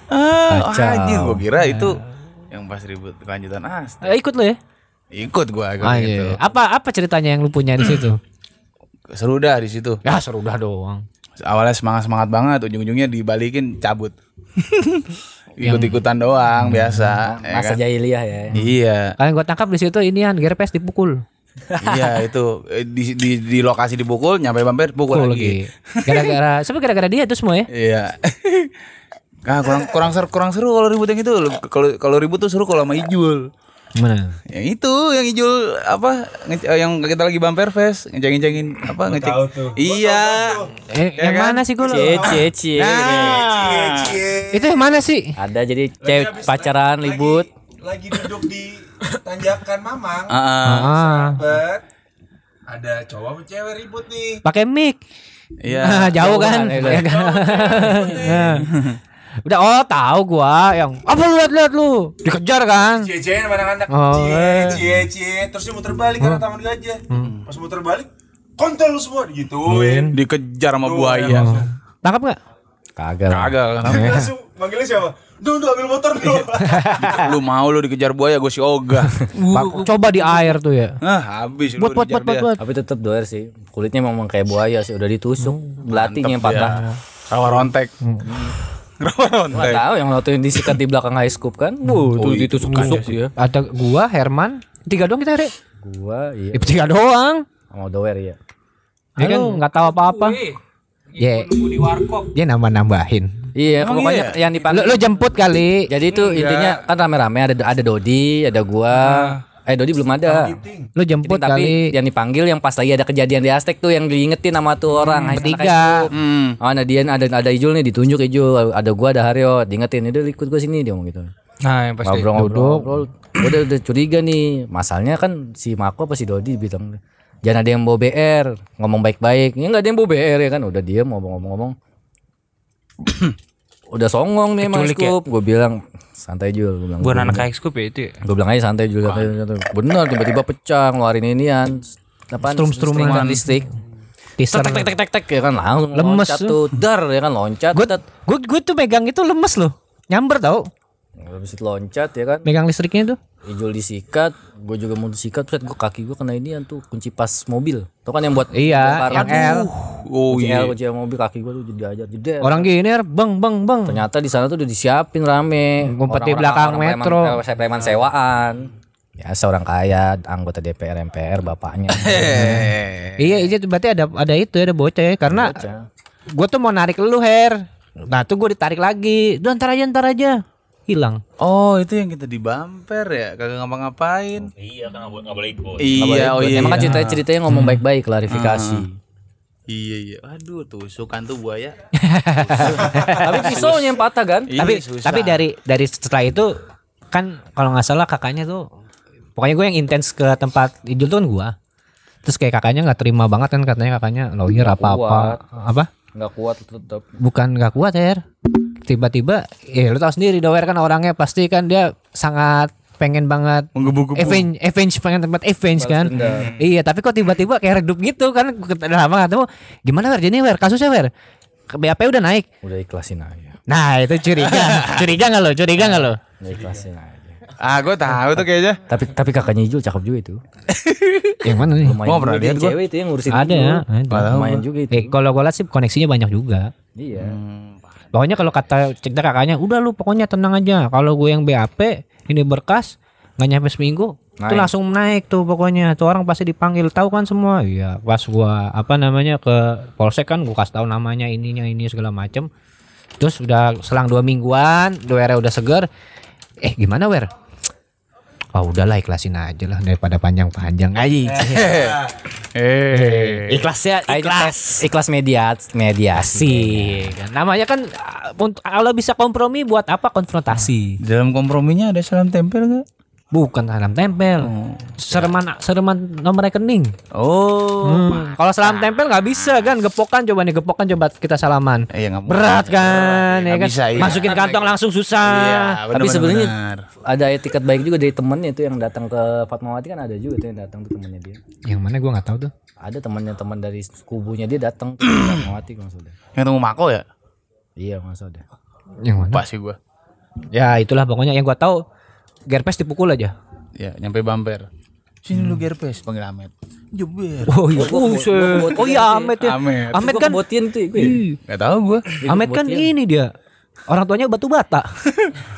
[SPEAKER 3] Ah,
[SPEAKER 2] Kacau.
[SPEAKER 3] anjir gua kira itu yang pas ribut kelanjutan Aztek.
[SPEAKER 1] Eh, ikut lu ya.
[SPEAKER 3] Ikut gua agak gitu.
[SPEAKER 1] Anjing. Apa apa ceritanya yang lu punya di situ?
[SPEAKER 3] Seru dah di situ.
[SPEAKER 1] ya seru dah doang.
[SPEAKER 3] Awalnya semangat-semangat banget, ujung-ujungnya dibalikin cabut. Ikut-ikutan doang biasa. ya
[SPEAKER 2] Masa
[SPEAKER 3] kan?
[SPEAKER 2] jahiliyah ya.
[SPEAKER 3] Iya.
[SPEAKER 1] Kalian gua tangkap di situ inian gerpes dipukul.
[SPEAKER 3] iya itu Eh, di, di, di lokasi dipukul nyampe bumper pukul
[SPEAKER 1] Pukul
[SPEAKER 3] lagi.
[SPEAKER 1] lagi. Gara-gara siapa gara-gara dia itu semua ya?
[SPEAKER 3] Iya. Nah, kurang kurang seru kurang seru kalau ribut yang itu. Kalau kalau ribut tuh seru kalau sama Ijul.
[SPEAKER 1] Mana?
[SPEAKER 3] Yang itu yang Ijul apa nge- eh, yang kita lagi bumper fest ngecengin-cengin apa ngecek.
[SPEAKER 5] tahu tuh. Gua
[SPEAKER 3] Iya. Ah.
[SPEAKER 1] Eh,
[SPEAKER 3] Ya
[SPEAKER 1] yang
[SPEAKER 3] kan?
[SPEAKER 1] mana sih gua?
[SPEAKER 2] Cie cie cie.
[SPEAKER 5] Cie,
[SPEAKER 3] Nah,
[SPEAKER 5] cie.
[SPEAKER 1] Itu yang mana sih?
[SPEAKER 2] Ada jadi
[SPEAKER 5] Lagi
[SPEAKER 2] cewek
[SPEAKER 5] habis-
[SPEAKER 2] pacaran
[SPEAKER 5] lagi-
[SPEAKER 2] libut.
[SPEAKER 5] Lagi duduk di tanjakan Mamang.
[SPEAKER 3] ah, ah.
[SPEAKER 1] Ah.
[SPEAKER 5] Bet. Ada cowok sama cewek ribut nih.
[SPEAKER 1] pakai mic. Ah,
[SPEAKER 3] Iya.
[SPEAKER 1] jauh kan?
[SPEAKER 2] kan,
[SPEAKER 1] Ya kan? Nah. Udah oh tahu gua yang apa lu lihat-lihat lu dikejar kan?
[SPEAKER 5] Cie cie sama anak-anak.
[SPEAKER 1] Oh, Hmm.
[SPEAKER 5] Cie
[SPEAKER 1] eh.
[SPEAKER 5] cie cie. Terus dia muter balik karena taman gajah. Pas muter balik, kontol lu semua Gitu. digituin.
[SPEAKER 3] Dikejar sama
[SPEAKER 5] Tuh,
[SPEAKER 3] buaya.
[SPEAKER 5] ya, langsung.
[SPEAKER 1] Tangkap nggak?
[SPEAKER 2] Kagak. lah.
[SPEAKER 3] Kagak kan? kenapa?
[SPEAKER 5] Dia Langsung manggilnya siapa? Duh, duh ambil motor dulu.
[SPEAKER 3] lu mau lu dikejar buaya gue si ogah.
[SPEAKER 1] Pak- Coba di air tuh ya.
[SPEAKER 3] Ah, habis lu
[SPEAKER 1] Buat buat
[SPEAKER 3] dikejar
[SPEAKER 1] buat buat.
[SPEAKER 3] dia.
[SPEAKER 1] buat.
[SPEAKER 2] Tapi tetap doer sih. Kulitnya memang kayak buaya sih, udah ditusuk, belatinya yang
[SPEAKER 3] Mantep
[SPEAKER 2] patah.
[SPEAKER 3] dia. Rawa rontek.
[SPEAKER 2] Nggak
[SPEAKER 3] Rawa rontek.
[SPEAKER 2] tahu yang waktu yang disikat di belakang high scoop kan. Duh,
[SPEAKER 3] Oh,
[SPEAKER 2] itu
[SPEAKER 3] itu
[SPEAKER 2] ditusuk-tusuk ya. dia.
[SPEAKER 1] Ada gua Herman tiga doang kita Re.
[SPEAKER 2] Gua iya
[SPEAKER 1] Eh, Tiga doang.
[SPEAKER 2] mau doer ya.
[SPEAKER 1] Dia kan nggak tahu apa-apa. Ya. Dia nambah-nambahin.
[SPEAKER 2] Iya,
[SPEAKER 3] Emang
[SPEAKER 2] pokoknya
[SPEAKER 3] iya?
[SPEAKER 2] yang
[SPEAKER 1] Lu,
[SPEAKER 2] dipanggil
[SPEAKER 1] lu jemput kali.
[SPEAKER 2] Jadi itu
[SPEAKER 7] Iya.
[SPEAKER 2] intinya kan rame-rame ada ada Dodi, ada gua.
[SPEAKER 7] Ah.
[SPEAKER 2] Eh Dodi belum ada.
[SPEAKER 1] Lu jemput
[SPEAKER 2] Ini tapi
[SPEAKER 1] kali.
[SPEAKER 2] yang dipanggil yang pas lagi ada kejadian di Aztec tuh yang diingetin sama tuh orang
[SPEAKER 1] Hmm,
[SPEAKER 2] Hai,
[SPEAKER 1] bertiga.
[SPEAKER 2] Hai,
[SPEAKER 7] Hmm.
[SPEAKER 2] Hai. Oh, ada dia ada ada Ijul nih ditunjuk Ijul, ada gua ada Haryo, diingetin udah ikut gua sini dia ngomong gitu.
[SPEAKER 7] Nah, yang pasti.
[SPEAKER 2] ngobrol ngobrol, ngobrol. Gua udah udah curiga nih. Masalahnya kan si Mako apa si Dodi bilang jangan ada yang bawa BR, ngomong baik-baik. Ya enggak ada yang bawa BR ya kan udah diam ngomong-ngomong. udah songong nih Mas
[SPEAKER 7] Keculik ya?
[SPEAKER 2] Kup. Gua bilang santai Jul, gua bilang.
[SPEAKER 7] Bukan anak high scoop ya itu. ya?
[SPEAKER 2] Gue bilang aja santai juga santai, santai. Bener tiba-tiba pecah ngeluarin inian apa strum-struman listrik.
[SPEAKER 1] Teaser.
[SPEAKER 2] Tek tek tek tek tek ya kan langsung
[SPEAKER 1] Lemes
[SPEAKER 2] loncat
[SPEAKER 1] tuh.
[SPEAKER 2] tuh dar ya kan loncat.
[SPEAKER 1] Gue
[SPEAKER 2] tet.
[SPEAKER 1] gue gue tuh megang itu lemes loh. Nyamber tau
[SPEAKER 2] Habis itu loncat ya kan.
[SPEAKER 1] megang listriknya tuh.
[SPEAKER 2] Ijul disikat, gue juga mau disikat, set gue kaki gue kena inian tuh kunci pas mobil. Tuh kan yang buat
[SPEAKER 1] Iya, yang L.
[SPEAKER 3] Oh
[SPEAKER 2] kunci
[SPEAKER 3] iya.
[SPEAKER 2] L, kunci L mobil kaki gue tuh jadi ajar jeder.
[SPEAKER 1] Orang gini, Er, bang, bang, bang.
[SPEAKER 2] Ternyata di sana tuh udah disiapin rame.
[SPEAKER 1] Ngumpet di
[SPEAKER 2] Orang-orang-
[SPEAKER 1] belakang
[SPEAKER 2] orang preman-
[SPEAKER 1] metro.
[SPEAKER 2] eh, preman sewaan. Ya seorang kaya, anggota DPR MPR bapaknya.
[SPEAKER 3] Eh.
[SPEAKER 1] Iya, iya tuh berarti ada ada itu ada bocah ya karena gue tuh mau narik lu Her. Nah tuh gue ditarik lagi. Duh ntar aja ntar aja hilang.
[SPEAKER 3] Oh itu yang kita di bumper ya kagak ngapa-ngapain.
[SPEAKER 4] Iya, kan nggak boleh ikut.
[SPEAKER 3] Iya oh iya.
[SPEAKER 1] Hmm.
[SPEAKER 2] Emang kan cerita ceritanya ngomong baik-baik klarifikasi.
[SPEAKER 3] Iya iya. Aduh tusukan tuh buaya.
[SPEAKER 2] Tapi pisaunya yang patah kan?
[SPEAKER 3] Iya,
[SPEAKER 5] tapi
[SPEAKER 3] susah.
[SPEAKER 5] tapi dari dari setelah itu kan kalau nggak salah kakaknya tuh pokoknya gue yang intens ke tempat Ijul tuh kan gue terus kayak kakaknya nggak terima banget kan katanya kakaknya lawyer apa apa apa
[SPEAKER 2] Enggak kuat tetap.
[SPEAKER 5] bukan nggak kuat ya tiba-tiba ya lu tau sendiri dower kan orangnya pasti kan dia sangat pengen banget
[SPEAKER 3] Menggebu-gebu.
[SPEAKER 5] Avenge, Avenge pengen tempat Avenge kan Iya tapi kok tiba-tiba kayak redup gitu kan Gua ket- Udah lama gak ketemu Gimana Wer jadi Wer kasusnya Wer Ke BAP udah naik
[SPEAKER 2] Udah ikhlasin aja.
[SPEAKER 5] Nah itu curiga Curiga gak lo curiga gak lo
[SPEAKER 2] Udah ikhlasin aja.
[SPEAKER 3] ah gue tahu tuh kayaknya.
[SPEAKER 2] Tapi tapi kakaknya Ijul cakep juga itu.
[SPEAKER 5] Yang mana nih
[SPEAKER 2] Lumayan
[SPEAKER 3] Gua pernah
[SPEAKER 2] juga dia
[SPEAKER 3] lihat gua.
[SPEAKER 2] cewek itu yang ngurusin.
[SPEAKER 5] Ada
[SPEAKER 2] Ijul.
[SPEAKER 5] ya ada.
[SPEAKER 3] Padahal
[SPEAKER 2] Lumayan juga itu.
[SPEAKER 5] Eh kalau gue liat sih koneksinya banyak juga
[SPEAKER 2] Iya.
[SPEAKER 1] Hmm.
[SPEAKER 5] Pokoknya kalau kata cerita kakaknya udah lu pokoknya tenang aja kalau gue yang BAP ini berkas nggak nyampe seminggu itu langsung naik tuh pokoknya tuh orang pasti dipanggil tahu kan semua iya pas gua apa namanya ke polsek kan gua kasih tahu namanya ininya ini segala macem terus udah selang dua mingguan doere udah seger eh gimana wer Oh udahlah ikhlasin aja lah daripada panjang-panjang aja.
[SPEAKER 3] Eh.
[SPEAKER 5] Ikhlasnya
[SPEAKER 2] Ikhlas ikhlas media mediasi.
[SPEAKER 5] Iya kan. Namanya kan uh, unt- kalau bisa kompromi buat apa konfrontasi?
[SPEAKER 3] Di dalam komprominya ada salam tempel nggak?
[SPEAKER 5] Bukan tanam tempel. Sereman sereman nomor rekening.
[SPEAKER 3] Oh.
[SPEAKER 5] Hmm. Kalau salam tempel nggak bisa kan gepokan coba nih gepokan coba kita salaman.
[SPEAKER 3] Eh, ya nggak mungkin.
[SPEAKER 5] Berat kan, ya
[SPEAKER 3] Nggak
[SPEAKER 5] kan?
[SPEAKER 3] bisa, iya.
[SPEAKER 5] Masukin kantong langsung
[SPEAKER 3] Iya,
[SPEAKER 5] susah.
[SPEAKER 2] Tapi
[SPEAKER 3] benar-benar.
[SPEAKER 2] sebenarnya ada etiket baik juga dari temennya itu yang datang ke Fatmawati kan ada juga tuh yang datang tuh temennya dia.
[SPEAKER 5] Yang mana gua nggak tahu tuh.
[SPEAKER 2] Ada temannya teman dari kubunya dia datang ke Fatmawati maksudnya.
[SPEAKER 3] yang tunggu Mako ya?
[SPEAKER 2] Iya maksudnya.
[SPEAKER 1] Kan
[SPEAKER 5] Yang mana?
[SPEAKER 3] Lupa sih gue.
[SPEAKER 5] Ya itulah pokoknya yang gua tahu Gerpes dipukul aja.
[SPEAKER 3] Ya, nyampe bumper. Sini lu gerpes panggil Ahmed. Jeber.
[SPEAKER 5] Oh iya, oh,
[SPEAKER 2] gua- gua- gua-
[SPEAKER 5] oh iya Ahmed ya.
[SPEAKER 3] Ahmed.
[SPEAKER 5] Ahmed
[SPEAKER 2] Gua
[SPEAKER 5] kan,
[SPEAKER 2] kebotin tuh gue.
[SPEAKER 3] Gak tau gue.
[SPEAKER 5] Ahmed kan ini dia. Orang tuanya batu bata,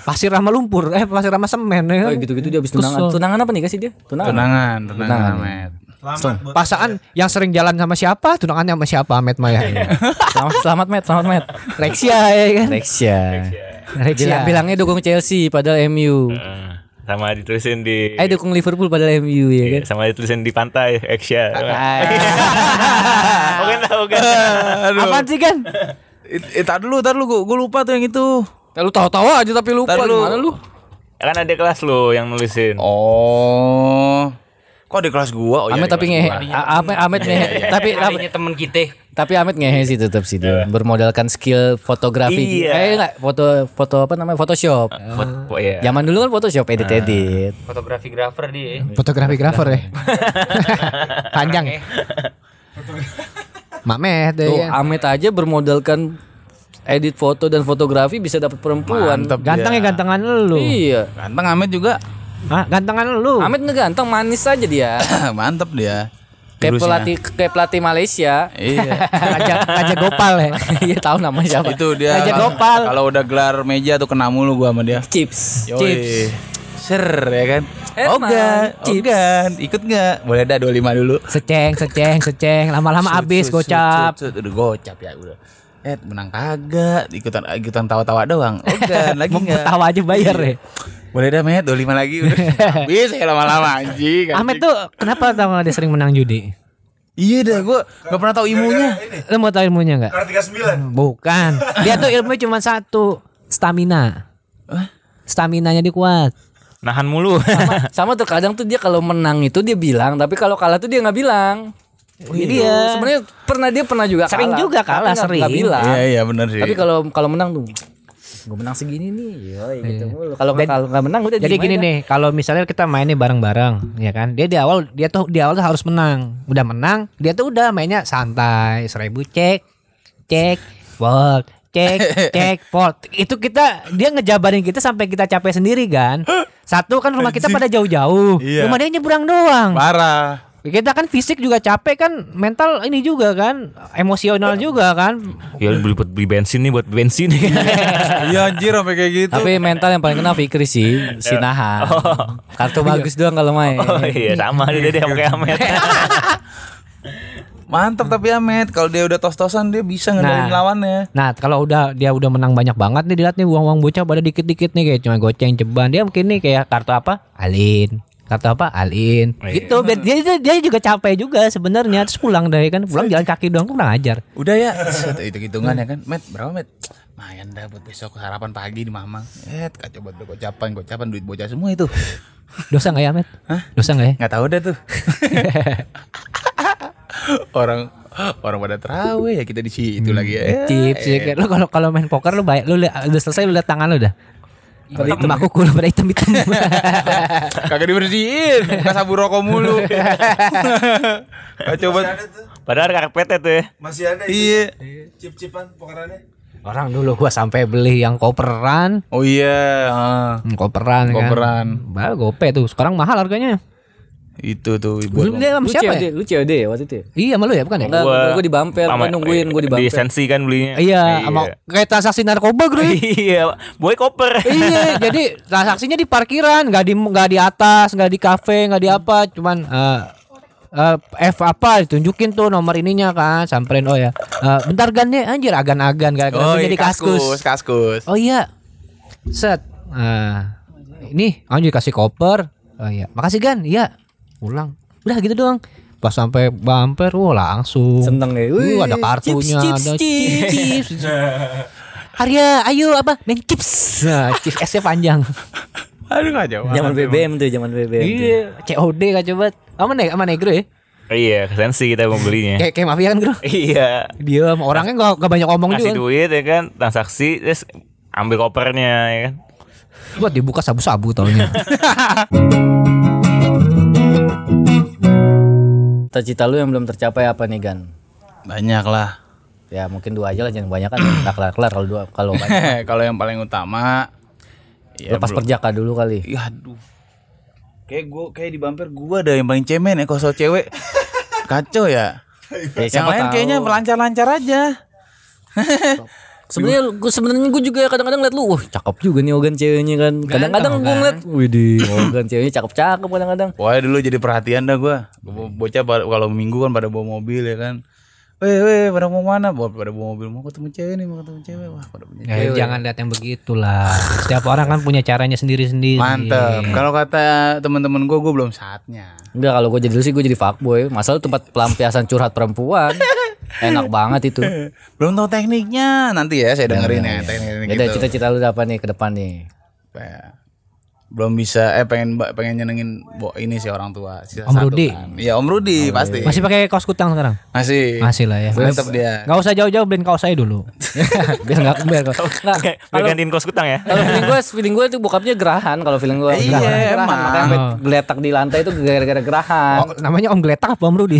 [SPEAKER 5] pasir sama lumpur, eh pasir sama semen. ya
[SPEAKER 2] Oh
[SPEAKER 5] kan?
[SPEAKER 2] gitu-gitu dia habis tunangan.
[SPEAKER 5] Kesel.
[SPEAKER 2] Tunangan apa nih kasih dia? Tunangan.
[SPEAKER 3] Tenangan, tenangan Ahmed.
[SPEAKER 1] Selamat buat
[SPEAKER 5] Pasangan yang sering jalan sama siapa, tunangannya sama siapa, Ahmed Maya.
[SPEAKER 2] Selamat, selamat Matt, selamat Matt.
[SPEAKER 5] Rexia ya kan?
[SPEAKER 2] Rexia.
[SPEAKER 5] Rexia.
[SPEAKER 2] Bilang bilangnya dukung Chelsea padahal MU.
[SPEAKER 4] Eh, sama ditulisin di
[SPEAKER 2] Eh dukung Liverpool padahal MU ya kan.
[SPEAKER 4] sama ditulisin di pantai Asia.
[SPEAKER 2] Ah.
[SPEAKER 4] Oke lah, oke.
[SPEAKER 5] Apaan sih kan?
[SPEAKER 3] Eh, tar dulu, tar dulu. Gue lupa tuh yang itu.
[SPEAKER 2] Eh, Lu tahu-tahu aja tapi lupa
[SPEAKER 3] Ntar lu.
[SPEAKER 2] gimana lu?
[SPEAKER 4] Kan ada kelas lo yang nulisin.
[SPEAKER 3] Oh. Kok di kelas gua? Oh, iya,
[SPEAKER 2] Ahmed
[SPEAKER 3] di
[SPEAKER 2] tapi
[SPEAKER 3] kelas
[SPEAKER 2] ngehe.
[SPEAKER 3] gua.
[SPEAKER 2] A- Ahmed Ahmed ngehe. Tapi
[SPEAKER 3] iya.
[SPEAKER 2] tapi-
[SPEAKER 8] temen kita
[SPEAKER 2] tapi Ahmed ngehe sih tetap sih dia. Bermodalkan skill fotografi.
[SPEAKER 4] Iya.
[SPEAKER 2] Eh enggak, foto foto apa namanya? Photoshop.
[SPEAKER 3] Iya.
[SPEAKER 4] Foto, ya.
[SPEAKER 2] Zaman dulu kan Photoshop
[SPEAKER 3] Nah.
[SPEAKER 2] edit-edit.
[SPEAKER 8] fotografi grafer dia
[SPEAKER 5] Fotografi grafer ya.
[SPEAKER 3] Iya.
[SPEAKER 5] Panjang ya. Mamet ya.
[SPEAKER 2] Tuh,
[SPEAKER 5] kan?
[SPEAKER 2] Ahmed aja bermodalkan edit foto dan fotografi bisa dapat perempuan.
[SPEAKER 3] Mantep
[SPEAKER 5] Ganteng ya
[SPEAKER 3] dia.
[SPEAKER 5] gantengan lu.
[SPEAKER 2] Iya.
[SPEAKER 3] Ganteng Ahmed juga.
[SPEAKER 5] Ah, gantengan lu.
[SPEAKER 2] Amit ngeganteng manis aja dia.
[SPEAKER 3] Mantep dia.
[SPEAKER 2] Kayak
[SPEAKER 3] Jurusnya.
[SPEAKER 2] pelatih kayak pelatih Malaysia.
[SPEAKER 3] Iya.
[SPEAKER 5] Raja Raja Gopal ya.
[SPEAKER 2] Iya tahu namanya siapa?
[SPEAKER 3] Itu dia.
[SPEAKER 5] Raja
[SPEAKER 3] kalau-
[SPEAKER 5] Gopal.
[SPEAKER 3] Kalau udah gelar meja tuh kena mulu gua sama dia.
[SPEAKER 2] Chips.
[SPEAKER 3] Yoi.
[SPEAKER 2] Chips.
[SPEAKER 3] Ser ya kan.
[SPEAKER 2] Emang,
[SPEAKER 3] Ogan,
[SPEAKER 2] chips.
[SPEAKER 3] Ogan, ikut nggak? Boleh dah 25 dulu.
[SPEAKER 5] Seceng, seceng, seceng. Lama-lama habis
[SPEAKER 3] Sut, sut,
[SPEAKER 5] gocap.
[SPEAKER 3] sut, sut. Udah gocap ya udah. Eh menang kagak, ikutan ikutan tawa-tawa doang. Ogan lagi nggak?
[SPEAKER 5] Tawa aja bayar
[SPEAKER 3] Iya.
[SPEAKER 5] ya.
[SPEAKER 3] Boleh dah Met, 25 lagi udah. Habis ya lama-lama anjing. anjing.
[SPEAKER 5] ya? Ahmed tuh kenapa tahu dia sering menang judi?
[SPEAKER 3] Iya dah gua nggak pernah tahu imunya.
[SPEAKER 5] Lu mau tahu ilmunya nggak?
[SPEAKER 1] Karena 39
[SPEAKER 5] Bukan. Dia tuh ilmunya cuma satu, stamina. Staminanya dikuat.
[SPEAKER 4] Nahan mulu.
[SPEAKER 2] Sama tuh kadang tuh dia kalau menang itu dia bilang, tapi kalau kalah tuh dia nggak bilang. Gitu.
[SPEAKER 5] iya.
[SPEAKER 2] Sebenarnya pernah dia pernah juga kalah.
[SPEAKER 5] Sering juga
[SPEAKER 2] tapi
[SPEAKER 5] kalah,
[SPEAKER 2] nggak-
[SPEAKER 5] sering.
[SPEAKER 2] nggak bilang.
[SPEAKER 3] Iya iya benar sih.
[SPEAKER 2] Tapi kalau kalau menang tuh gue menang segini nih, yoi gitu mulu. Kalau nggak- kalau nggak menang udah
[SPEAKER 5] Jadi
[SPEAKER 2] diem
[SPEAKER 5] gini
[SPEAKER 2] aja.
[SPEAKER 5] nih, kalau misalnya kita main nih bareng-bareng, ya kan? Dia di awal dia tuh di awal tuh harus menang. Udah menang, dia tuh udah mainnya santai, seribu cek, cek, volt, cek, cek, volt. Itu kita dia ngejabarin kita sampai kita capek sendiri kan. Satu kan rumah kita pada jauh-jauh,
[SPEAKER 3] Iya.
[SPEAKER 5] rumah dia nyebrang doang.
[SPEAKER 3] parah.
[SPEAKER 5] Kita kan fisik juga capek kan, mental ini juga kan, emosional juga kan.
[SPEAKER 4] ya beli buat beli bensin nih buat bensin.
[SPEAKER 3] Iya anjir sampai kayak gitu.
[SPEAKER 2] Tapi mental yang paling kena Fikri sih,
[SPEAKER 3] Iya.
[SPEAKER 2] si Nahan.
[SPEAKER 3] Oh.
[SPEAKER 2] Kartu bagus doang kalau main.
[SPEAKER 4] oh iya sama dia dia sama kayak Ahmed.
[SPEAKER 3] Mantap tapi Ahmed, kalau dia udah tos-tosan dia bisa ngendalin
[SPEAKER 5] Nah.
[SPEAKER 3] lawannya.
[SPEAKER 5] Nah kalau udah dia udah menang banyak banget nih dilihat nih uang uang bocah pada dikit dikit nih kayak cuma goceng ceban dia mungkin nih kayak kartu apa alin
[SPEAKER 1] kata apa Alin
[SPEAKER 4] Iya.
[SPEAKER 1] gitu biar dia, dia dia juga capek juga sebenarnya terus pulang dari kan pulang jalan kaki doang kurang ajar
[SPEAKER 3] Udah ya, itu hitungan ya kan. Met, berapa met? Mayan dah buat besok sarapan pagi di mamang. Eh, kacau buat gocapan, gocapan duit bocah semua itu.
[SPEAKER 1] dosa nggak ya Met dosa nggak ya
[SPEAKER 3] Nggak tahu dah tuh. orang orang pada terawih ya kita di situ lagi ya.
[SPEAKER 1] tips ya kayak lo kalau kalau main poker lo bayar lo li- udah selesai lo lihat tangan lo udah hitam aku kulo pada hitam hitam
[SPEAKER 3] Kagak dibersihin, buka sabu rokok mulu. Kacau
[SPEAKER 5] Masih
[SPEAKER 3] banget.
[SPEAKER 5] ada tuh.
[SPEAKER 4] Padahal karpetnya tuh ya.
[SPEAKER 5] Masih ada itu.
[SPEAKER 3] Iya.
[SPEAKER 5] Cip-cipan pokerannya.
[SPEAKER 1] orang dulu gua sampai beli yang koperan
[SPEAKER 3] Oh iya, ah.
[SPEAKER 1] Hmm, koperan kan.
[SPEAKER 3] Koperan.
[SPEAKER 1] bah gope tuh sekarang mahal harganya
[SPEAKER 3] itu tuh buat
[SPEAKER 1] Lu dia sama
[SPEAKER 2] Lu
[SPEAKER 1] siapa
[SPEAKER 2] COD,
[SPEAKER 1] ya?
[SPEAKER 2] lu COD ya waktu itu ya?
[SPEAKER 1] iya malu ya bukan ya
[SPEAKER 2] Enggak, gua- gua di bumper,
[SPEAKER 4] Sama-
[SPEAKER 2] gua nungguin, gua di
[SPEAKER 4] Di
[SPEAKER 2] bumper.
[SPEAKER 4] sensi kan belinya.
[SPEAKER 1] Iya, sama kayak transaksi narkoba gitu.
[SPEAKER 4] Iya, boy koper.
[SPEAKER 1] iya, jadi transaksinya di parkiran, nggak di nggak di atas, nggak di kafe, nggak di apa, cuman eh eh, F apa ditunjukin tuh nomor ininya kan, samperin oh ya. Eh, bentar gannya anjir agan-agan gara-gara
[SPEAKER 3] Oh,
[SPEAKER 1] gue
[SPEAKER 3] iya,
[SPEAKER 1] jadi kaskus.
[SPEAKER 3] kaskus, kaskus.
[SPEAKER 1] Oh iya. Set. Ah, ini anjir kasih koper. Oh iya. Makasih Gan. Iya. Pulang. Udah gitu doang. Pas sampai bumper, wah langsung.
[SPEAKER 2] Seneng ya. Wih,
[SPEAKER 1] Uh, ada kartunya,
[SPEAKER 2] chips,
[SPEAKER 1] ada
[SPEAKER 2] chips,
[SPEAKER 1] chips, chips. Arya, ayo apa? Main chips.
[SPEAKER 2] Iya.
[SPEAKER 1] Nah, chips S-nya panjang.
[SPEAKER 3] Aduh kacau. banget.
[SPEAKER 2] Zaman BBM tuh, zaman BBM. tuh.
[SPEAKER 1] Iya, COD kan coba. Sama nih, sama negro ya.
[SPEAKER 4] Iya, ke sensi kita membelinya.
[SPEAKER 1] Kayak kayak mafia kan, Bro.
[SPEAKER 4] Iya.
[SPEAKER 1] Dia sama orangnya gak, nggak banyak ngomong juga.
[SPEAKER 4] Kasih
[SPEAKER 1] kan.
[SPEAKER 4] duit ya kan, transaksi terus ambil kopernya ya kan.
[SPEAKER 1] Buat dibuka sabu-sabu taunya.
[SPEAKER 2] Cita-cita lu yang belum tercapai apa nih Gan?
[SPEAKER 3] Banyak lah.
[SPEAKER 2] Ya mungkin dua aja lah jangan banyak kan tak kelar kelar kalau dua kalau banyak.
[SPEAKER 3] Kalau yang paling utama ya
[SPEAKER 2] Lepas
[SPEAKER 3] belum-
[SPEAKER 2] perjaka dulu kali.
[SPEAKER 3] Ih, aduh. Kayak gua kayak di bumper gua ada yang paling cemen ya kalau soal cewek. Kacau ya.
[SPEAKER 2] Ya,
[SPEAKER 3] yang
[SPEAKER 2] siapa
[SPEAKER 3] lain
[SPEAKER 2] tahu.
[SPEAKER 3] kayaknya lancar-lancar aja.
[SPEAKER 2] Sebenarnya gue sebenarnya gue juga kadang-kadang liat lu, wah cakep juga nih Ogan ceweknya kan. Kadang-kadang gue ngeliat, wih di Ogan ceweknya cakep-cakep kadang-kadang.
[SPEAKER 3] Wah dulu jadi perhatian dah gua. Bo- Bocah pada- kalau minggu kan pada bawa mobil ya kan. Weh, weh, pada mau mana? Bawa pada bawa mobil mau ketemu cewek nih, mau ketemu cewek. Wah, pada punya.
[SPEAKER 1] Ya, jangan lihat yang begitulah. Setiap orang kan punya caranya sendiri-sendiri.
[SPEAKER 3] Mantep. Kalau kata teman-teman gua, gua belum saatnya.
[SPEAKER 2] Enggak kalau gue jadi lu sih gue jadi fuckboy. Masalah tempat pelampiasan curhat perempuan. Enak banget itu.
[SPEAKER 3] Belum tahu tekniknya. Nanti ya saya
[SPEAKER 1] Iya,
[SPEAKER 3] dengerin ya, teknik-teknik
[SPEAKER 2] Jadi
[SPEAKER 3] gitu.
[SPEAKER 2] cita-cita lu apa nih ke depan nih?
[SPEAKER 3] Kayak belum bisa eh pengen ba- pengen nyenengin bo ini sih orang tua sisa
[SPEAKER 1] Om
[SPEAKER 3] satu
[SPEAKER 1] Rudi. Oh,
[SPEAKER 3] kan. Iya, Om Rudi pasti.
[SPEAKER 1] Masih pakai kaos kutang sekarang?
[SPEAKER 3] Masih.
[SPEAKER 1] Masih lah ya.
[SPEAKER 3] Mantap dia.
[SPEAKER 1] Gak usah jauh-jauh beliin kaos saya dulu.
[SPEAKER 2] Biar enggak biar enggak.
[SPEAKER 4] Oke, biar gantiin kos kutang ya.
[SPEAKER 2] Kalau feeling gue, feeling gue itu bokapnya gerahan. Kalau feeling gue,
[SPEAKER 3] Iya, emang.
[SPEAKER 2] Makanya sampai geletak di lantai itu gara-gara gerahan.
[SPEAKER 1] Oh, namanya Om Gletak apa Om Rudi?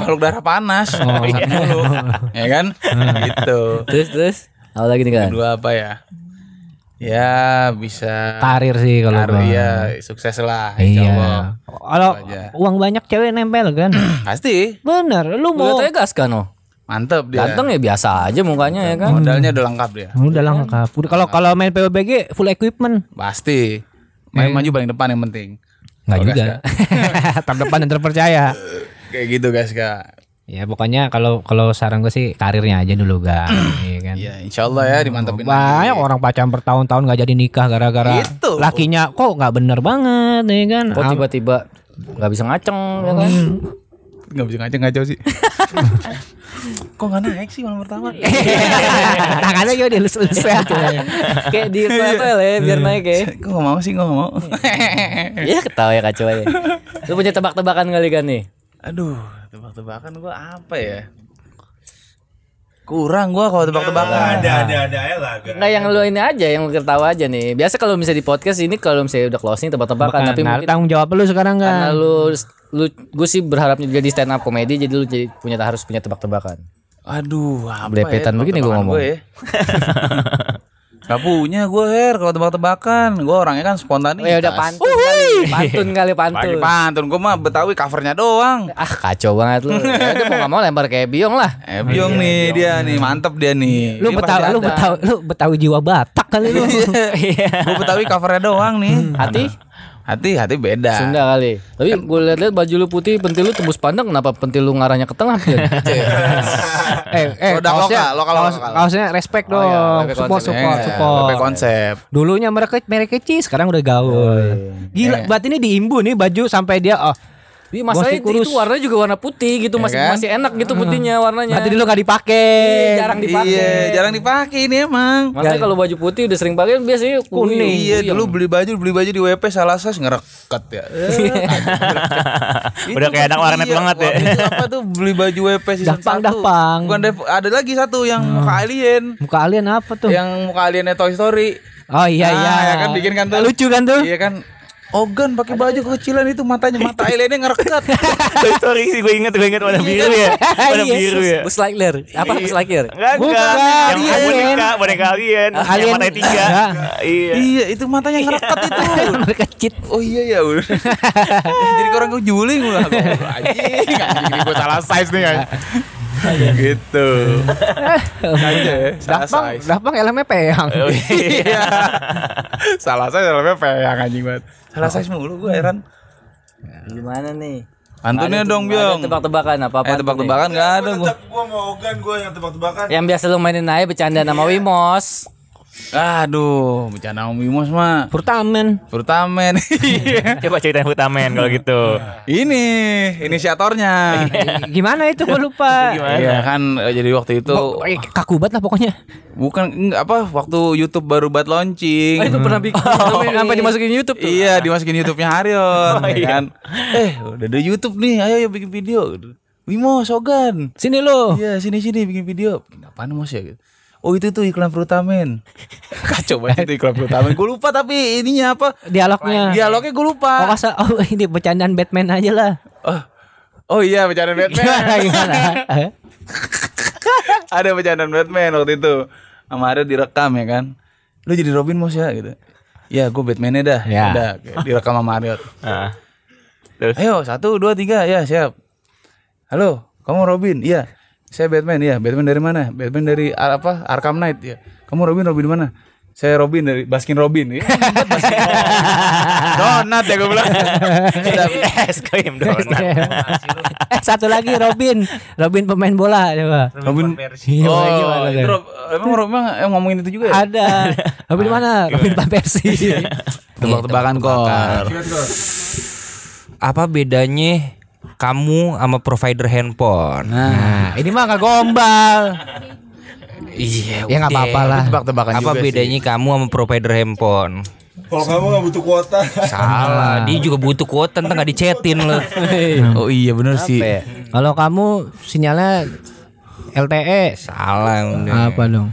[SPEAKER 3] Makhluk darah panas. Oh,
[SPEAKER 1] iya.
[SPEAKER 3] mulu. ya kan?
[SPEAKER 1] Hmm.
[SPEAKER 3] gitu.
[SPEAKER 2] Terus terus, apa lagi nih kan?
[SPEAKER 3] Dua apa ya? Ya bisa
[SPEAKER 1] Karir sih kalau
[SPEAKER 3] Karir,
[SPEAKER 1] gua.
[SPEAKER 3] ya sukses lah insya
[SPEAKER 1] Iya.
[SPEAKER 3] Allah.
[SPEAKER 1] Kalau
[SPEAKER 3] aja.
[SPEAKER 1] uang banyak cewek nempel kan.
[SPEAKER 3] Pasti
[SPEAKER 1] Bener, lu
[SPEAKER 2] Lihat
[SPEAKER 1] mau
[SPEAKER 2] aja gas kan oh.
[SPEAKER 3] mantep dia.
[SPEAKER 2] Ganteng ya biasa aja mukanya ya kan.
[SPEAKER 3] Modalnya udah lengkap dia.
[SPEAKER 1] udah lengkap. Udah kalau kalau main PUBG full equipment. Iya.
[SPEAKER 3] Pasti. Main maju paling depan yang penting.
[SPEAKER 1] Enggak juga.
[SPEAKER 4] Iya.
[SPEAKER 1] Terdepan dan terpercaya.
[SPEAKER 3] Kayak gitu guys kak.
[SPEAKER 1] Ya pokoknya kalau kalau saran gue sih karirnya aja dulu kan. Iya kan.
[SPEAKER 3] Ya insya Allah ya dimantepin.
[SPEAKER 1] Banyak orang pacaran bertahun-tahun nggak jadi nikah gara-gara
[SPEAKER 3] Itu.
[SPEAKER 1] lakinya kok nggak bener banget nih kan.
[SPEAKER 2] Kok Oh, tiba-tiba nggak bisa ngaceng ya kan?
[SPEAKER 3] Gak bisa ngaco-ngaco sih. Kok gak naik sih malam pertama?
[SPEAKER 1] Tangannya juga dilus-lus ya.
[SPEAKER 2] Kayak di toilet ya biar naik ya.
[SPEAKER 3] Gue gak mau sih, gue gak mau.
[SPEAKER 2] Iya ketawa ya kacau aja. Lu punya tebak-tebakan kali kan nih?
[SPEAKER 3] Aduh, tebak-tebakan gue apa ya? Kurang gue kalau tebak-tebakan.
[SPEAKER 5] Ada ada ada ya lah. agak.
[SPEAKER 2] Nggak yang lu ini aja yang lu ketawa aja nih. Biasa kalau misalnya di podcast ini kalau misalnya udah closing tebak-tebakan tapi
[SPEAKER 1] Nah,
[SPEAKER 2] mungkin
[SPEAKER 1] tanggung jawab lu sekarang kan.
[SPEAKER 2] karena lu lu gue sih berharapnya jadi stand up comedy jadi lu jadi punya harus punya tebak-tebakan.
[SPEAKER 3] Aduh, apa
[SPEAKER 2] Belepetan begini gua
[SPEAKER 3] tebak-tebakan
[SPEAKER 2] ngomong.
[SPEAKER 3] gua ya? Gak punya gue her kalau tebak-tebakan. Gue orangnya kan spontan.
[SPEAKER 2] Oh ya udah pantun kali, pantun kali pantun.
[SPEAKER 3] Pantun gue mah Betawi covernya doang.
[SPEAKER 2] Ah kacau banget lu. Ya udah mau nggak mau lempar kayak biong lah.
[SPEAKER 3] Eh, Biong nih dia nih, mantep dia nih.
[SPEAKER 1] Lu betawi lu betawi lu betawi jiwa Batak kali lu.
[SPEAKER 3] Iya. Gue Betawi covernya doang nih.
[SPEAKER 2] Hati?
[SPEAKER 3] Hati-hati beda.
[SPEAKER 1] Nah.
[SPEAKER 2] Sunda kali. Tapi gue liat-liat baju lu putih, pentil lu tembus pandang, kenapa pentil lu ngarahnya ke tengah? Pin?
[SPEAKER 1] Iya. eh, eh,
[SPEAKER 3] Produk
[SPEAKER 1] kaosnya,
[SPEAKER 3] lokal, lokal,
[SPEAKER 1] kaos-
[SPEAKER 3] lokal.
[SPEAKER 1] kaosnya respect dong,
[SPEAKER 2] lebih
[SPEAKER 1] support,
[SPEAKER 2] konsep.
[SPEAKER 1] support,
[SPEAKER 3] Eh,
[SPEAKER 1] support.
[SPEAKER 3] lebih konsep.
[SPEAKER 1] Dulunya mereka merek kecil, sekarang udah gaul.
[SPEAKER 3] Oh,
[SPEAKER 1] Gila,
[SPEAKER 3] iya. Eh.
[SPEAKER 1] buat ini diimbu nih baju sampai dia, oh,
[SPEAKER 2] Iya, masalahnya
[SPEAKER 1] Bos dikurus.
[SPEAKER 2] itu warnanya juga warna putih
[SPEAKER 1] Ya
[SPEAKER 2] gitu, masih
[SPEAKER 3] kan?
[SPEAKER 2] masih enak gitu putihnya warnanya.
[SPEAKER 1] nanti dulu gak dipakai.
[SPEAKER 2] Iya, jarang dipakai.
[SPEAKER 3] Iya, jarang dipakai ini emang.
[SPEAKER 2] Masalahnya kalau baju putih udah sering pakai biasanya kuning.
[SPEAKER 3] Ya, Iya, dulu beli baju beli baju di WP salah size ngereket ya.
[SPEAKER 4] Udah kayak anak warnet
[SPEAKER 1] iya.
[SPEAKER 4] banget ya.
[SPEAKER 3] waktu Itu apa tuh beli baju WP season
[SPEAKER 1] Dapang,
[SPEAKER 3] satu.
[SPEAKER 1] dapang.
[SPEAKER 3] Bukan Dev- ada lagi satu yang muka alien.
[SPEAKER 1] Muka alien apa tuh?
[SPEAKER 3] Yang muka aliennya Toy Story.
[SPEAKER 1] Oh iya
[SPEAKER 3] Ah,
[SPEAKER 1] iya.
[SPEAKER 3] ya kan bikin kan tuh.
[SPEAKER 1] Lucu kan tuh?
[SPEAKER 3] Iya kan. Ogan pakai baju kekecilan itu matanya mata aliennya ngereket.
[SPEAKER 4] Toy Story sih gue inget gue inget warna biru ya warna
[SPEAKER 1] Iya,
[SPEAKER 4] biru ya
[SPEAKER 2] Bus Lightyear. Apa
[SPEAKER 3] Iya.
[SPEAKER 2] Bus Lightyear?
[SPEAKER 4] Enggak,
[SPEAKER 1] Bukan,
[SPEAKER 4] enggak. Yang
[SPEAKER 1] alien.
[SPEAKER 4] boneka, boneka alien.
[SPEAKER 1] Alien.
[SPEAKER 4] Yang matanya tiga.
[SPEAKER 1] Enggak.
[SPEAKER 4] Iya.
[SPEAKER 3] iya, itu matanya ngereket itu.
[SPEAKER 1] Mereka cheat.
[SPEAKER 3] Oh iya ya udah. Jadi orang gue juling lah. Gua, Anjing, anjing gue salah size nih kan. gitu. Aja ya, salah
[SPEAKER 1] Dapang,
[SPEAKER 3] size.
[SPEAKER 1] dapang elemnya peyang.
[SPEAKER 3] Iya. salah size salah peyang anjing banget. Salah size mulu gue heran.
[SPEAKER 2] Gimana nih?
[SPEAKER 3] Antunnya
[SPEAKER 2] Ada-
[SPEAKER 3] dong,
[SPEAKER 2] ada
[SPEAKER 3] Biong.
[SPEAKER 2] Tebak-tebakan apa apa?
[SPEAKER 3] Eh tebak-tebakan gak ada
[SPEAKER 5] Gua
[SPEAKER 3] gue.
[SPEAKER 5] tetep gua mau Ogan gua yang tebak-tebakan.
[SPEAKER 2] Yang biasa lu mainin aja bercanda
[SPEAKER 3] Iya.
[SPEAKER 2] nama Wimos.
[SPEAKER 3] Aduh, bencana Om Wimos mah.
[SPEAKER 1] Pertamen.
[SPEAKER 3] Pertamen.
[SPEAKER 4] Coba ceritain Hutamen kalau gitu.
[SPEAKER 3] ini inisiatornya.
[SPEAKER 1] Gimana Nah, itu gue lupa.
[SPEAKER 3] Iya kan eh, jadi waktu itu
[SPEAKER 1] Oh, eh, Kaku banget lah pokoknya.
[SPEAKER 3] bukan enggak apa waktu YouTube baru buat launching.
[SPEAKER 2] Itu pernah bikin sampai dimasukin YouTube tuh.
[SPEAKER 3] Iya dimasukin YouTube-nya Harion
[SPEAKER 1] Oh,
[SPEAKER 3] ya
[SPEAKER 1] iya.
[SPEAKER 3] kan. Eh udah ada YouTube nih, ayo ya bikin video. Wimo Sogan.
[SPEAKER 1] Sini lu.
[SPEAKER 3] Iya sini sini bikin video. Apaan Mos ya? Gitu. Oh itu tuh iklan Perutamen. Kacau banget itu iklan Perutamen. Gue lupa tapi ininya apa?
[SPEAKER 1] Dialognya.
[SPEAKER 3] Dialognya gue lupa.
[SPEAKER 1] Oh, masa, oh ini bercandaan Batman aja lah.
[SPEAKER 3] Oh, oh iya bercandaan
[SPEAKER 1] Gimana
[SPEAKER 3] Batman.
[SPEAKER 1] gimana?
[SPEAKER 3] ada bercandaan Batman waktu itu. Sama ada direkam ya kan. Lu jadi Robin Mos ya gitu. Ya gue Batman-nya dah.
[SPEAKER 1] Ya. Ah.
[SPEAKER 3] Udah direkam sama Harion.
[SPEAKER 4] Nah.
[SPEAKER 3] Ayo satu dua tiga ya siap. Halo, kamu Robin? Iya. Saya Batman ya. Batman dari mana? Batman dari Ar- apa? Arkham Knight ya. Kamu Robin Robin mana? Saya Robin dari Baskin Robin. Ya, Baskin Robin. Donat ya gue bilang.
[SPEAKER 4] Es krim donat.
[SPEAKER 3] Iya,
[SPEAKER 1] eh satu lagi Robin, Robin pemain bola coba.
[SPEAKER 3] Robin.
[SPEAKER 1] Oh,
[SPEAKER 3] Oh, itu Rob, emang Rob emang emang ngomongin itu juga ya?
[SPEAKER 1] Ada. Robin mana? Robin Van Persie.
[SPEAKER 3] Iya. Tebak-tebakan kok.
[SPEAKER 7] Apa bedanya kamu sama provider handphone?
[SPEAKER 1] Nah, ini mah nggak gombal.
[SPEAKER 7] Iya,
[SPEAKER 1] Ya nggak
[SPEAKER 7] udah.
[SPEAKER 1] apa-apa lah.
[SPEAKER 3] Tebak-tebakan
[SPEAKER 7] Apa
[SPEAKER 3] juga
[SPEAKER 7] bedanya kamu sama provider handphone?
[SPEAKER 5] Kalau kamu nggak butuh kuota.
[SPEAKER 1] Nah.
[SPEAKER 7] Salah, dia juga butuh kuota ntar nggak dicetin lo.
[SPEAKER 3] sih. Oh iya bener sih.
[SPEAKER 1] ya? Kalau kamu sinyalnya E. LTE
[SPEAKER 7] Salah udah.
[SPEAKER 1] apa dong?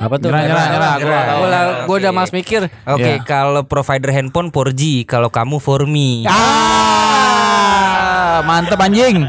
[SPEAKER 2] Apa tuh?
[SPEAKER 3] Nyerah, nyerah, nyerah, gua.
[SPEAKER 2] Gua lah, gua udah mas mikir.
[SPEAKER 7] Oke,
[SPEAKER 1] Ya.
[SPEAKER 7] kalau provider handphone
[SPEAKER 1] Ah,
[SPEAKER 7] 4G, kalau kamu for me.
[SPEAKER 3] Ah, mantep anjing.